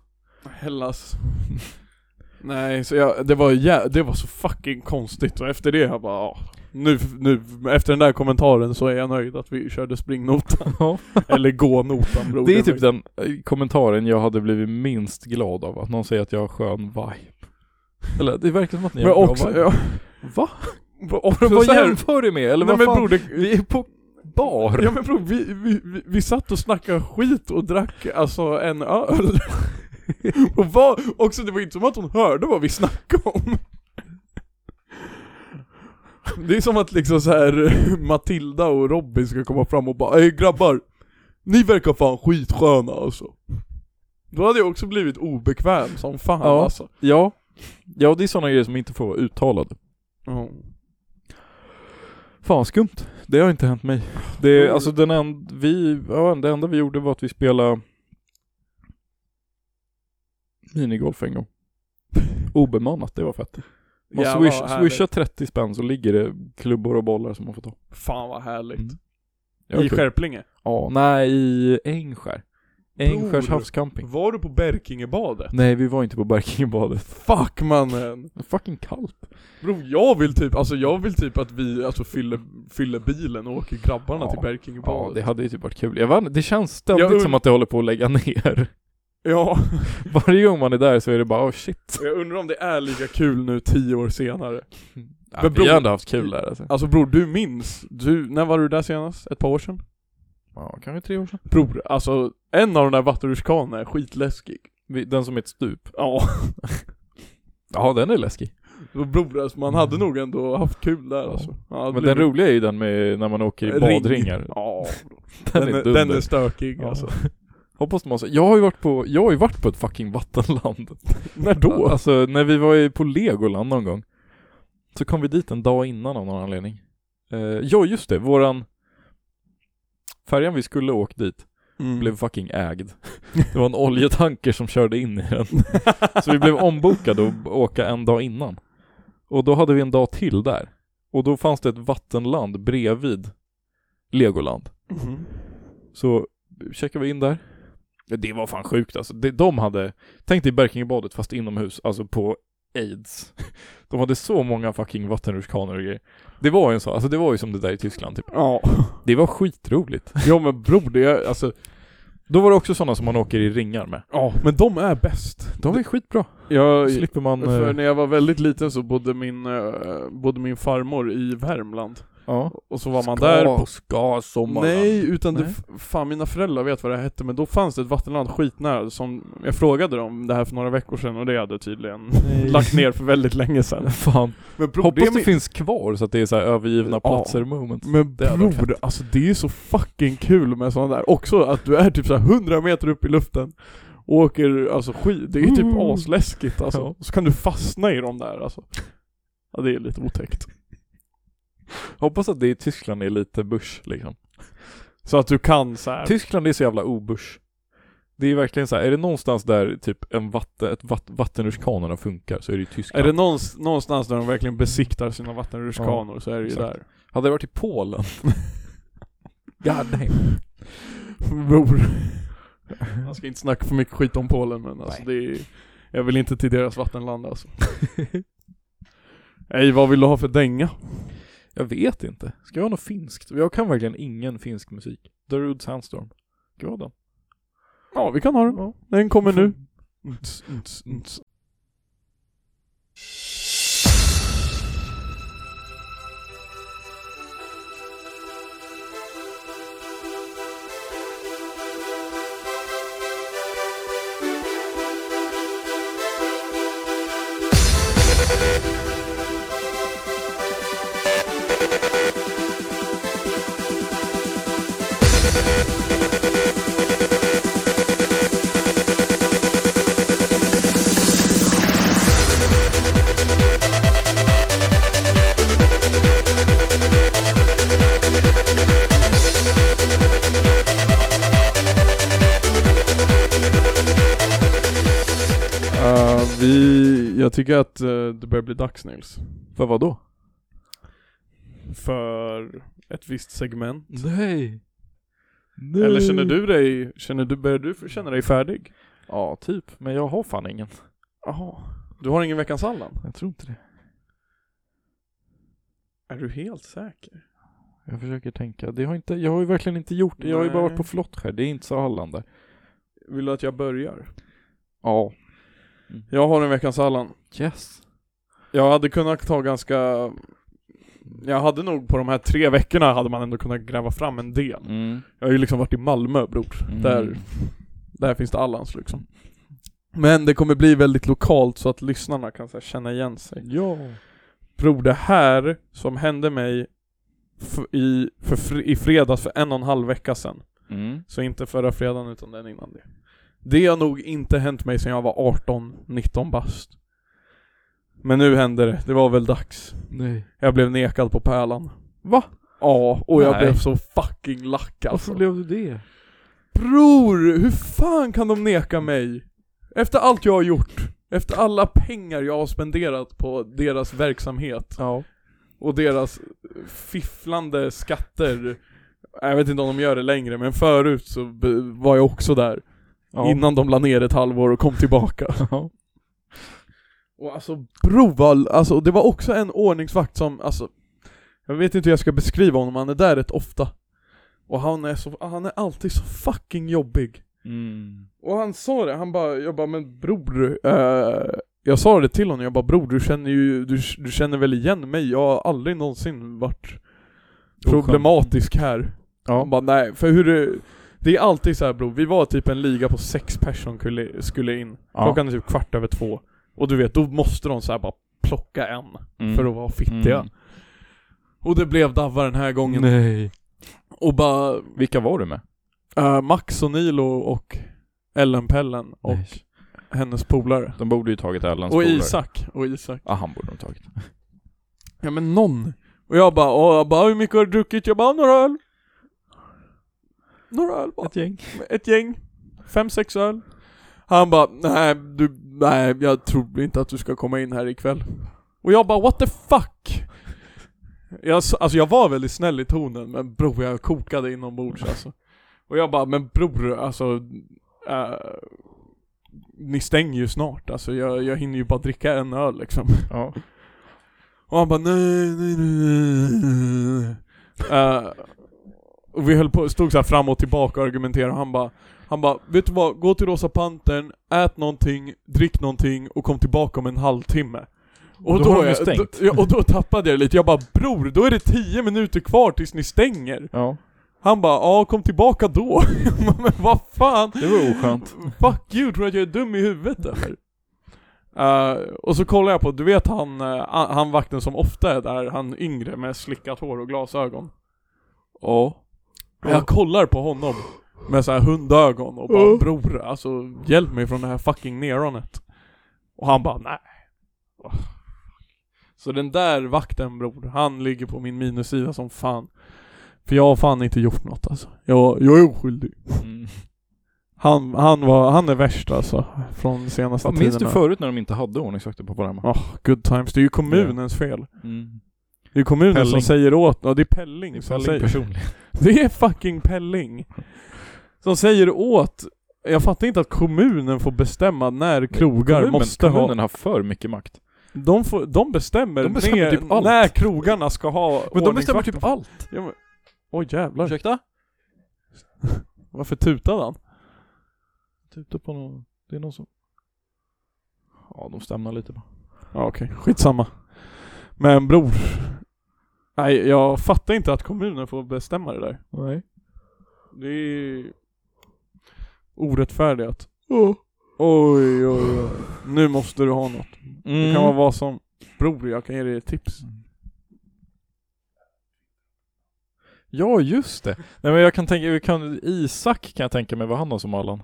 Speaker 1: Hellas. Nej, så jag, det, var jä- det var så fucking konstigt och efter det jag bara ja, nu, nu, efter den där kommentaren så är jag nöjd att vi körde springnotan.
Speaker 2: Ja.
Speaker 1: Eller gånotan bror.
Speaker 2: Det är typ den eh, kommentaren jag hade blivit minst glad av, att någon säger att jag har skön vibe. Eller det verkar som att ni
Speaker 1: Men
Speaker 2: har bra
Speaker 1: också,
Speaker 2: vibe.
Speaker 1: ja.
Speaker 2: Va?
Speaker 1: Och så
Speaker 2: Vad
Speaker 1: så här-
Speaker 2: jämför du med? Eller
Speaker 1: Nej men
Speaker 2: vad fan?
Speaker 1: bror, det,
Speaker 2: Vi är på bar.
Speaker 1: ja men bror vi, vi, vi, vi satt och snackade skit och drack alltså en öl. och var, också det var inte som att hon hörde vad vi snackade om. Det är som att liksom så här Matilda och Robin ska komma fram och bara Ey grabbar, ni verkar fan skitsköna alltså. Då hade jag också blivit obekväm som fan
Speaker 2: Ja.
Speaker 1: alltså.
Speaker 2: Ja. Ja, det är sådana grejer som inte får vara uttalade. Fan skumt. Det har inte hänt mig. Det är, alltså den en, vi, ja, det enda vi gjorde var att vi spelade minigolf en gång. Obemannat, det var fett. Man
Speaker 1: Jävlar,
Speaker 2: swish,
Speaker 1: vad härligt.
Speaker 2: swishar 30 spänn så ligger det klubbor och bollar som man får ta.
Speaker 1: Fan vad härligt.
Speaker 2: Mm.
Speaker 1: I Skärplinge.
Speaker 2: Ja, nej i Ängskär. Ängskärs
Speaker 1: Bror.
Speaker 2: havscamping.
Speaker 1: Var du på Berkingebadet?
Speaker 2: Nej, vi var inte på Berkingebadet.
Speaker 1: Fuck mannen.
Speaker 2: Fucking kallt.
Speaker 1: Bro, jag vill typ, alltså jag vill typ att vi alltså fyller, fyller bilen och åker grabbarna
Speaker 2: Ja.
Speaker 1: till
Speaker 2: Ja, det
Speaker 1: Berkingebadet.
Speaker 2: hade ju typ varit kul. Jag vet, inte, det känns ständigt
Speaker 1: Jag und-
Speaker 2: som att det håller på att lägga ner.
Speaker 1: Ja,
Speaker 2: Varje gång man är där så är det bara oh shit.
Speaker 1: jag undrar om det är lika kul nu tio år senare.
Speaker 2: Ja,
Speaker 1: Men
Speaker 2: vi
Speaker 1: bror-
Speaker 2: har ändå haft kul där alltså.
Speaker 1: Alltså bror, du minns, du, när var du där senast? Ett par år sedan?
Speaker 2: Ja, kanske tre år sedan.
Speaker 1: Bror, alltså en av de där vattenrutschkanorna är skitläskig.
Speaker 2: Vi- Den som är ett stup.
Speaker 1: Ja,
Speaker 2: Ja, den är läskig.
Speaker 1: och bror alltså, man hade nog ändå haft kul där alltså. Man hade
Speaker 2: Mm. Men den
Speaker 1: blivit-
Speaker 2: roliga är ju den med när man åker i
Speaker 1: Ring.
Speaker 2: badringar.
Speaker 1: Ja,
Speaker 2: Den,
Speaker 1: den,
Speaker 2: är
Speaker 1: är,
Speaker 2: dunder.
Speaker 1: den är stökig
Speaker 2: Ja.
Speaker 1: alltså.
Speaker 2: Hoppas man så. Jag har ju varit på, jag har ju varit på ett fucking vattenland.
Speaker 1: När då?
Speaker 2: Alltså när vi var i- på Legoland någon gång. Så kom vi dit en dag innan av någon anledning. Eh, ja just det, våran färjan vi skulle åkt dit
Speaker 1: Mm.
Speaker 2: blev fucking ägd. Det var en oljetanker som körde in i den. Så vi blev ombokade och b- åka en dag innan. Och då hade vi en dag till där. Och då fanns det ett vattenland bredvid Legoland.
Speaker 1: Mhm.
Speaker 2: Så checkade vi in där. Ja, Det var fan sjukt alltså. Det- De hade, tänk dig Berkingebadet fast inomhus, alltså på aids. De hade så många fucking vattenrutschkanor och grejer. Det var ju en så, alltså det var ju som det där i Tyskland typ.
Speaker 1: Ja.
Speaker 2: Det var skitroligt.
Speaker 1: Ja men bror, det är alltså,
Speaker 2: Då var det också sådana som man åker i ringar med.
Speaker 1: ja men de är bäst.
Speaker 2: De är skitbra. Då
Speaker 1: Jag, Mm.
Speaker 2: slipper man... eh,
Speaker 1: För när jag var väldigt liten så bodde min, eh, bodde min farmor i Värmland.
Speaker 2: ja.
Speaker 1: Och så var man där på...
Speaker 2: ska sommaren.
Speaker 1: Nej, utan det,
Speaker 2: Nej.
Speaker 1: f- fan mina föräldrar vet vad det hette, men då fanns det ett vattenland skitnära som, jag frågade dem det här för några veckor sedan och det hade tydligen
Speaker 2: Nej.
Speaker 1: lagt ner för väldigt länge sedan.
Speaker 2: Fan.
Speaker 1: Men bror,
Speaker 2: Hoppas
Speaker 1: är
Speaker 2: det
Speaker 1: min-
Speaker 2: finns kvar så att det är så här övergivna
Speaker 1: Ja.
Speaker 2: platser moment.
Speaker 1: Men
Speaker 2: Det hade varit
Speaker 1: bror, alltså det är så fucking kul med sådana där. Också att du är typ såhär 100 meter upp i luften och åker alltså skid. Det är typ
Speaker 2: Mm.
Speaker 1: asläskigt alltså.
Speaker 2: Ja.
Speaker 1: Så kan du fastna i de där alltså. Ja det är lite otäckt.
Speaker 2: Hoppas att det i Tyskland är lite börs liksom.
Speaker 1: Så att du kan så här.
Speaker 2: Äh. Tyskland är så jävla obörs. Det är verkligen så här, är det någonstans där typ en vatten, ett vatt, vattenrutschkanorna funkar så är det ju
Speaker 1: Är
Speaker 2: Tyskland.
Speaker 1: det någonstans, någonstans där de verkligen besiktar sina vattenrutschkanor så är det ju
Speaker 2: exakt.
Speaker 1: där.
Speaker 2: Hade det varit i Polen? God damn.
Speaker 1: Bror. Man ska inte snacka för mycket skit om Polen men alltså det är Jag vill inte till deras vattenland alltså. Nej, vad vill du ha för dänga?
Speaker 2: Jag vet inte. Ska jag ha något finskt? Jag kan verkligen ingen finsk musik. Darude Sandstorm. Ska jag ha den?
Speaker 1: Ja, vi kan ha den. Den kommer nu. Nts, nts, nts. Eh, vi, jag tycker att eh, det börjar bli dags Nils.
Speaker 2: För vad då?
Speaker 1: För ett visst segment.
Speaker 2: Nej. Nej.
Speaker 1: Eller känner du dig, känner du, börjar du känna dig färdig?
Speaker 2: Ja, typ. Men jag har fan ingen.
Speaker 1: Jaha. Du har ingen veckans Allan?
Speaker 2: Jag tror inte det.
Speaker 1: Är du helt säker?
Speaker 2: Jag försöker tänka. Det har inte, jag har ju verkligen inte gjort det. Jag har ju bara varit
Speaker 1: Nej.
Speaker 2: på flott här. Det är inte så Halland där.
Speaker 1: Vill du att jag börjar?
Speaker 2: Ja.
Speaker 1: Jag har en veckans Allan.
Speaker 2: Yes.
Speaker 1: Jag hade kunnat ta ganska... Jag hade nog på de här tre veckorna hade man ändå kunnat gräva fram en del.
Speaker 2: Mm.
Speaker 1: Jag har ju liksom varit i Malmö bror.
Speaker 2: Mm.
Speaker 1: Där, där finns det Allans liksom. Men det kommer bli väldigt lokalt så att lyssnarna kan så här, känna igen sig.
Speaker 2: Ja.
Speaker 1: Bror det här som hände mig f- i, för fr- i fredags för en och en halv vecka sedan.
Speaker 2: Mm.
Speaker 1: Så inte förra fredagen utan den innan det. Det har nog inte hänt mig sedan jag var 18-19 bast. Men nu hände det, det var väl dags.
Speaker 2: Nej.
Speaker 1: Jag blev nekad på Pärlan.
Speaker 2: Va?
Speaker 1: Ja, och jag
Speaker 2: Nej.
Speaker 1: blev så fucking lack alltså.
Speaker 2: Varför blev du det?
Speaker 1: Bror, hur fan kan de neka mig? Efter allt jag har gjort, efter alla pengar jag har spenderat på deras verksamhet
Speaker 2: Ja.
Speaker 1: och deras fifflande skatter. Jag vet inte om de gör det längre, men förut så be- var jag också där.
Speaker 2: ja.
Speaker 1: Innan de la ner ett halvår och kom tillbaka.
Speaker 2: Ja.
Speaker 1: Och alltså Broval, alltså det var också en ordningsvakt som, alltså Jag vet inte hur jag ska beskriva honom, han är där rätt ofta Och han är så, han är alltid så fucking jobbig
Speaker 2: Mm.
Speaker 1: Och han sa det, han bara, jag bara men bror eh, Jag sa det till honom, jag bara bror du känner ju, du, du känner väl igen mig? Jag har aldrig någonsin varit problematisk här
Speaker 2: Ja.
Speaker 1: Han bara nej, för hur det, det är alltid så här bror, vi var typ en liga på sex personer skulle, skulle in
Speaker 2: Ja.
Speaker 1: Klockan är typ kvart över två. Och du vet, då måste de så här bara plocka en
Speaker 2: Mm.
Speaker 1: för att vara fittiga.
Speaker 2: Mm.
Speaker 1: Och det blev Davva den här gången.
Speaker 2: Nej.
Speaker 1: Och bara
Speaker 2: Vilka var du med?
Speaker 1: eh, Max och Nilo och Ellen Pellen och
Speaker 2: Nej.
Speaker 1: hennes polare.
Speaker 2: De borde ju tagit Ellens
Speaker 1: Och
Speaker 2: polare.
Speaker 1: Isak. Och Isak.
Speaker 2: Ja, han borde de tagit.
Speaker 1: Ja men någon. Och jag bara, åh, jag bara hur mycket har du druckit? Jag bara, några öl. Några öl bara.
Speaker 2: gäng.
Speaker 1: Ett gäng. Fem, sex öl. Han bara, nej du, nej jag tror inte att du ska komma in här ikväll. Och jag bara, what the fuck? Jag, s- alltså jag var väldigt snäll i tonen, men bror jag kokade inombords alltså. Och jag bara, men bror alltså, eh, ni stänger ju snart alltså, jag, jag hinner ju bara dricka en öl liksom.
Speaker 2: Ja.
Speaker 1: Och han bara nej, nej, nej, nej, nej. Eh, och vi höll på, stod så här fram och tillbaka och argumenterade och han bara Han bara, vet du vad? Gå till Rosa Pantern, ät någonting, drick någonting och kom tillbaka om en halvtimme. Och
Speaker 2: Då
Speaker 1: då,
Speaker 2: har de ju
Speaker 1: jag, då,
Speaker 2: stängt.
Speaker 1: ja, och då tappade jag lite, jag bara bror, då är det tio minuter kvar tills ni stänger.
Speaker 2: Ja.
Speaker 1: Han bara, ja kom tillbaka då. Jag bara, Men vad fan?
Speaker 2: Det var oskönt.
Speaker 1: Fuck you, tror du att jag är dum i huvudet eller? Eh, och så kollar jag på, du vet han, eh, han vakten som ofta är där, han yngre med slickat hår och glasögon.
Speaker 2: Ja.
Speaker 1: Jag kollar på honom med så här hundögon och bara
Speaker 2: Ja.
Speaker 1: bror, alltså hjälp mig från det här fucking neronet. Och han bara nej. Oh, Så den där vakten bror, han ligger på min minussida som fan. För jag har fan inte gjort något alltså. Jag, jag är oskyldig.
Speaker 2: Mm.
Speaker 1: Han, han, var, han är värst alltså, från senaste tiden.
Speaker 2: Minns du förut när de inte hade ordningsvakter på Panorama?
Speaker 1: Ja, good times. Det är ju kommunens fel.
Speaker 2: Mm.
Speaker 1: Det är ju kommunen
Speaker 2: Pelling.
Speaker 1: som säger åt, ja det är Pelling,
Speaker 2: Det är
Speaker 1: som
Speaker 2: Pelling
Speaker 1: säger.
Speaker 2: personligen.
Speaker 1: Det är fucking Pelling. Som säger åt Jag fattar inte att kommunen får bestämma när krogar
Speaker 2: Kommunen-
Speaker 1: måste ha...
Speaker 2: Kommunen har för mycket makt.
Speaker 1: De, får, de bestämmer,
Speaker 2: De bestämmer
Speaker 1: när,
Speaker 2: typ allt.
Speaker 1: när krogarna ska ha
Speaker 2: Men de bestämmer typ
Speaker 1: ordningsvakter.
Speaker 2: allt.
Speaker 1: Ja, men, oj jävlar,
Speaker 2: Ursäkta?
Speaker 1: varför tutade han?
Speaker 2: Tuta Typ, på någon. Det är någon som... Ja, de stämnar lite bara.
Speaker 1: Ja okej, skitsamma. Men bror. Nej jag fattar inte att kommunen får bestämma det där.
Speaker 2: Nej.
Speaker 1: Det är orättfärdigt. Oj oj oj. Nu måste du ha något. Det
Speaker 2: Mm.
Speaker 1: kan vara vad som... Bror jag kan ge dig ett tips.
Speaker 2: Ja, just det. Nej men jag kan tänka, vi kan, Isak kan jag tänka mig vad han har som Allan.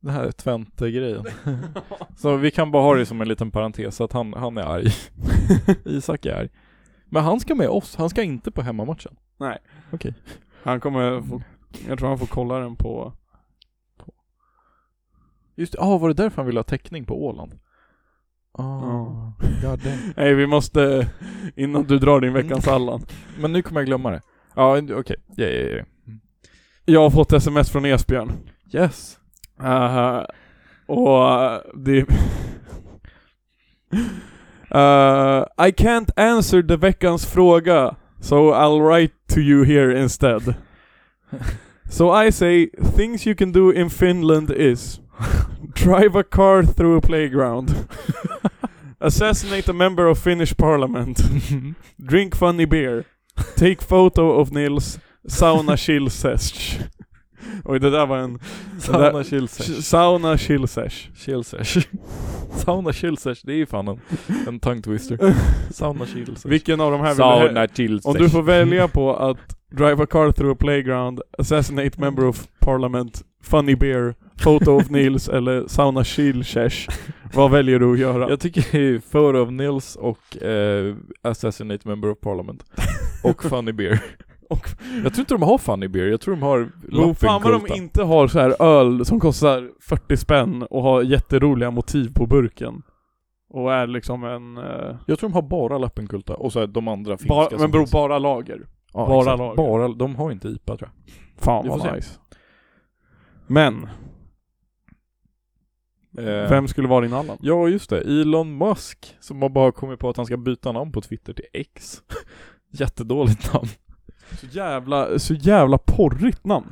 Speaker 2: Den här Twente-grejen. Så vi kan bara ha det som en liten parentes att han, han är arg. Isak är arg. Men han ska med oss, han ska inte på hemmamatchen.
Speaker 1: Nej.
Speaker 2: Okej.
Speaker 1: Han kommer få... Jag tror han får kolla den på...
Speaker 2: Just det, ah, var det därför han ville ha täckning på Åland? Ah,
Speaker 1: Ja.
Speaker 2: god damn.
Speaker 1: Nej vi måste... Innan du drar din veckans Allan.
Speaker 2: Men nu kommer jag glömma det. Ja, okej. Ja, ja, ja.
Speaker 1: Jag har fått sms från Esbjörn.
Speaker 2: Yes.
Speaker 1: Aha. och eh, det... Eh, I can't answer the veckans fråga, so I'll write to you here instead. so I say, things you can do in Finland is drive a car through a playground, assassinate a member of Finnish parliament, drink funny beer, take photo of Nils, sauna chill sesh. Oj, det där var en
Speaker 2: Sauna chill
Speaker 1: Sh- Sauna chill sesh.
Speaker 2: Chillsesh. Sauna chillsesh, det är ju fan en, en tongue twister. Sauna chillsesh.
Speaker 1: Vilken av de här vill du
Speaker 2: Sauna
Speaker 1: hel-
Speaker 2: chillsesh.
Speaker 1: Om du får välja på att drive a car through a playground, assassinate member of parliament, funny beer, photo of Nils eller sauna chill sesh. Vad väljer du att göra?
Speaker 2: Jag tycker det är Photo of Nils och eh, Assassinate Member of Parliament. Och Funny Beer.
Speaker 1: Och-
Speaker 2: Jag tror inte de har Funny Beer, jag tror de har
Speaker 1: Jo, fan vad de
Speaker 2: Lappinkulta.
Speaker 1: inte har så här öl som kostar 40 spänn och har jätteroliga motiv på burken. Och är liksom en... eh,
Speaker 2: Jag tror de har bara Lappenkulta och så här, de andra finska
Speaker 1: bara, men
Speaker 2: som
Speaker 1: beror
Speaker 2: finns.
Speaker 1: bara lager.
Speaker 2: ja,
Speaker 1: bara
Speaker 2: exakt.
Speaker 1: lager.
Speaker 2: Bara, de har inte IPA tror
Speaker 1: Fan
Speaker 2: Vi får
Speaker 1: vad
Speaker 2: se.
Speaker 1: nice. Men,
Speaker 2: jag. Eh,
Speaker 1: vem skulle vara din Allan?
Speaker 2: Ja just det, Elon Musk som har bara kommit på att han ska byta namn på Twitter till X. Jättedåligt namn.
Speaker 1: Så jävla, så jävla porrigt namn.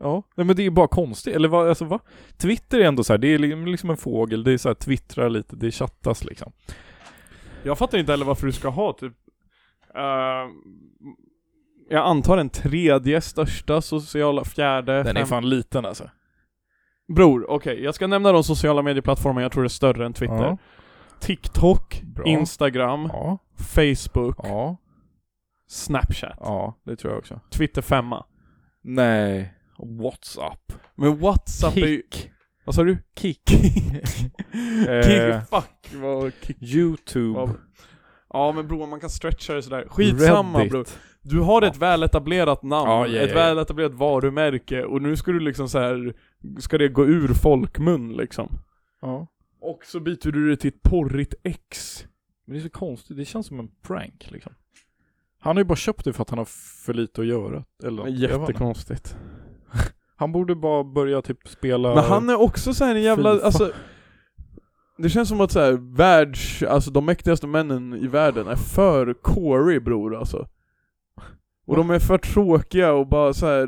Speaker 2: Ja, nej men det är bara konstigt, eller vad, alltså va? Twitter är ändå så här, det är li- liksom en fågel, det är så här, twittrar lite, det chattas liksom.
Speaker 1: Jag fattar inte heller varför du ska ha typ eh, Jag antar den tredje största sociala, fjärde,
Speaker 2: Den är
Speaker 1: fem-
Speaker 2: fan liten alltså.
Speaker 1: Bror, okej, jag ska nämna de sociala medieplattformar jag tror är större än Twitter
Speaker 2: Ja.
Speaker 1: TikTok,
Speaker 2: Bra.
Speaker 1: Instagram,
Speaker 2: Ja,
Speaker 1: Facebook,
Speaker 2: ja,
Speaker 1: Snapchat
Speaker 2: ja, det tror jag också.
Speaker 1: Twitter femma
Speaker 2: Nej, WhatsApp.
Speaker 1: Men Whatsapp är ju...
Speaker 2: Kick.
Speaker 1: Vad sa du?
Speaker 2: Kick. eh,
Speaker 1: Kick, fuck vad kick
Speaker 2: Youtube.
Speaker 1: Vad- Ja men bror, man kan stretcha det sådär Skitsamma
Speaker 2: Reddit.
Speaker 1: bror Du har ett väletablerat namn,
Speaker 2: Ja, ja,
Speaker 1: ett
Speaker 2: ja.
Speaker 1: väletablerat varumärke och nu ska du liksom så här ska det gå ur folkmun liksom?
Speaker 2: Ja.
Speaker 1: Och så byter du det till ett porrigt ex.
Speaker 2: Men det är så konstigt, det känns som en prank liksom. Han har ju bara köpt det för att han har för lite att göra. Eller något. Jag vet inte.
Speaker 1: Jättekonstigt.
Speaker 2: Han borde bara börja typ spela...
Speaker 1: Men han är också så här en jävla,
Speaker 2: Fy fan.
Speaker 1: alltså Det känns som att så här, världs, alltså de mäktigaste männen i världen är för Corey bror alltså. Och de är för tråkiga och bara så här.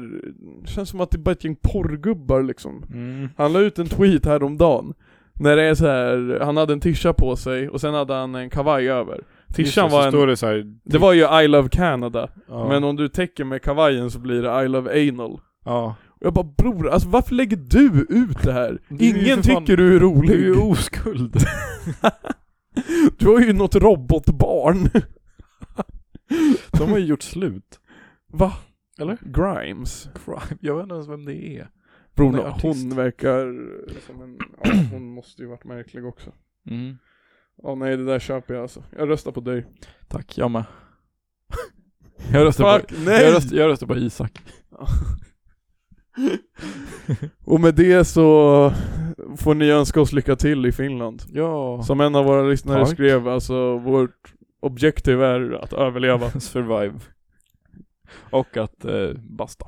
Speaker 1: det känns som att det är bara ett gäng porrgubbar liksom.
Speaker 2: Mm.
Speaker 1: Han la ut en tweet häromdagen När det är så här, han hade en tisha på sig och sen hade han en kavaj över
Speaker 2: Just det,
Speaker 1: Tishan
Speaker 2: så
Speaker 1: var en,
Speaker 2: står det så här,
Speaker 1: det var ju I love Canada
Speaker 2: ja,
Speaker 1: Men om du täcker med kavajen så blir det I love anal
Speaker 2: ja.
Speaker 1: och jag bara bror, alltså varför lägger du ut det här?
Speaker 2: Du är ju
Speaker 1: Ingen
Speaker 2: för fan-
Speaker 1: tycker du är
Speaker 2: Du är
Speaker 1: rolig
Speaker 2: ju oskuld.
Speaker 1: Du har ju något robotbarn
Speaker 2: De har ju gjort slut.
Speaker 1: Va?
Speaker 2: Eller?
Speaker 1: Grimes
Speaker 2: Crime. Jag vet inte ens vem det är.
Speaker 1: Bror,
Speaker 2: Hon är
Speaker 1: hon,
Speaker 2: artist. Liksom
Speaker 1: verkar som en, ja, hon måste ju varit märklig också
Speaker 2: Mm.
Speaker 1: Ja nej det där köper jag alltså, jag röstar på dig
Speaker 2: Tack, jag med. Jag röstar, på, jag, röstar, jag röstar på Isak.
Speaker 1: Och med det så får ni önska oss lycka till i Finland.
Speaker 2: Ja.
Speaker 1: Som en av våra lyssnare
Speaker 2: Tack.
Speaker 1: skrev, alltså vårt objektiv är att överleva.
Speaker 2: Survive. Och att eh, basta.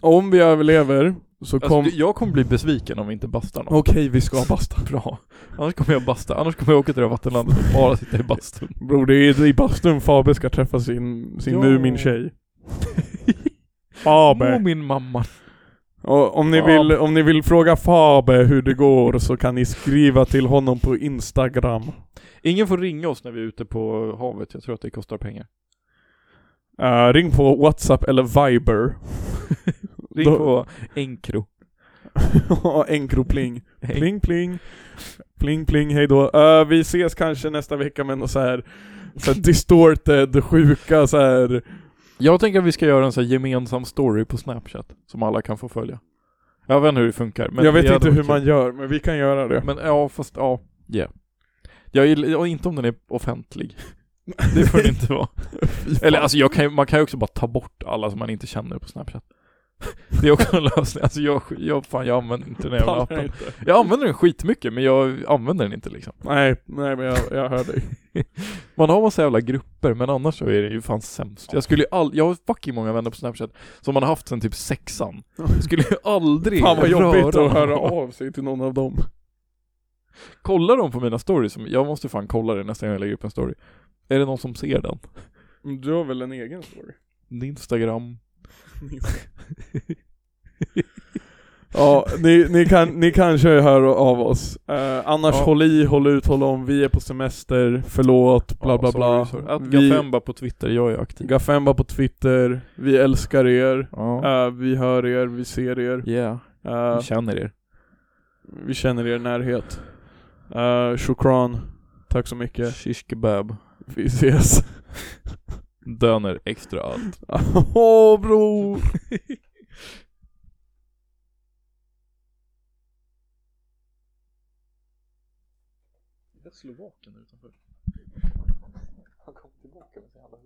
Speaker 1: Om vi överlever Så
Speaker 2: Alltså,
Speaker 1: kom...
Speaker 2: du- jag kommer bli besviken om vi inte bastar någon.
Speaker 1: Okej, vi ska basta.
Speaker 2: Bra. Annars kommer jag basta. Annars kommer jag åka till det här vattenlandet och bara sitta i bastun.
Speaker 1: Bror, det är i bastun Fabe ska träffa sin, sin
Speaker 2: Ja.
Speaker 1: Mumin-tjej. Fabe.
Speaker 2: Åh, min mamma.
Speaker 1: Och om ni,
Speaker 2: Fabe.
Speaker 1: vill, om ni vill fråga Fabe hur det går så kan ni skriva till honom på Instagram.
Speaker 2: Ingen får ringa oss när vi är ute på havet. Jag tror att det kostar pengar.
Speaker 1: Eh, ring på WhatsApp eller Viber.
Speaker 2: Ring
Speaker 1: Då-
Speaker 2: på Encro.
Speaker 1: Enkropling. Pling pling. Pling pling, hejdå. Uh, vi ses kanske nästa vecka med något så här, så här distorted, sjuka så här.
Speaker 2: Jag tänker att vi ska göra en sån här gemensam story på Snapchat som alla kan få följa. Jag vet inte hur det funkar. Men
Speaker 1: Jag
Speaker 2: det
Speaker 1: vet
Speaker 2: hade
Speaker 1: inte hur
Speaker 2: varit
Speaker 1: man gör, men vi kan göra det.
Speaker 2: kul. Men ja, fast ja. Yeah. Jag gillar ja, inte om den är offentlig. Det får den inte vara. Eller alltså jag kan, ju- man kan ju också bara ta bort alla som man inte känner på Snapchat. Det är också en lösning. Alltså jag, jag, fan, jag använder inte den här jävla
Speaker 1: Pallar
Speaker 2: appen.
Speaker 1: inte.
Speaker 2: Jag använder den skitmycket men jag använder den inte liksom.
Speaker 1: Nej, nej men jag, jag hör dig.
Speaker 2: Man har massa jävla grupper men annars så är det ju fan sämst. Jag skulle ju all, jag har fucking många vänner på Snapchat som man har haft sen typ sexan. Skulle ju aldrig
Speaker 1: Fan vad jobbigt
Speaker 2: röra
Speaker 1: att höra
Speaker 2: dem.
Speaker 1: av sig till någon av dem.
Speaker 2: Kolla dem på mina stories, jag måste fan kolla det nästa gång jag lägger upp en story. Är det någon som ser den?
Speaker 1: Du har väl en egen story?
Speaker 2: Instagram.
Speaker 1: Ja, ni, ni, kan, ni kanske hör av oss. Eh, annars
Speaker 2: Ja.
Speaker 1: håll i, håll ut, håll om, vi är på semester, förlåt, bla bla bla.
Speaker 2: Att
Speaker 1: Vi,
Speaker 2: Gafemba på Twitter, jag är aktiv.
Speaker 1: Gafemba på Twitter, vi älskar er,
Speaker 2: Ja.
Speaker 1: Eh, vi hör er, vi ser er,
Speaker 2: Yeah,
Speaker 1: Eh,
Speaker 2: jag känner er.
Speaker 1: vi känner er närhet. Uh, shukran, tack så mycket,
Speaker 2: Shish kebab.
Speaker 1: vi ses.
Speaker 2: Döner extra allt.
Speaker 1: Åh bror!
Speaker 2: Slovaken utanför. Han kom tillbaka med sin jävla